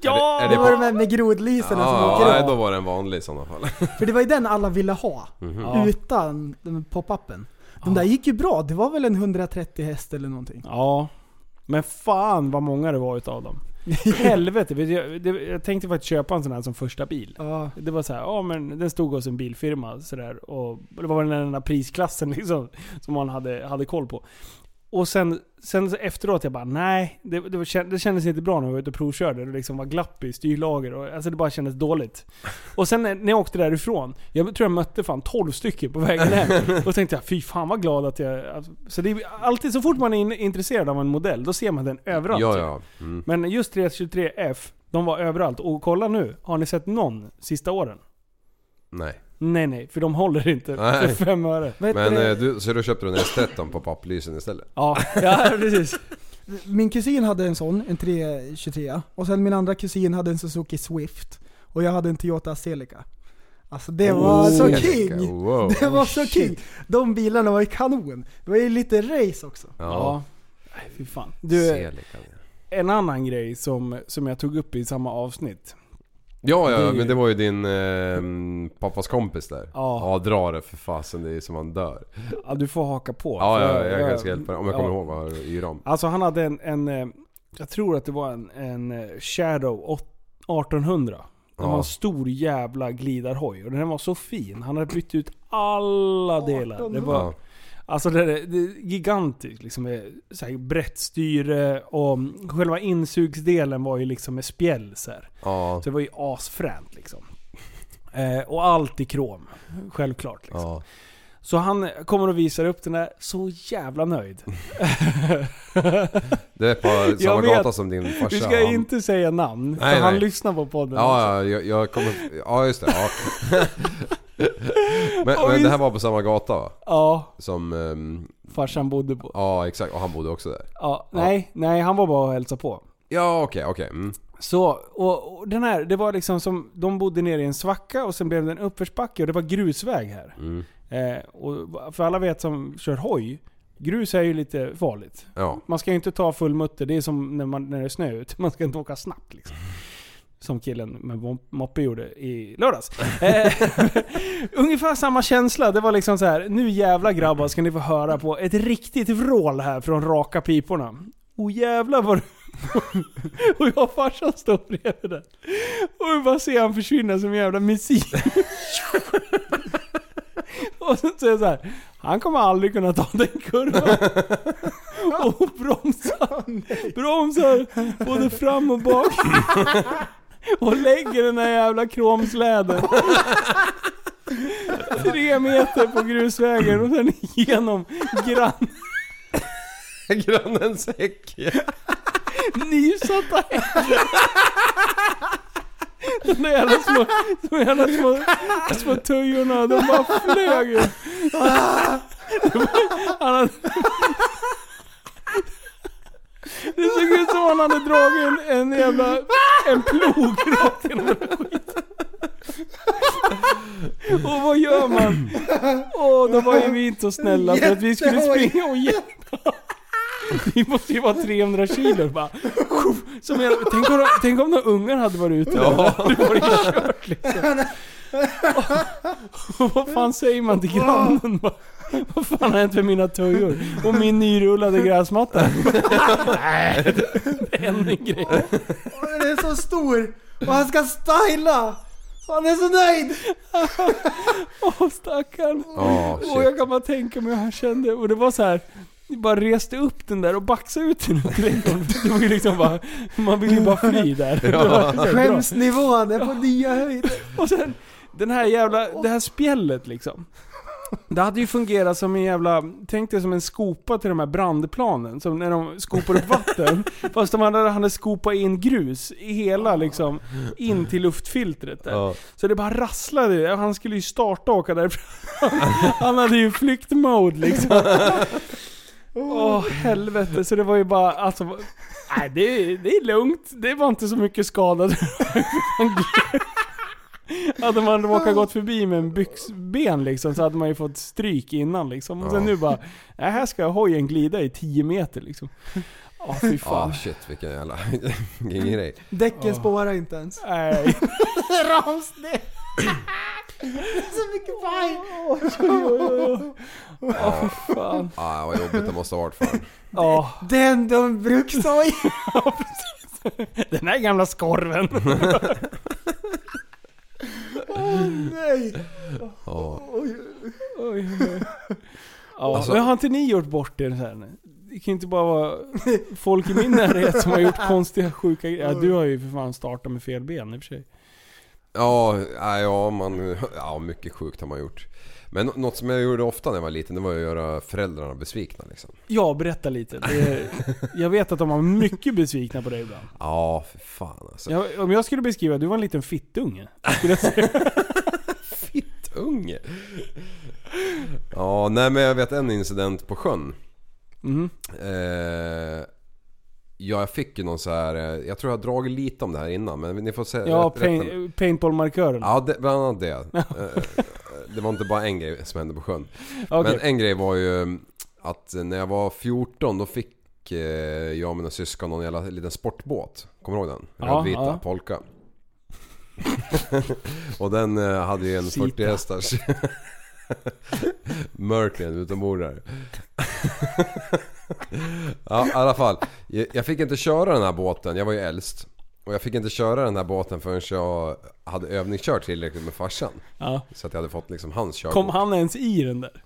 Speaker 9: Ja!
Speaker 10: Är
Speaker 6: det,
Speaker 10: det
Speaker 6: var
Speaker 10: på-
Speaker 6: de här med grodliserna som
Speaker 10: Ja,
Speaker 6: åker
Speaker 10: nej,
Speaker 6: upp.
Speaker 10: då var det en vanlig i sådana fall. [LAUGHS]
Speaker 6: För det var ju den alla ville ha.
Speaker 10: Mhm. Ja.
Speaker 6: Utan den pop-upen. De där gick ju bra. Det var väl en 130 häst eller någonting.
Speaker 9: Ja. Men fan vad många det var utav dem. Helvete. vet du, Jag, det, jag tänkte faktiskt köpa en sån här som första bil. Det var så här, ja men den stod hos en bilfirma sådär. Och det var den enda prisklassen [LAUGHS] liksom. Som man hade, hade koll på. Och sen, sen så efteråt, jag bara nej. Det, det, var- kän- det kändes inte bra när jag var ute och provkörde. Det liksom var glapp i styrlager. Och, alltså det bara kändes dåligt. Och sen när när jag åkte därifrån. Jag tror jag mötte fan 12 stycken på vägen hem. Och tänkte jag, fy fan vad glad att jag... alltså, Så det är alltid så fort man är in, intresserad av en modell, då ser man den överallt.
Speaker 10: Ja,
Speaker 9: typ.
Speaker 10: ja. Mm.
Speaker 9: Men just 323F, de var överallt. Och kolla nu, har ni sett någon sista åren?
Speaker 10: Nej.
Speaker 9: Nej nej, för de håller inte
Speaker 10: Nej.
Speaker 9: för fem öre.
Speaker 10: Men eh, du, så då köpte du en S13 på papplysen istället?
Speaker 9: Ja, ja [LAUGHS] precis.
Speaker 6: Min kusin hade en sån, en 323 och sen min andra kusin hade en Suzuki Swift och jag hade en Toyota Celica. Alltså det
Speaker 10: Oh,
Speaker 6: var så
Speaker 10: Celica,
Speaker 6: king!
Speaker 10: wow.
Speaker 6: [LAUGHS] Det var
Speaker 9: Oh,
Speaker 6: så king! De bilarna var ju kanon. Det var ju lite race också.
Speaker 9: Ja. Nej, fy fan. Du, en annan grej som, som jag tog upp i samma avsnitt.
Speaker 10: Ja, ja,
Speaker 9: Det är ju-
Speaker 10: men det var ju din eh, pappas kompis där.
Speaker 9: Ja.
Speaker 10: ja, dra det för fasen, det är som man dör.
Speaker 9: Ja, du får haka på.
Speaker 10: Ja,
Speaker 9: För
Speaker 10: ja, jag kanske hjälper dig. Om jag
Speaker 9: ja.
Speaker 10: kommer ihåg vad jag yr om.
Speaker 9: Alltså han hade en, en eh, jag tror att det var en, en eh, Shadow åt- 1800. Den
Speaker 10: Ja.
Speaker 9: var en stor jävla glidarhoj och den var så fin. Han hade bytt ut alla delar. Det var,
Speaker 10: Ja.
Speaker 9: Alltså det, är- det är gigantiskt liksom. med Så här brett styre och själva insugsdelen var ju liksom med spjäll så här.
Speaker 10: Ja.
Speaker 9: Så det var ju asfränt liksom. Eh, och allt i krom. Självklart liksom. Så han kommer och visar upp den där, så jävla nöjd.
Speaker 10: Det är på samma
Speaker 9: [LAUGHS] Jag vet.
Speaker 10: gata som din farsa.
Speaker 9: Vi ska
Speaker 10: han-
Speaker 9: inte säga namn, för
Speaker 10: Nej,
Speaker 9: han
Speaker 10: nej.
Speaker 9: lyssnar på podden.
Speaker 10: Ja, ja jag, jag kommer... Ja, just det.
Speaker 9: [LAUGHS]
Speaker 10: Ja. men,
Speaker 9: Och
Speaker 10: men
Speaker 9: vi-
Speaker 10: det här var på samma gata va?
Speaker 9: Ja.
Speaker 10: Som... ehm,
Speaker 9: Farsan bodde på.
Speaker 10: Ja, exakt. Och han bodde också där.
Speaker 9: Ja, nej, nej, han var bara och hälsade på.
Speaker 10: Ja, okej, okej. Mm.
Speaker 9: Så, och, och den här, det var liksom som, de bodde nere i en svacka och sen blev det en uppförsbacke och det var grusväg här.
Speaker 10: Mm.
Speaker 9: Eh, och för alla vet som kör hoj, grus är ju lite farligt.
Speaker 10: Ja.
Speaker 9: Man ska ju inte ta full mutter, det är som när, man, när det är snö [LAUGHS] ute. Man ska inte åka snabbt liksom. Som killen med mop- moppe gjorde i lördags. Eh, [LAUGHS] Ungefär samma känsla. Det var liksom så här. nu jävla grabbar ska ni få höra på ett riktigt vrål här från raka piporna. Oh jävlar vad [LAUGHS] Och jag och farsan står bredvid där. Och vi bara ser han försvinna som en jävla missil. [LAUGHS] och så säger jag så här. Han kommer aldrig kunna ta den kurvan. och bromsar. bromsar både fram och bak. och lägger den här jävla kromsläden. Tre meter på grusvägen och sen igenom grann...
Speaker 10: Grannens
Speaker 9: [LAUGHS]
Speaker 10: häck.
Speaker 9: Nysatta händer. De där jävla små, de jävla små, små tujorna, de bara flög ju.
Speaker 4: Ah!
Speaker 9: Han hade, det såg ut som han hade dragit en, en jävla en plog rakt genom den här skiten. Och vad gör man? Åh, då var ju vi inte så snälla för att vi skulle
Speaker 13: Jättehoj.
Speaker 9: springa och jätte... Vi måste ju vara 300 kilo bara. Som jag, tänk, om, tänk om några ungar hade varit ute
Speaker 13: Ja.
Speaker 9: där. Då var det ju kört liksom. Och, och vad fan säger man till grannen? Bara, Vad fan har hänt med mina töjor? Och min nyrullade gräsmatta? Nej, det hände [LAUGHS] en grej.
Speaker 6: Och Den är så stor och han ska styla! Han är så
Speaker 9: [LAUGHS]
Speaker 6: nöjd!
Speaker 9: Åh stackarn.
Speaker 10: Ja, shit.
Speaker 9: och jag kan bara tänka mig hur han kände. Och det var så här. Ni bara reste upp den där och baxade ut den åt trädgården. [LAUGHS] Det var ju liksom bara, man ville ju bara fly där. [LAUGHS] Det var så här bra.
Speaker 6: Skämsnivån är på nya höjder.
Speaker 9: Och sen den här jävla, det här spjället liksom. Det hade ju fungerat som en jävla, tänk dig som en skopa till de här brandplanen. Som när de skopar upp
Speaker 6: [LAUGHS]
Speaker 9: vatten. fast de hade, hade skopat in grus i hela liksom, in till luftfiltret där. Så det bara rasslade. Han skulle ju starta och åka därifrån. [LAUGHS] Han hade ju
Speaker 10: [LAUGHS]
Speaker 9: flyktmode liksom. Åh helvete, så det var ju bara alltså... Nej det, det är lugnt. Det var inte så mycket skadad. [LAUGHS] Hade man råkat gått förbi med en byxben liksom så hade man ju fått stryk innan liksom. Och sen
Speaker 10: Ja.
Speaker 9: nu bara, nej här ska hojen glida i 10 meter liksom. Ja fy
Speaker 10: Ja,
Speaker 9: fan. [LAUGHS]
Speaker 10: shit vilken jävla... [LAUGHS] Vilken grej.
Speaker 6: Däcken spårar inte ens.
Speaker 9: Nej.
Speaker 6: Ramsnäs! Det är så mycket paj!
Speaker 9: Ja, fy fan.
Speaker 10: Ja, vad jobbigt det måste ha varit för
Speaker 9: Ja.
Speaker 6: Den de brukshoj!
Speaker 9: Den här gamla skorven.
Speaker 6: Åh nej!
Speaker 10: Ja.
Speaker 6: Oj.
Speaker 9: Oj, oj. Ja,
Speaker 10: Alltså-
Speaker 9: men har inte ni gjort bort er så här nu? Det kan ju inte bara vara folk i min närhet som har gjort konstiga, sjuka grejer. Ja, du har ju för fan startat med fel ben i och för sig.
Speaker 10: Ja, ja, ja, man, ja, mycket sjukt har man gjort. Men nå- något som jag gjorde ofta när jag var liten, det var att göra föräldrarna besvikna liksom.
Speaker 9: Ja, berätta lite. Det, jag vet att de var mycket besvikna på dig ibland.
Speaker 10: Ja, för fan alltså.
Speaker 9: Jag, om jag skulle beskriva, du var en liten fittunge. Skulle jag säga.
Speaker 10: [LAUGHS] Fittunge? Ja, nej men jag vet en incident på sjön.
Speaker 9: Mhm.
Speaker 10: Eh, ja, jag fick ju någon så här. eh, Jag tror jag har dragit lite om det här innan men ni får säga
Speaker 9: Ja,
Speaker 10: rätt- rätta mig.
Speaker 9: pain, paintballmarkören.
Speaker 10: Ja, det, bland
Speaker 9: [LAUGHS]
Speaker 10: annat det. Eh, det var inte bara en grej som hände på sjön.
Speaker 9: Okej.
Speaker 10: Men en grej var ju mm, att när jag var 14 då fick eh, jag och mina syskon någon jävla liten sportbåt. Kommer du ihåg den?
Speaker 9: Ja,
Speaker 10: Rödvita,
Speaker 9: ja.
Speaker 10: polka. [LAUGHS] Och den eh, hade ju en
Speaker 16: Sita.
Speaker 10: 40 hästars Merklin utombordare. ja, i alla fall. Jag jag fick inte köra den här båten, jag var ju äldst. Och jag fick inte köra den här båten förrän jag hade övningskört tillräckligt med farsan.
Speaker 9: Ja.
Speaker 10: Så att jag hade fått liksom hans körkort.
Speaker 9: Kom han ens
Speaker 10: [LAUGHS]
Speaker 9: i den där?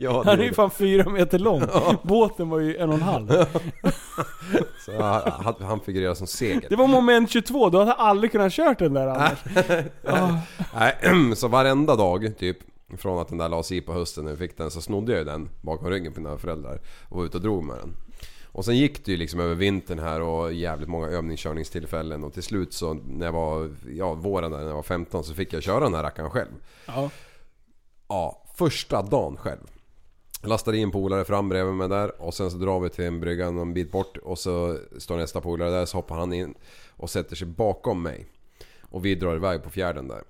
Speaker 10: Ja, det
Speaker 9: han är ju
Speaker 10: gjorde.
Speaker 9: fan fyra meter lång. Båten var ju en och en halv.
Speaker 10: [LAUGHS] Så jag- han- han figurerade som seger.
Speaker 9: Det var moment 22, då hade jag aldrig kunnat kört den
Speaker 10: [LAUGHS]
Speaker 9: där annars. Ah.
Speaker 10: Nej, [CLEARS THROAT] så varenda dag typ från att den där lades i på hösten när vi fick den så snodde jag ju den bakom ryggen på mina föräldrar och var ute och drog med den. Och sen gick det ju liksom över vintern här och jävligt många övningskörningstillfällen och till slut så när jag var, ja våren där när jag var 15 så fick jag köra den här rackaren själv.
Speaker 9: Ja.
Speaker 10: Ja, första dagen själv. Lastade in polare fram bredvid mig där och sen så drar vi till en brygga en bit bort och så står nästa polare där så hoppar han in och sätter sig bakom mig. Och vi drar iväg på fjärden där.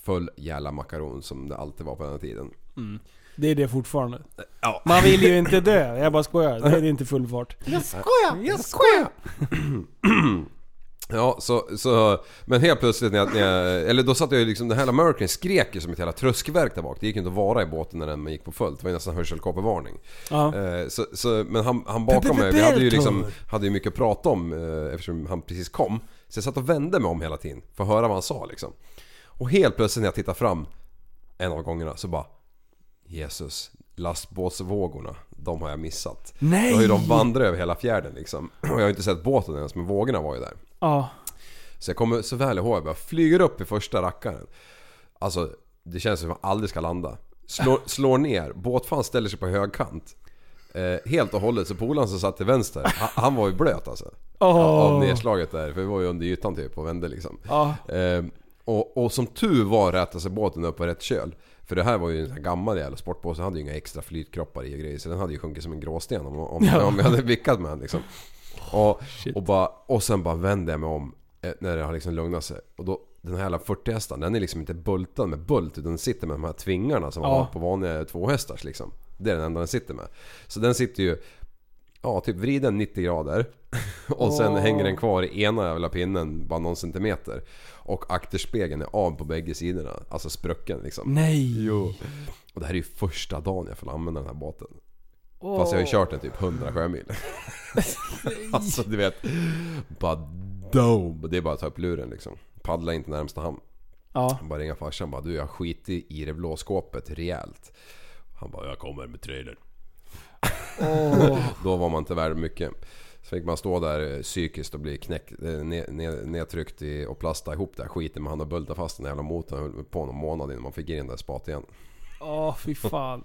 Speaker 10: Full jävla makaron som det alltid var på den här tiden.
Speaker 9: Mm. Det är det fortfarande.
Speaker 10: Ja.
Speaker 9: Man vill ju inte dö. Jag bara skojar. Det är inte full fart.
Speaker 10: Jag
Speaker 9: skojar! Jag skojar!
Speaker 10: Ja, så, så, men helt plötsligt när jag, när jag, eller då satt jag ju liksom, den här American skrek ju som ett jävla tröskverk där bak. Det gick ju inte att vara i båten när den gick på fullt. Det var ju nästan hörselkåpevarning.
Speaker 9: Ja.
Speaker 10: Eh, Så, så, men han, han bakom mig, vi hade ju liksom, hade ju mycket att prata om eh, eftersom han precis kom. Så jag satt och vände mig om hela tiden för att höra vad han sa liksom. Och helt plötsligt när jag tittar fram en av gångerna så bara Jesus, lastbåtsvågorna, de har jag missat.
Speaker 9: Nej!
Speaker 10: Då har ju de vandrat över hela fjärden liksom. [CLEARS THROAT] Och jag har ju inte sett båten ens men vågorna var ju där.
Speaker 9: Ja.
Speaker 10: Så jag kommer så väl ihåg, jag bara flyger upp i första rackaren. Alltså, det känns som att jag aldrig ska landa. Slår, slår ner, båtfan ställer sig på högkant. Eh, helt och hållet, så polaren som satt till vänster, han, han var ju blöt alltså.
Speaker 9: Åh.
Speaker 10: Av nedslaget där, för vi var ju under ytan typ och vände liksom.
Speaker 9: Ja.
Speaker 10: Eh, och, och som tur var rätade sig båten upp på rätt köl. För det här var ju en sån här gammal jävla sportbåt, den hade ju inga extra flytkroppar i och grejer. Så den hade ju sjunkit som en gråsten om, om,
Speaker 16: Ja.
Speaker 10: om jag hade vickat med den liksom. Och, och, bara, och sen bara vände jag mig om eh, när det har liksom lugnat sig. Och då, den här jävla 40 hästen den är liksom inte bultad med bult utan den sitter med de här tvingarna som man
Speaker 16: Ja.
Speaker 10: har på vanliga tvåhästars liksom. Det är den enda den sitter med. Så den sitter ju, ja typ vriden 90 grader. [LAUGHS] Och sen
Speaker 16: Åh.
Speaker 10: hänger den kvar i ena jävla pinnen bara någon centimeter. Och akterspegeln är av på bägge sidorna. Alltså sprucken liksom.
Speaker 9: Nej.
Speaker 10: Jo. Och det här är ju första dagen jag får använda den här båten. Fast jag har ju kört den typ 100
Speaker 9: [LAUGHS]
Speaker 10: sjömil. alltså du vet. Bara dome. Det är bara att ta upp luren liksom. Paddla inte närmsta hamn.
Speaker 9: Ja.
Speaker 10: Bara ringa farsan bara du jag skiter i det blå skåpet rejält. Han bara jag kommer med trailern.
Speaker 9: Åh.
Speaker 10: Då var man inte värd mycket. Så fick man stå där eh, psykiskt och bli knäckt, eh, ne- ne- nedtryckt i, och plasta ihop den här skiten med hand och bulta fast den jävla motorn. Höll på någon månad innan man fick in den där spat igen.
Speaker 9: Åh, fy fan.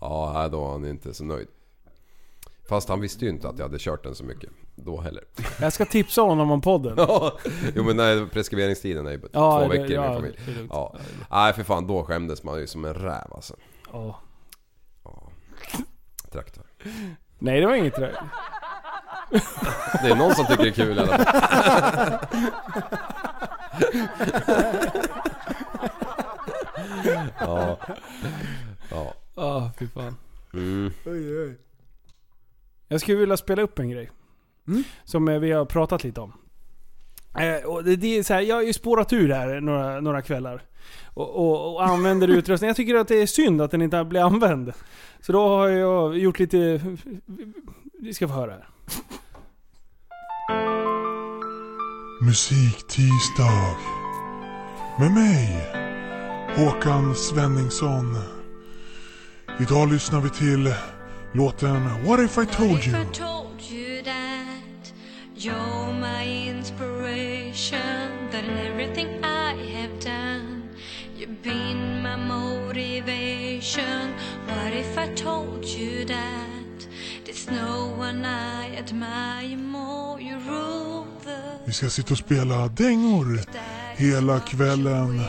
Speaker 10: Ja, nej, då var han inte så nöjd. Fast han visste ju inte att jag hade kört den så mycket då heller.
Speaker 9: Jag ska tipsa honom om podden.
Speaker 10: Ja, [LAUGHS] jo men nej, preskriberingstiden är ju bara
Speaker 9: Ja,
Speaker 10: två
Speaker 9: det-
Speaker 10: veckor i
Speaker 9: ja,
Speaker 10: min familj.
Speaker 9: det är lugnt.
Speaker 10: Ja. Nej för fan, då skämdes man ju som en räv alltså.
Speaker 9: Ja.
Speaker 10: Traktor.
Speaker 9: Nej, det var inget trög.
Speaker 10: Det är någon som tycker det är kul i
Speaker 9: [LAUGHS]
Speaker 10: alla fall. Ja. Ja.
Speaker 9: Ja, Ah, fy fan.
Speaker 10: Mm.
Speaker 6: Oj, oj.
Speaker 9: Jag skulle vilja spela upp en grej. Som eh, vi har pratat lite om. Eh, och det, det är så här, jag har ju spårat ur här några, några kvällar. Och, och, och använder utrustning. Jag tycker att det är synd att den inte blir använd. Så då har jag gjort lite... Vi ska få höra här.
Speaker 11: Musiktisdag. Med mig, Håkan Svenningsson. Idag lyssnar vi till låten What If I Told You.
Speaker 17: If I told you that you're my inspiration, that in everything I have done, you've been my motivation. What if I told you that there's no one I admire more? You rule the
Speaker 11: Vi ska sitta och spela dängor hela kvällen.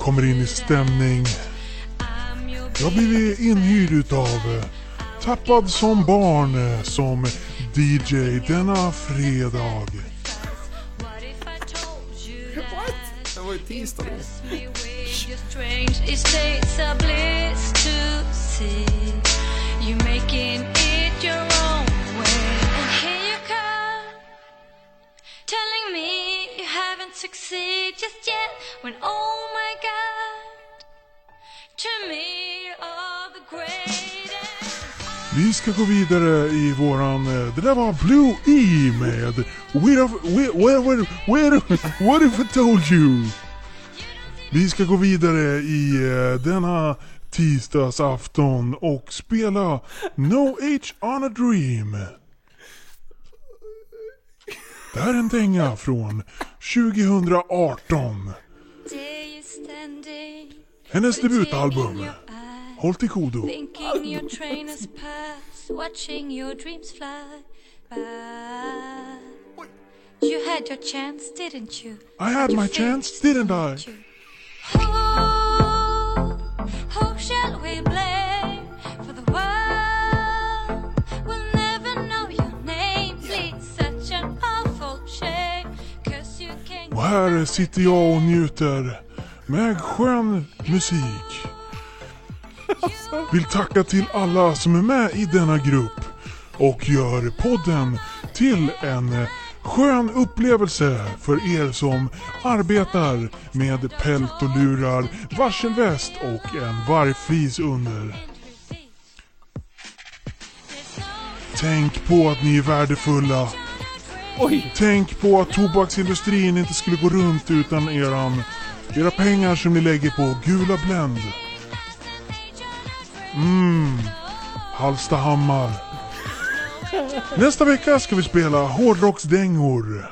Speaker 11: Kommer in i stämning. Jag har blivit inhyrd utav eh, Tappad som barn eh, som DJ denna fredag.
Speaker 10: Det var ju tisdag
Speaker 17: You're strange, it states a bliss to see. You're making it your own way. And here you come, telling can't succeed just yet when oh my god to me all the greatest
Speaker 11: Vi ska gå vidare i våran... eh, Det där var Blue E med Where have... Where... Where... Where... where what if I told you? Vi ska gå vidare i eh, denna tisdagsafton och spela No Age on a Dream. Det här är en dänga från 2018.
Speaker 17: day you're standing
Speaker 11: Hennes debutalbum. Håll till godo.
Speaker 17: Thinking your train has passed, watching your dreams fly by. You had your chance, didn't you?
Speaker 11: I had my chance, didn't I?
Speaker 17: Who shall we blame for the world? We'll never know your name. It's such an awful shame. Cause you can
Speaker 11: Och här sitter jag och njuter med skön musik. Vill tacka till alla som är med i denna grupp och gör podden till en eh, skön upplevelse för er som arbetar med pält och lurar, varselväst och en vargflis under. Tänk på att ni är värdefulla. Tänk på att tobaksindustrin inte skulle gå runt utan eran, era pengar som ni lägger på Gula Blend. Mm, Hallstahammar. Nästa vecka ska vi spela hårdrocksdängor.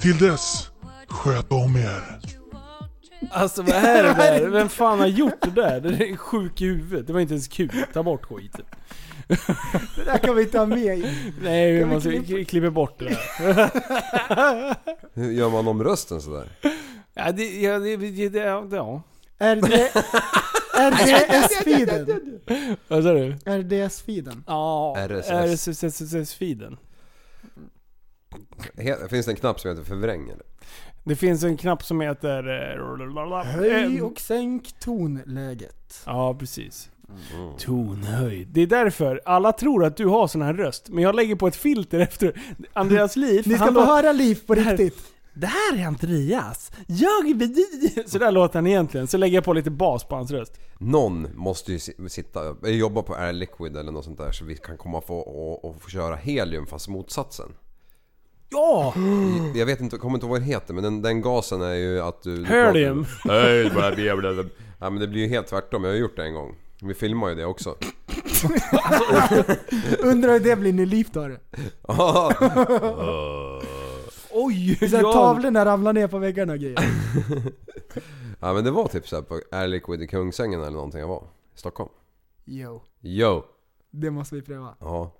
Speaker 11: Till dess, sköt om er.
Speaker 9: Alltså vad är det där? Vem fan har gjort det där? Det är sjuk i huvudet. Det var inte ens kul. Ta bort skiten.
Speaker 6: Det där kan vi inte ha med i.
Speaker 9: Nej, vi
Speaker 6: Kan vi
Speaker 9: måste klippa?
Speaker 6: klippa? [LAUGHS]
Speaker 9: bort det där.
Speaker 10: Hur gör man om rösten sådär?
Speaker 9: ja, det, ja, det, det, det, ja.
Speaker 6: RD,
Speaker 9: [LAUGHS]
Speaker 6: RDS-feeden.
Speaker 9: Vad sa du?
Speaker 6: RDS-feeden.
Speaker 9: Ja,
Speaker 10: RSS.
Speaker 9: RSS-feeden.
Speaker 10: He- Finns det en knapp som heter förvräng eller?
Speaker 9: Det finns en knapp som heter... eh,
Speaker 6: Höj och sänk tonläget.
Speaker 9: Ja, precis. Tonhöjd. Det är därför alla tror att du har sån här röst, men jag lägger på ett filter efter Andreas liv.
Speaker 6: Ni ska
Speaker 9: han
Speaker 6: få
Speaker 9: lå-
Speaker 6: höra Liv på
Speaker 9: Det här-
Speaker 6: riktigt.
Speaker 9: Det här är Andreas. Jag är bedi- Så där låter han [LAUGHS] egentligen. Så lägger jag på lite bas på hans röst.
Speaker 10: Någon måste ju si- sitta, eh, jobba på Air Liquid eller något sånt där så vi kan komma få, och, och få köra helium fast motsatsen.
Speaker 9: Ja!
Speaker 10: Jag vet inte, kommer inte ihåg vad det heter men den, den gasen är ju att du... du
Speaker 9: Helium.
Speaker 10: pratar- Nej, det bara blir- blir- blir. Ja men det blir ju helt tvärtom, jag har gjort det en gång. Vi filmar ju det
Speaker 9: [LAUGHS]
Speaker 10: också.
Speaker 6: [LAUGHS] Undrar hur det blir när Liv tar det.
Speaker 10: Ja.
Speaker 9: [LAUGHS] Oj!
Speaker 6: Så här, tavlorna ramlar ner på väggarna och grejer.
Speaker 10: ja men det var typ såhär på Air Liquid i Kungsängen eller någonting jag var. I Stockholm.
Speaker 6: Jo,
Speaker 10: Yo!
Speaker 6: det måste vi pröva. [LAUGHS]
Speaker 10: Ja.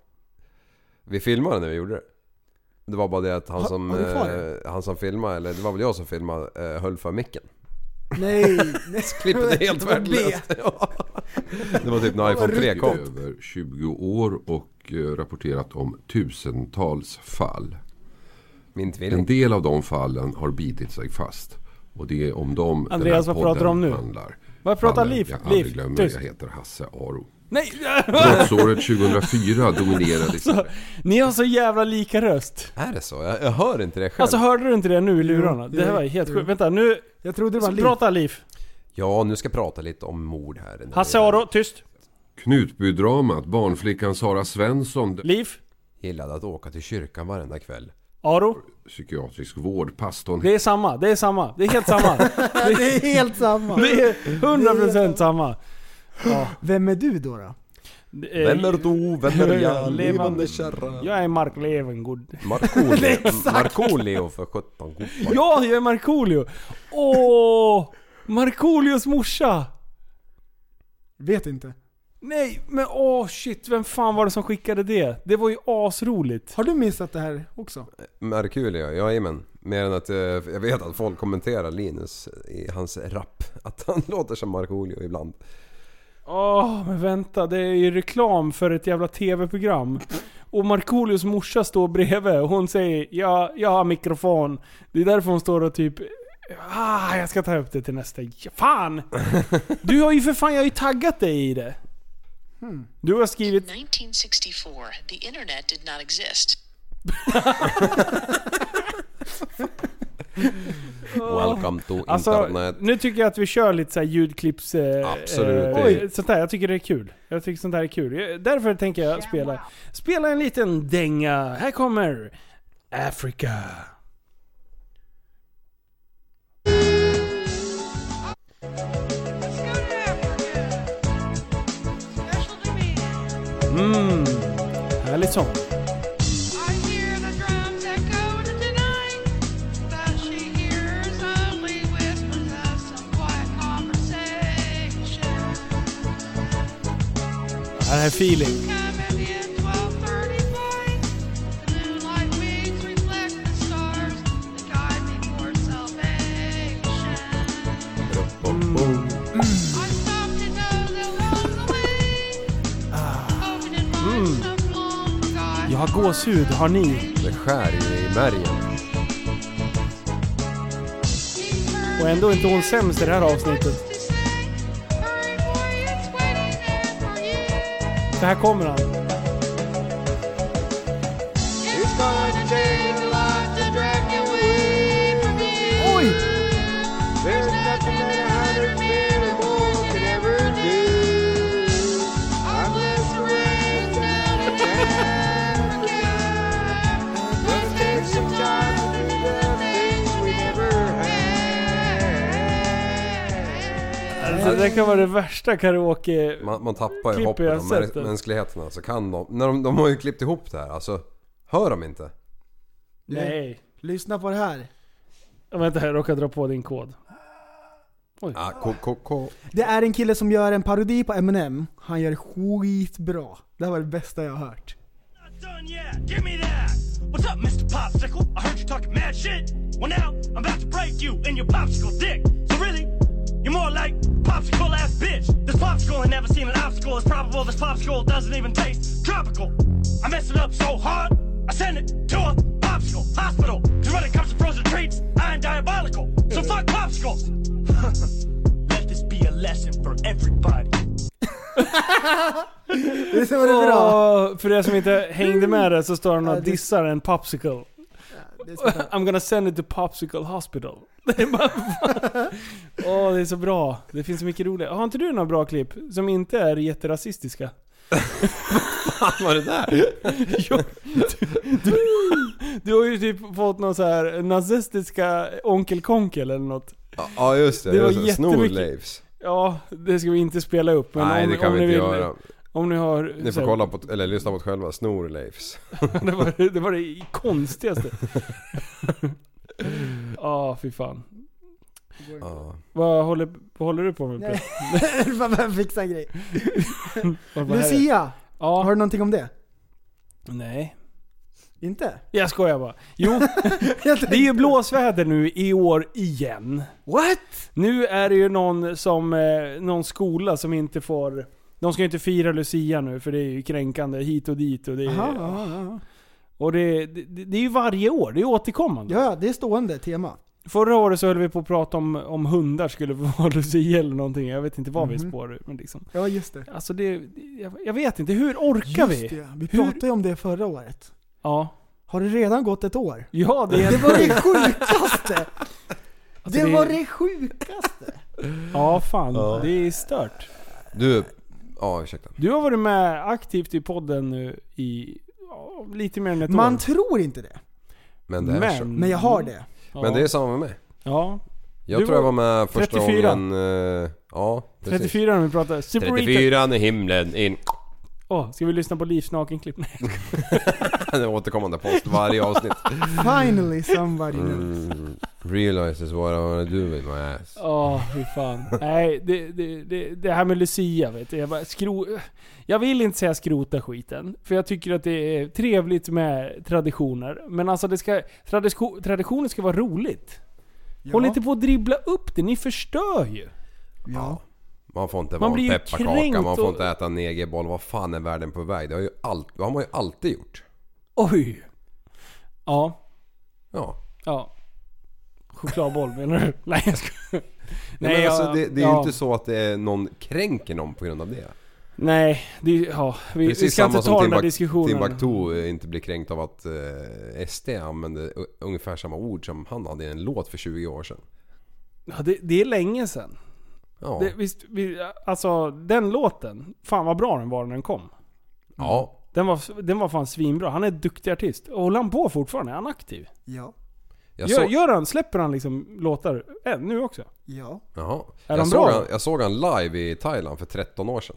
Speaker 10: Vi filmade när vi gjorde det. Det var bara det att han
Speaker 6: Har-
Speaker 10: som,
Speaker 6: har du kvar
Speaker 10: eh, han som filmade, eller det var väl jag som filmade, eh, höll för micken. [LAUGHS]
Speaker 6: Nej, nej.
Speaker 10: Klippet är helt
Speaker 6: Vad det?
Speaker 10: värdelöst. Ja.
Speaker 16: Det var typ när
Speaker 10: iPhone 3 kom.
Speaker 16: Över 20 år och eh, rapporterat om tusentals fall.
Speaker 10: Min
Speaker 16: en del av de fallen har bitit sig fast. Och det är om dem den
Speaker 9: Andreas,
Speaker 16: här
Speaker 9: vad pratar du om
Speaker 16: podden
Speaker 9: nu?
Speaker 16: Handlar.
Speaker 9: Vad pratar
Speaker 16: Mannen
Speaker 9: Liv?
Speaker 16: Jag
Speaker 9: Liv,
Speaker 16: aldrig glömmer,
Speaker 9: tyst.
Speaker 16: jag heter Hasse Aro.
Speaker 9: Nej!
Speaker 16: Brottsåret 2004 dominerades...
Speaker 9: Så, ni har så jävla lika röst.
Speaker 10: Är det så? Jag, jag hör inte det själv.
Speaker 9: Alltså hörde du inte det nu i lurarna?
Speaker 10: Jo,
Speaker 9: Det här
Speaker 10: jo,
Speaker 9: var helt
Speaker 10: jo.
Speaker 9: sjukt. Vänta nu...
Speaker 6: Jag trodde
Speaker 10: det var Liv.
Speaker 9: Prata Liv.
Speaker 10: Ja, nu ska jag prata lite om mord här.
Speaker 9: Hasse Aro, tyst.
Speaker 16: Knutbydramat, barnflickan Sara Svensson...
Speaker 9: Liv?
Speaker 10: Gillade att åka till kyrkan varenda kväll.
Speaker 9: Aro?
Speaker 16: Psykiatrisk vård, pastorn...
Speaker 9: Det är samma, det är samma. Det är helt samma.
Speaker 6: [LAUGHS] Det är helt samma.
Speaker 9: Det är 100% samma. Ja.
Speaker 6: Vem är du då? då?
Speaker 9: Vem är
Speaker 10: du?
Speaker 9: Vem är [LAUGHS] jag? Levande
Speaker 10: kärra.
Speaker 9: Jag är Mark Levengood. [LAUGHS]
Speaker 10: Markoolio.
Speaker 9: Exakt.
Speaker 10: Markoolio för 17 gubbar.
Speaker 9: [LAUGHS] Ja, jag är Markoolio! Åh! Markoolios morsa!
Speaker 6: Vet inte.
Speaker 9: Nej, men åh shit. Vem fan var det som skickade det? Det var ju asroligt.
Speaker 6: Har du missat det här också?
Speaker 10: Merkulio, jajamän. Mer än att eh, jag vet att folk kommenterar Linus i hans rap. Att han [LAUGHS] låter som Markoolio ibland.
Speaker 9: Åh, men vänta. Det är ju reklam för ett jävla tv-program. Och Markoolios morsa står bredvid och hon säger ja, jag har mikrofon. Det är därför hon står och typ Ah, jag ska ta upp det till nästa... Ja, Fan! Du har ju för fan, jag har ju taggat dig i det. Du har
Speaker 16: [LAUGHS]
Speaker 9: skrivit
Speaker 18: 1964, the internet did not exist.
Speaker 10: Welcome to
Speaker 9: Alltså,
Speaker 10: internet.
Speaker 9: nu tycker jag att vi kör lite så här ljudklipps... Eh,
Speaker 10: Absolut,
Speaker 9: Eh,
Speaker 10: det-
Speaker 9: sånt där. Jag tycker det är kul. Jag tycker sånt där är kul. Jag, därför tänker jag spela, spela en liten dänga. Här kommer Africa. Mm, härlig sång. Det här är feeling.
Speaker 6: Ah.
Speaker 9: Mm. Jag har gåshud, har ni?
Speaker 10: Det skär i märgen.
Speaker 9: Och ändå är inte hon sämst i det här avsnittet.
Speaker 4: Mm.
Speaker 9: Så här kommer han.
Speaker 4: Oj! There's nothing that a hundred men or more could ever do. Unless the rain's down in Africa. Let's take some time to do the things we never had.
Speaker 9: Alltså, det kan vara det värsta karaoke...
Speaker 10: Man, man tappar ju
Speaker 9: Klipp i
Speaker 10: hoppet om
Speaker 9: sättet.
Speaker 10: mä- mänskligheten alltså. Kan de? När de, de har ju klippt ihop det här alltså. Hör de inte?
Speaker 9: Nej.
Speaker 6: Lyssna på det här.
Speaker 9: Vänta, jag råkade dra på din kod.
Speaker 10: Ah, ko, ko,
Speaker 6: [LAUGHS]
Speaker 10: ko.
Speaker 6: Det är en kille som gör en parodi på Eminem. Han gör det skitbra. Det här var det bästa jag har hört.
Speaker 8: Give me that. What's up, Mr. Popsicle? I heard you talking mad shit. Well, now I'm about to break you and your popsicle dick. So, really, you're more like popsicle ass bitch. This popsicle ain't never seen an obstacle. It's probable this popsicle doesn't even taste tropical. I messed it up so hard, I sent it to a popsicle hospital. Cause when it comes to frozen treats, I am diabolical. So, fuck popsicles. [LAUGHS] Let this be a lesson for everybody.
Speaker 6: Visst var det bra?
Speaker 9: Åh, För er som inte hängde med det så står han och dissar en popsicle. I'm gonna send it to Popsicle Hospital. Det är bara... Åh, det är så bra. Det finns så mycket roliga. Har inte du några bra klipp som inte är jätterasistiska?
Speaker 10: Fan var det där?
Speaker 9: jo, du, du, du har ju typ fått någon så här nazistiska Onkel Konkel eller något.
Speaker 10: Ja just det,
Speaker 9: Det
Speaker 10: det
Speaker 9: var
Speaker 10: var
Speaker 9: jättemycket-
Speaker 10: Snorleifs.
Speaker 9: Ja, det ska vi inte spela upp. Men
Speaker 10: Nej
Speaker 9: om,
Speaker 10: det kan vi
Speaker 9: om ni
Speaker 10: inte
Speaker 9: vill,
Speaker 10: göra.
Speaker 9: Om ni har...
Speaker 10: Ni
Speaker 9: så
Speaker 10: får
Speaker 9: här-
Speaker 10: kolla på, eller lyssna på det själva, Snorleifs.
Speaker 9: det, var, det var det
Speaker 6: [LAUGHS]
Speaker 9: konstigaste. Ja, fy fan.
Speaker 10: Ja.
Speaker 9: Vad håller, vad håller du på med
Speaker 6: Nej.
Speaker 9: Peter?
Speaker 6: Fan, [LAUGHS] jag fixar en grej.
Speaker 9: [LAUGHS] Vad var det här?
Speaker 6: Lucia,
Speaker 9: ja.
Speaker 6: har du någonting om det?
Speaker 9: Nej.
Speaker 6: Inte?
Speaker 9: Jag skojar bara.
Speaker 6: [LAUGHS]
Speaker 9: Jo, det är ju blåsväder nu i år igen.
Speaker 6: What?
Speaker 9: Nu är det ju någon, som, eh, någon skola som inte får... De ska ju inte fira Lucia nu för det är ju kränkande hit och dit och det är...
Speaker 6: Aha, ja, ja.
Speaker 9: Och det, det, det är ju varje år, det är återkommande.
Speaker 6: Ja, det är stående tema.
Speaker 9: Förra året så höll vi på att prata om, om hundar skulle [LAUGHS] få vara lucia eller någonting. Jag vet inte vad vi
Speaker 6: Mhm.
Speaker 9: spårar ur, men liksom.
Speaker 6: Ja, just det.
Speaker 9: Alltså det, jag, jag vet inte, hur orkar vi?
Speaker 6: Just det, vi pratade ju om det förra året.
Speaker 9: Ja.
Speaker 6: Har det redan gått ett år?
Speaker 9: Ja, det är
Speaker 6: Det var det sjukaste!
Speaker 9: [LAUGHS] Alltså,
Speaker 6: det
Speaker 9: det-
Speaker 6: var det sjukaste!
Speaker 9: Ja, fan.
Speaker 10: Ja.
Speaker 9: Det är stört.
Speaker 10: Du, ja ursäkta.
Speaker 9: Du har varit med aktivt i podden nu i ja, lite mer än ett
Speaker 6: Man
Speaker 9: år.
Speaker 6: tror inte det.
Speaker 10: Men det är
Speaker 9: Men-
Speaker 10: så.
Speaker 6: Men jag har det.
Speaker 10: Men det är samma med mig.
Speaker 9: Ja.
Speaker 10: Jag
Speaker 9: Du
Speaker 10: tror jag
Speaker 9: var
Speaker 10: var med första
Speaker 9: 34.
Speaker 10: gången... eh, ja, precis.
Speaker 9: 34 när vi pratade. Super 34.
Speaker 10: 34 i himlen in.
Speaker 9: Åh, ska vi lyssna på Livs nakenklipp? Nej, jag skojar.
Speaker 10: [LAUGHS] Det är återkommande post varje avsnitt.
Speaker 6: Finally somebody knows.
Speaker 10: Mm, realizes what I wanna do with my ass.
Speaker 9: Ja, fy fan. Nej, det, det, det, det här med Lucia vet du. Jag, bara, skro... jag vill inte säga skrota skiten. För jag tycker att det är trevligt med traditioner. Men alltså det ska, tradisko, traditioner ska vara roligt. Håll inte på att dribbla upp det, ni förstör ju.
Speaker 6: Ja.
Speaker 10: Man får inte
Speaker 9: Man
Speaker 10: vara
Speaker 9: blir
Speaker 10: en
Speaker 9: ju
Speaker 10: pepparkaka,
Speaker 9: kränkt
Speaker 10: man får
Speaker 9: och-
Speaker 10: inte äta en negerboll. Vad fan är världen på väg? Det har, ju allt, det har man ju alltid gjort.
Speaker 9: Oj. Ja.
Speaker 10: Ja.
Speaker 9: Ja. Chokladboll menar du? [LAUGHS] Nej jag skojar.
Speaker 10: Nej, men alltså, det, det är ju
Speaker 9: ja.
Speaker 10: inte så att det är någon kränker någon på grund av det.
Speaker 9: Nej, det, ja, vi, vi
Speaker 10: Precis
Speaker 9: ska
Speaker 10: samma
Speaker 9: inte ta
Speaker 10: som
Speaker 9: den här
Speaker 10: Timbuk-
Speaker 9: diskussionen.
Speaker 10: Timbuktu eh, inte blir kränkt av att eh, SD använde u- ungefär samma ord som han hade i en låt för 20 år sedan.
Speaker 9: Ja, det, det är länge sedan.
Speaker 10: Ja.
Speaker 9: Det, visst, vi, alltså den låten, fan vad bra den var när den kom.
Speaker 10: Ja.
Speaker 9: Den var, den var fan svinbra. Han är en duktig artist. Och håller han på fortfarande? Är han aktiv?
Speaker 6: Ja.
Speaker 10: Jag
Speaker 9: gör,
Speaker 10: såg-
Speaker 9: gör han, släpper han liksom låtar än nu också?
Speaker 6: Ja.
Speaker 10: Jaha.
Speaker 9: Är
Speaker 10: jag,
Speaker 9: de
Speaker 10: såg
Speaker 9: bra?
Speaker 10: han, jag såg han live i Thailand för 13 år sedan.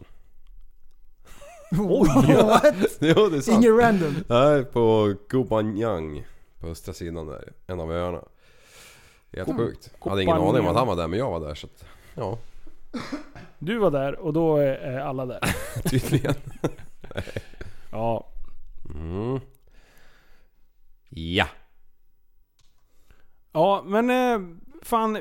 Speaker 6: Oj! [LAUGHS]
Speaker 10: [LAUGHS] jo, det är sant.
Speaker 6: Ingen random.
Speaker 10: Nej, på Koh Phangan. På östra sidan där. En av öarna. Helt
Speaker 9: Koh-
Speaker 10: sjukt. Jag
Speaker 9: Koh
Speaker 10: hade ingen aning om att
Speaker 9: Phangan.
Speaker 10: han var där, men jag var där så att, ja.
Speaker 9: Du var där och då är är alla där.
Speaker 10: [LAUGHS] Tydligen.
Speaker 9: ja.
Speaker 10: Mm. Ja.
Speaker 9: Ja, men eh, fan.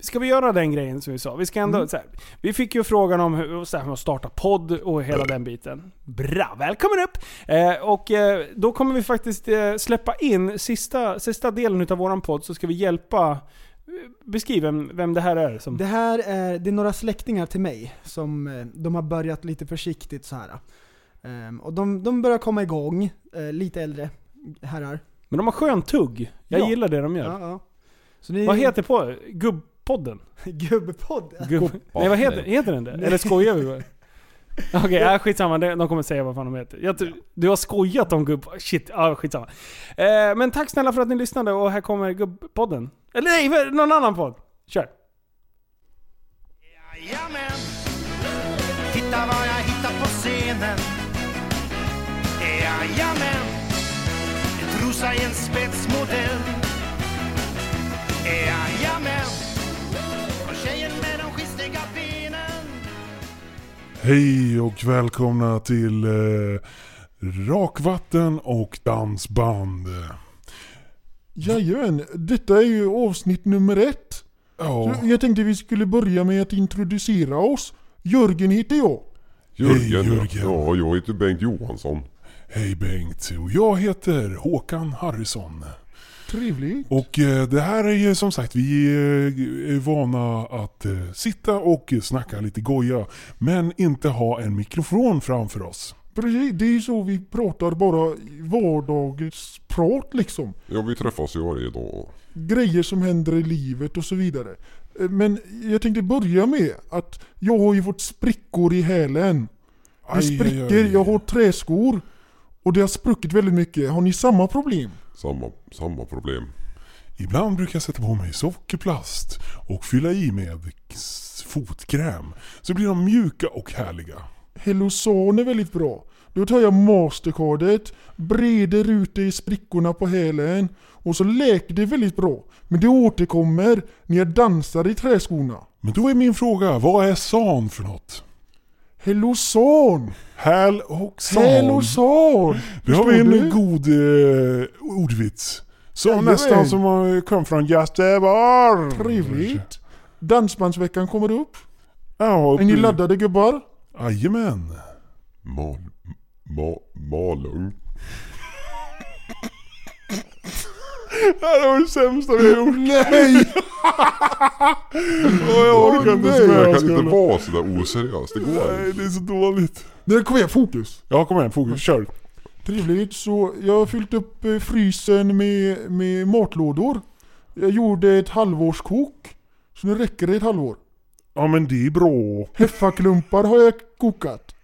Speaker 9: Ska vi göra den grejen som vi sa? Vi ska ändå
Speaker 13: Mm.
Speaker 9: så här, Vi fick ju frågan om hur, så här, hur man startar podd och hela den biten. Bra, välkommen upp! Eh, och eh, då kommer vi faktiskt eh, släppa in sista, sista delen utav våran podd så ska vi hjälpa... eh, Beskriv vem, vem det här är som...
Speaker 6: Det här är, det är några släktingar till mig som eh, de har börjat lite försiktigt så här. Ehm, Och de, de börjar komma igång, eh, lite äldre herrar.
Speaker 9: Men de har skön tugg. Jag
Speaker 6: Ja.
Speaker 9: gillar det de gör.
Speaker 6: Ja, ja. Så ni-
Speaker 9: Vad heter på? Gubbpodden?
Speaker 6: [LAUGHS] Gubbpodden?
Speaker 9: Gubb... Nej vad heter, heter den det?
Speaker 6: Nej.
Speaker 9: Eller skojar vi bara? Okej, ja. skitsamma. De de kommer säga vad fan de heter. Jag, tror- Du har skojat om gubb... Shit, ja, skitsamma. Eh, men tack snälla för att ni lyssnade och här kommer gubbpodden. Eller nej, vad- någon annan podd. Kör!
Speaker 8: Jajamän! Titta vad jag hittar på scenen Jajamän! En trosa i en spetsmodell Jajamän! Och tjejen med de schistiga benen
Speaker 11: Hej och välkomna till eh, Rakvatten och dansband.
Speaker 18: Jajamän, detta är ju avsnitt nummer ett.
Speaker 11: Ja.
Speaker 18: Så jag tänkte vi skulle börja med att introducera oss. Jörgen heter jag.
Speaker 11: Jörgen. Hej, Jörgen.
Speaker 12: Ja, jag heter Bengt Johansson.
Speaker 11: Hej Bengt och jag heter Håkan Harrison.
Speaker 18: Trevligt.
Speaker 11: Och eh, det här är ju som sagt, vi eh, är vana att eh, sitta och snacka lite goja men inte ha en mikrofon framför oss.
Speaker 18: Precis, det är ju så vi pratar bara i vardagens prat liksom.
Speaker 12: Ja, vi träffas ju varje dag.
Speaker 18: Grejer som händer i livet och så vidare. Eh, Men jag tänkte börja med att jag har ju fått sprickor i hälen. Det
Speaker 11: Aj, aj,
Speaker 18: spricker,
Speaker 11: aj.
Speaker 18: jag har träskor. Och det har spruckit väldigt mycket. Har ni samma problem?
Speaker 12: Samma, samma problem.
Speaker 11: Ibland brukar jag sätta på mig sockerplast och fylla i med s- fotkräm så blir de mjuka och härliga.
Speaker 18: Hellosan är väldigt bra. Då tar jag mastercardet, breder ut det i sprickorna på hälen och så läker det väldigt bra. Men det återkommer när jag dansar i träskorna.
Speaker 11: Men då är min fråga, vad är san för något?
Speaker 18: Hellosan!
Speaker 11: Häl och san.
Speaker 18: Hellosan!
Speaker 11: Nu har
Speaker 18: Förstår
Speaker 11: vi en
Speaker 18: du?
Speaker 11: god eh, ordvits. Som
Speaker 18: Jajamän.
Speaker 11: nästan som eh, kom från Göteborg.
Speaker 18: Trevligt. Dansbandsveckan kommer upp.
Speaker 11: Ja,
Speaker 18: Är ni laddade gubbar?
Speaker 11: Jajamän.
Speaker 12: Mal, ma, Malung.
Speaker 18: Det här var det sämsta vi har gjort.
Speaker 11: [LAUGHS] Nej!
Speaker 18: Åh, jag orkar inte ens med
Speaker 12: Jag
Speaker 18: oss,
Speaker 12: kan inte
Speaker 18: gubbar.
Speaker 12: vara sådär oseriös, det går
Speaker 18: Nej,
Speaker 12: inte.
Speaker 18: det är så dåligt. Nu kom igen, fokus.
Speaker 11: Ja, kom igen. Fokus. Kör.
Speaker 18: Trevligt, så jag har fyllt upp eh, frysen med, med matlådor. Jag gjorde ett halvårskok. Så nu räcker det ett halvår.
Speaker 11: Ja, men det är bra.
Speaker 18: Heffaklumpar har jag kokat. [LAUGHS]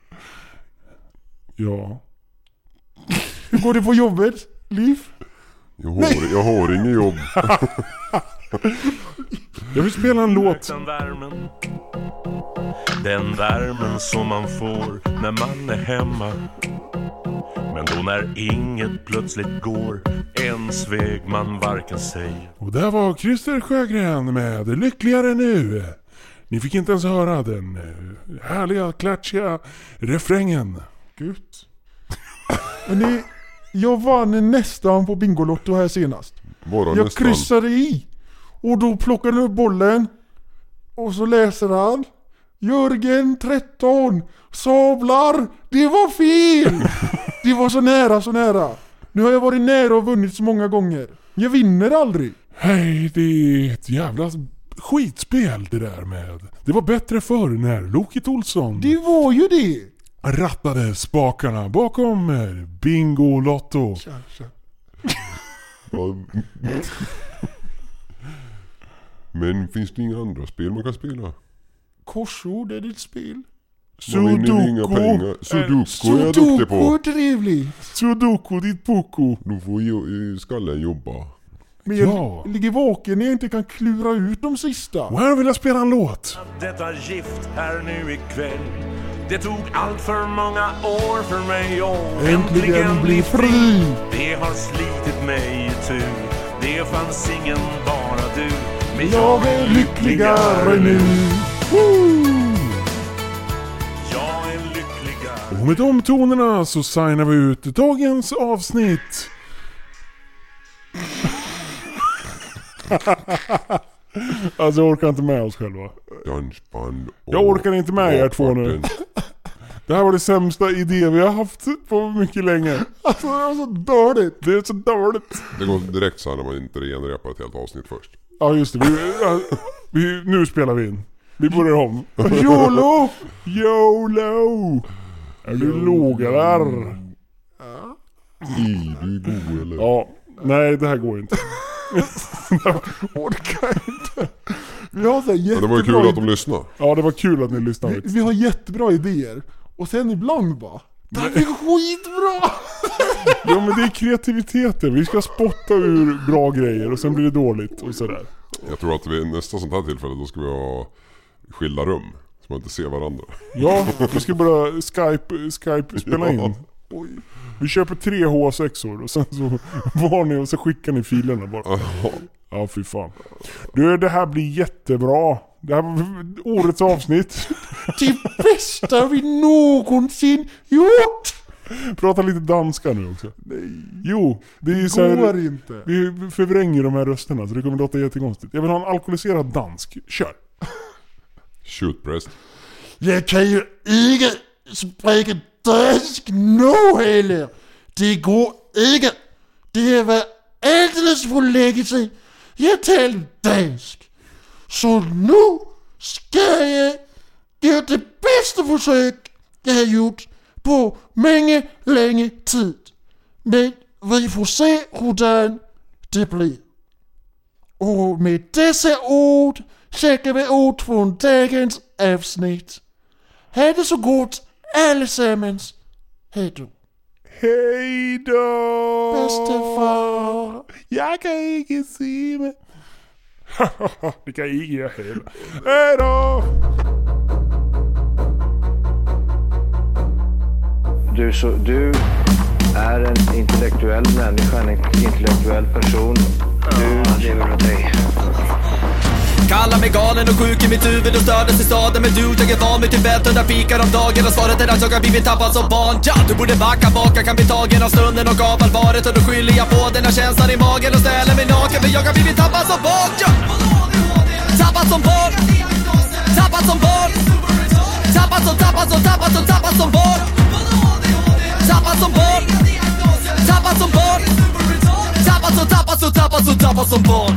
Speaker 11: Ja.
Speaker 18: Hur går det på jobbet, Liv?
Speaker 12: Jag har, jag har inget jobb.
Speaker 11: Jag vill spela en låt.
Speaker 15: Den värmen. Den värmen som man får när man är hemma. Men då när inget plötsligt går ens väg man varken säger.
Speaker 11: Och där var Christer Sjögren med Lyckligare nu. Ni fick inte ens höra den eh, härliga, klatschiga refrängen.
Speaker 18: Gud. Hörrni, jag vann nästan på Bingolotto här senast.
Speaker 12: Bara
Speaker 18: Jag
Speaker 12: nästan.
Speaker 18: kryssade i. Och då plockade han upp bollen. Och så läser han. Jörgen 13. Sablar. Det var fel. Det var så nära, så nära. Nu har jag varit nära och vunnit så många gånger. Jag vinner aldrig.
Speaker 11: Hej, det är ett jävla skitspel det där med. Det var bättre förr när Loket Olsson...
Speaker 18: Det var ju det.
Speaker 19: rattade spakarna bakom eh, Bingolotto.
Speaker 12: Ja. Men finns det inga andra spel man kan spela?
Speaker 20: Korsord är ditt spel.
Speaker 12: Man vinner ju inga pengar. Sudoku är jag duktig på.
Speaker 20: Sudoku är trevlig. Sudoku ditt poko.
Speaker 12: Då får ju, ju eh, skallen jobba.
Speaker 20: Men jag li- ligger vaken när jag inte kan klura ut de sista.
Speaker 19: Och här vill jag spela en låt.
Speaker 15: Detta gift är nu ikväll Det tog allt för många år för mig att
Speaker 19: Äntligen bli fri.
Speaker 15: Det har slitit mig i tur Det fanns ingen bara du Men
Speaker 19: Jag är lyckligare nu.
Speaker 15: Jag är lyckligare
Speaker 19: Och med de tonerna så signar vi ut dagens avsnitt.
Speaker 20: alltså jag orkar inte med oss själva.
Speaker 12: Dansband och...
Speaker 20: Jag orkar inte med er två nu. [LAUGHS] Det här var det sämsta idé vi har haft på mycket länge. Alltså det var så dåligt. Det är så dåligt.
Speaker 12: Det går direkt så här när man inte genrepar ett helt avsnitt först.
Speaker 20: Ja just det. Vi, ja, vi, nu spelar vi in. Vi börjar [LAUGHS] om.
Speaker 19: YOLO!
Speaker 20: YOLO! Är du låga där?
Speaker 12: Är du god eller?
Speaker 20: Ja. Nej det här går inte. [LAUGHS] Orkar inte. Vi har så här
Speaker 12: Men det var
Speaker 20: jättebra
Speaker 12: ju kul att de lyssnade.
Speaker 20: Ja, det var kul att ni lyssnade.
Speaker 12: Vi-
Speaker 20: Vi har jättebra idéer. Och sen ibland bara... Det här är skitbra!
Speaker 19: Ja men det är kreativiteten. Vi ska spotta ur bra grejer och sen blir det dåligt och sådär.
Speaker 12: Jag tror att vid nästa sånt här tillfälle då ska vi ha skilda rum. Så man inte ser varandra.
Speaker 19: Ja, vi ska börja Skype, Skype spela
Speaker 12: Ja.
Speaker 19: in. Vi köper tre H6or och sen så var ni och så skickar ni filerna bara. Ja fy fan. Du det här blir jättebra. Det här var årets avsnitt.
Speaker 20: Det bästa vi någonsin gjort!
Speaker 19: Prata lite danska nu också.
Speaker 20: Nej.
Speaker 19: Jo, det är ju
Speaker 20: Det
Speaker 19: så här-
Speaker 20: går inte.
Speaker 19: Vi förvränger de här rösterna så det kommer låta jättekonstigt. Jag vill ha en alkoholiserad dansk. Kör!
Speaker 12: Shootpress.
Speaker 19: Jag kan ju...
Speaker 20: Ikke sprække dansk nu heller. Det går ikke. Det var aldeles for længe siden. Jeg talte dansk. Så nu skal jeg give det bedste forsøg, jeg har gjort på mange længe tid. Men vi får se, hvordan det bliver. Og med disse ord, tjekker vi ud fra dagens afsnit. Ha det så godt allesammans. Hej då.
Speaker 19: Hej då!
Speaker 20: Bedstefar.
Speaker 19: Jag kan inte se mig. [LAUGHS] det kan inte jag heller. Hej då!
Speaker 3: Du, så, du är en intellektuell människa, en intellektuell person. Du lever av dig.
Speaker 1: Kallar mig galen och sjuk i mitt huvud och stördes i staden Men du, jag är van vid Tibet och där fikar om dagen Och svaret är att jag har blivit tappad som barn ja, Du borde backa bak, jag kan bli tagen av stunden och av allvaret Och då skyller jag på den här känslan i magen och ställer mig naken För jag har blivit tappad som barn ja. Tappad som barn Tappad som barn Tappad som, tappad som, tappad som, tappad som barn Tappad som barn Tappad som barn Tappad som, tappad som, tappad som, tappad som barn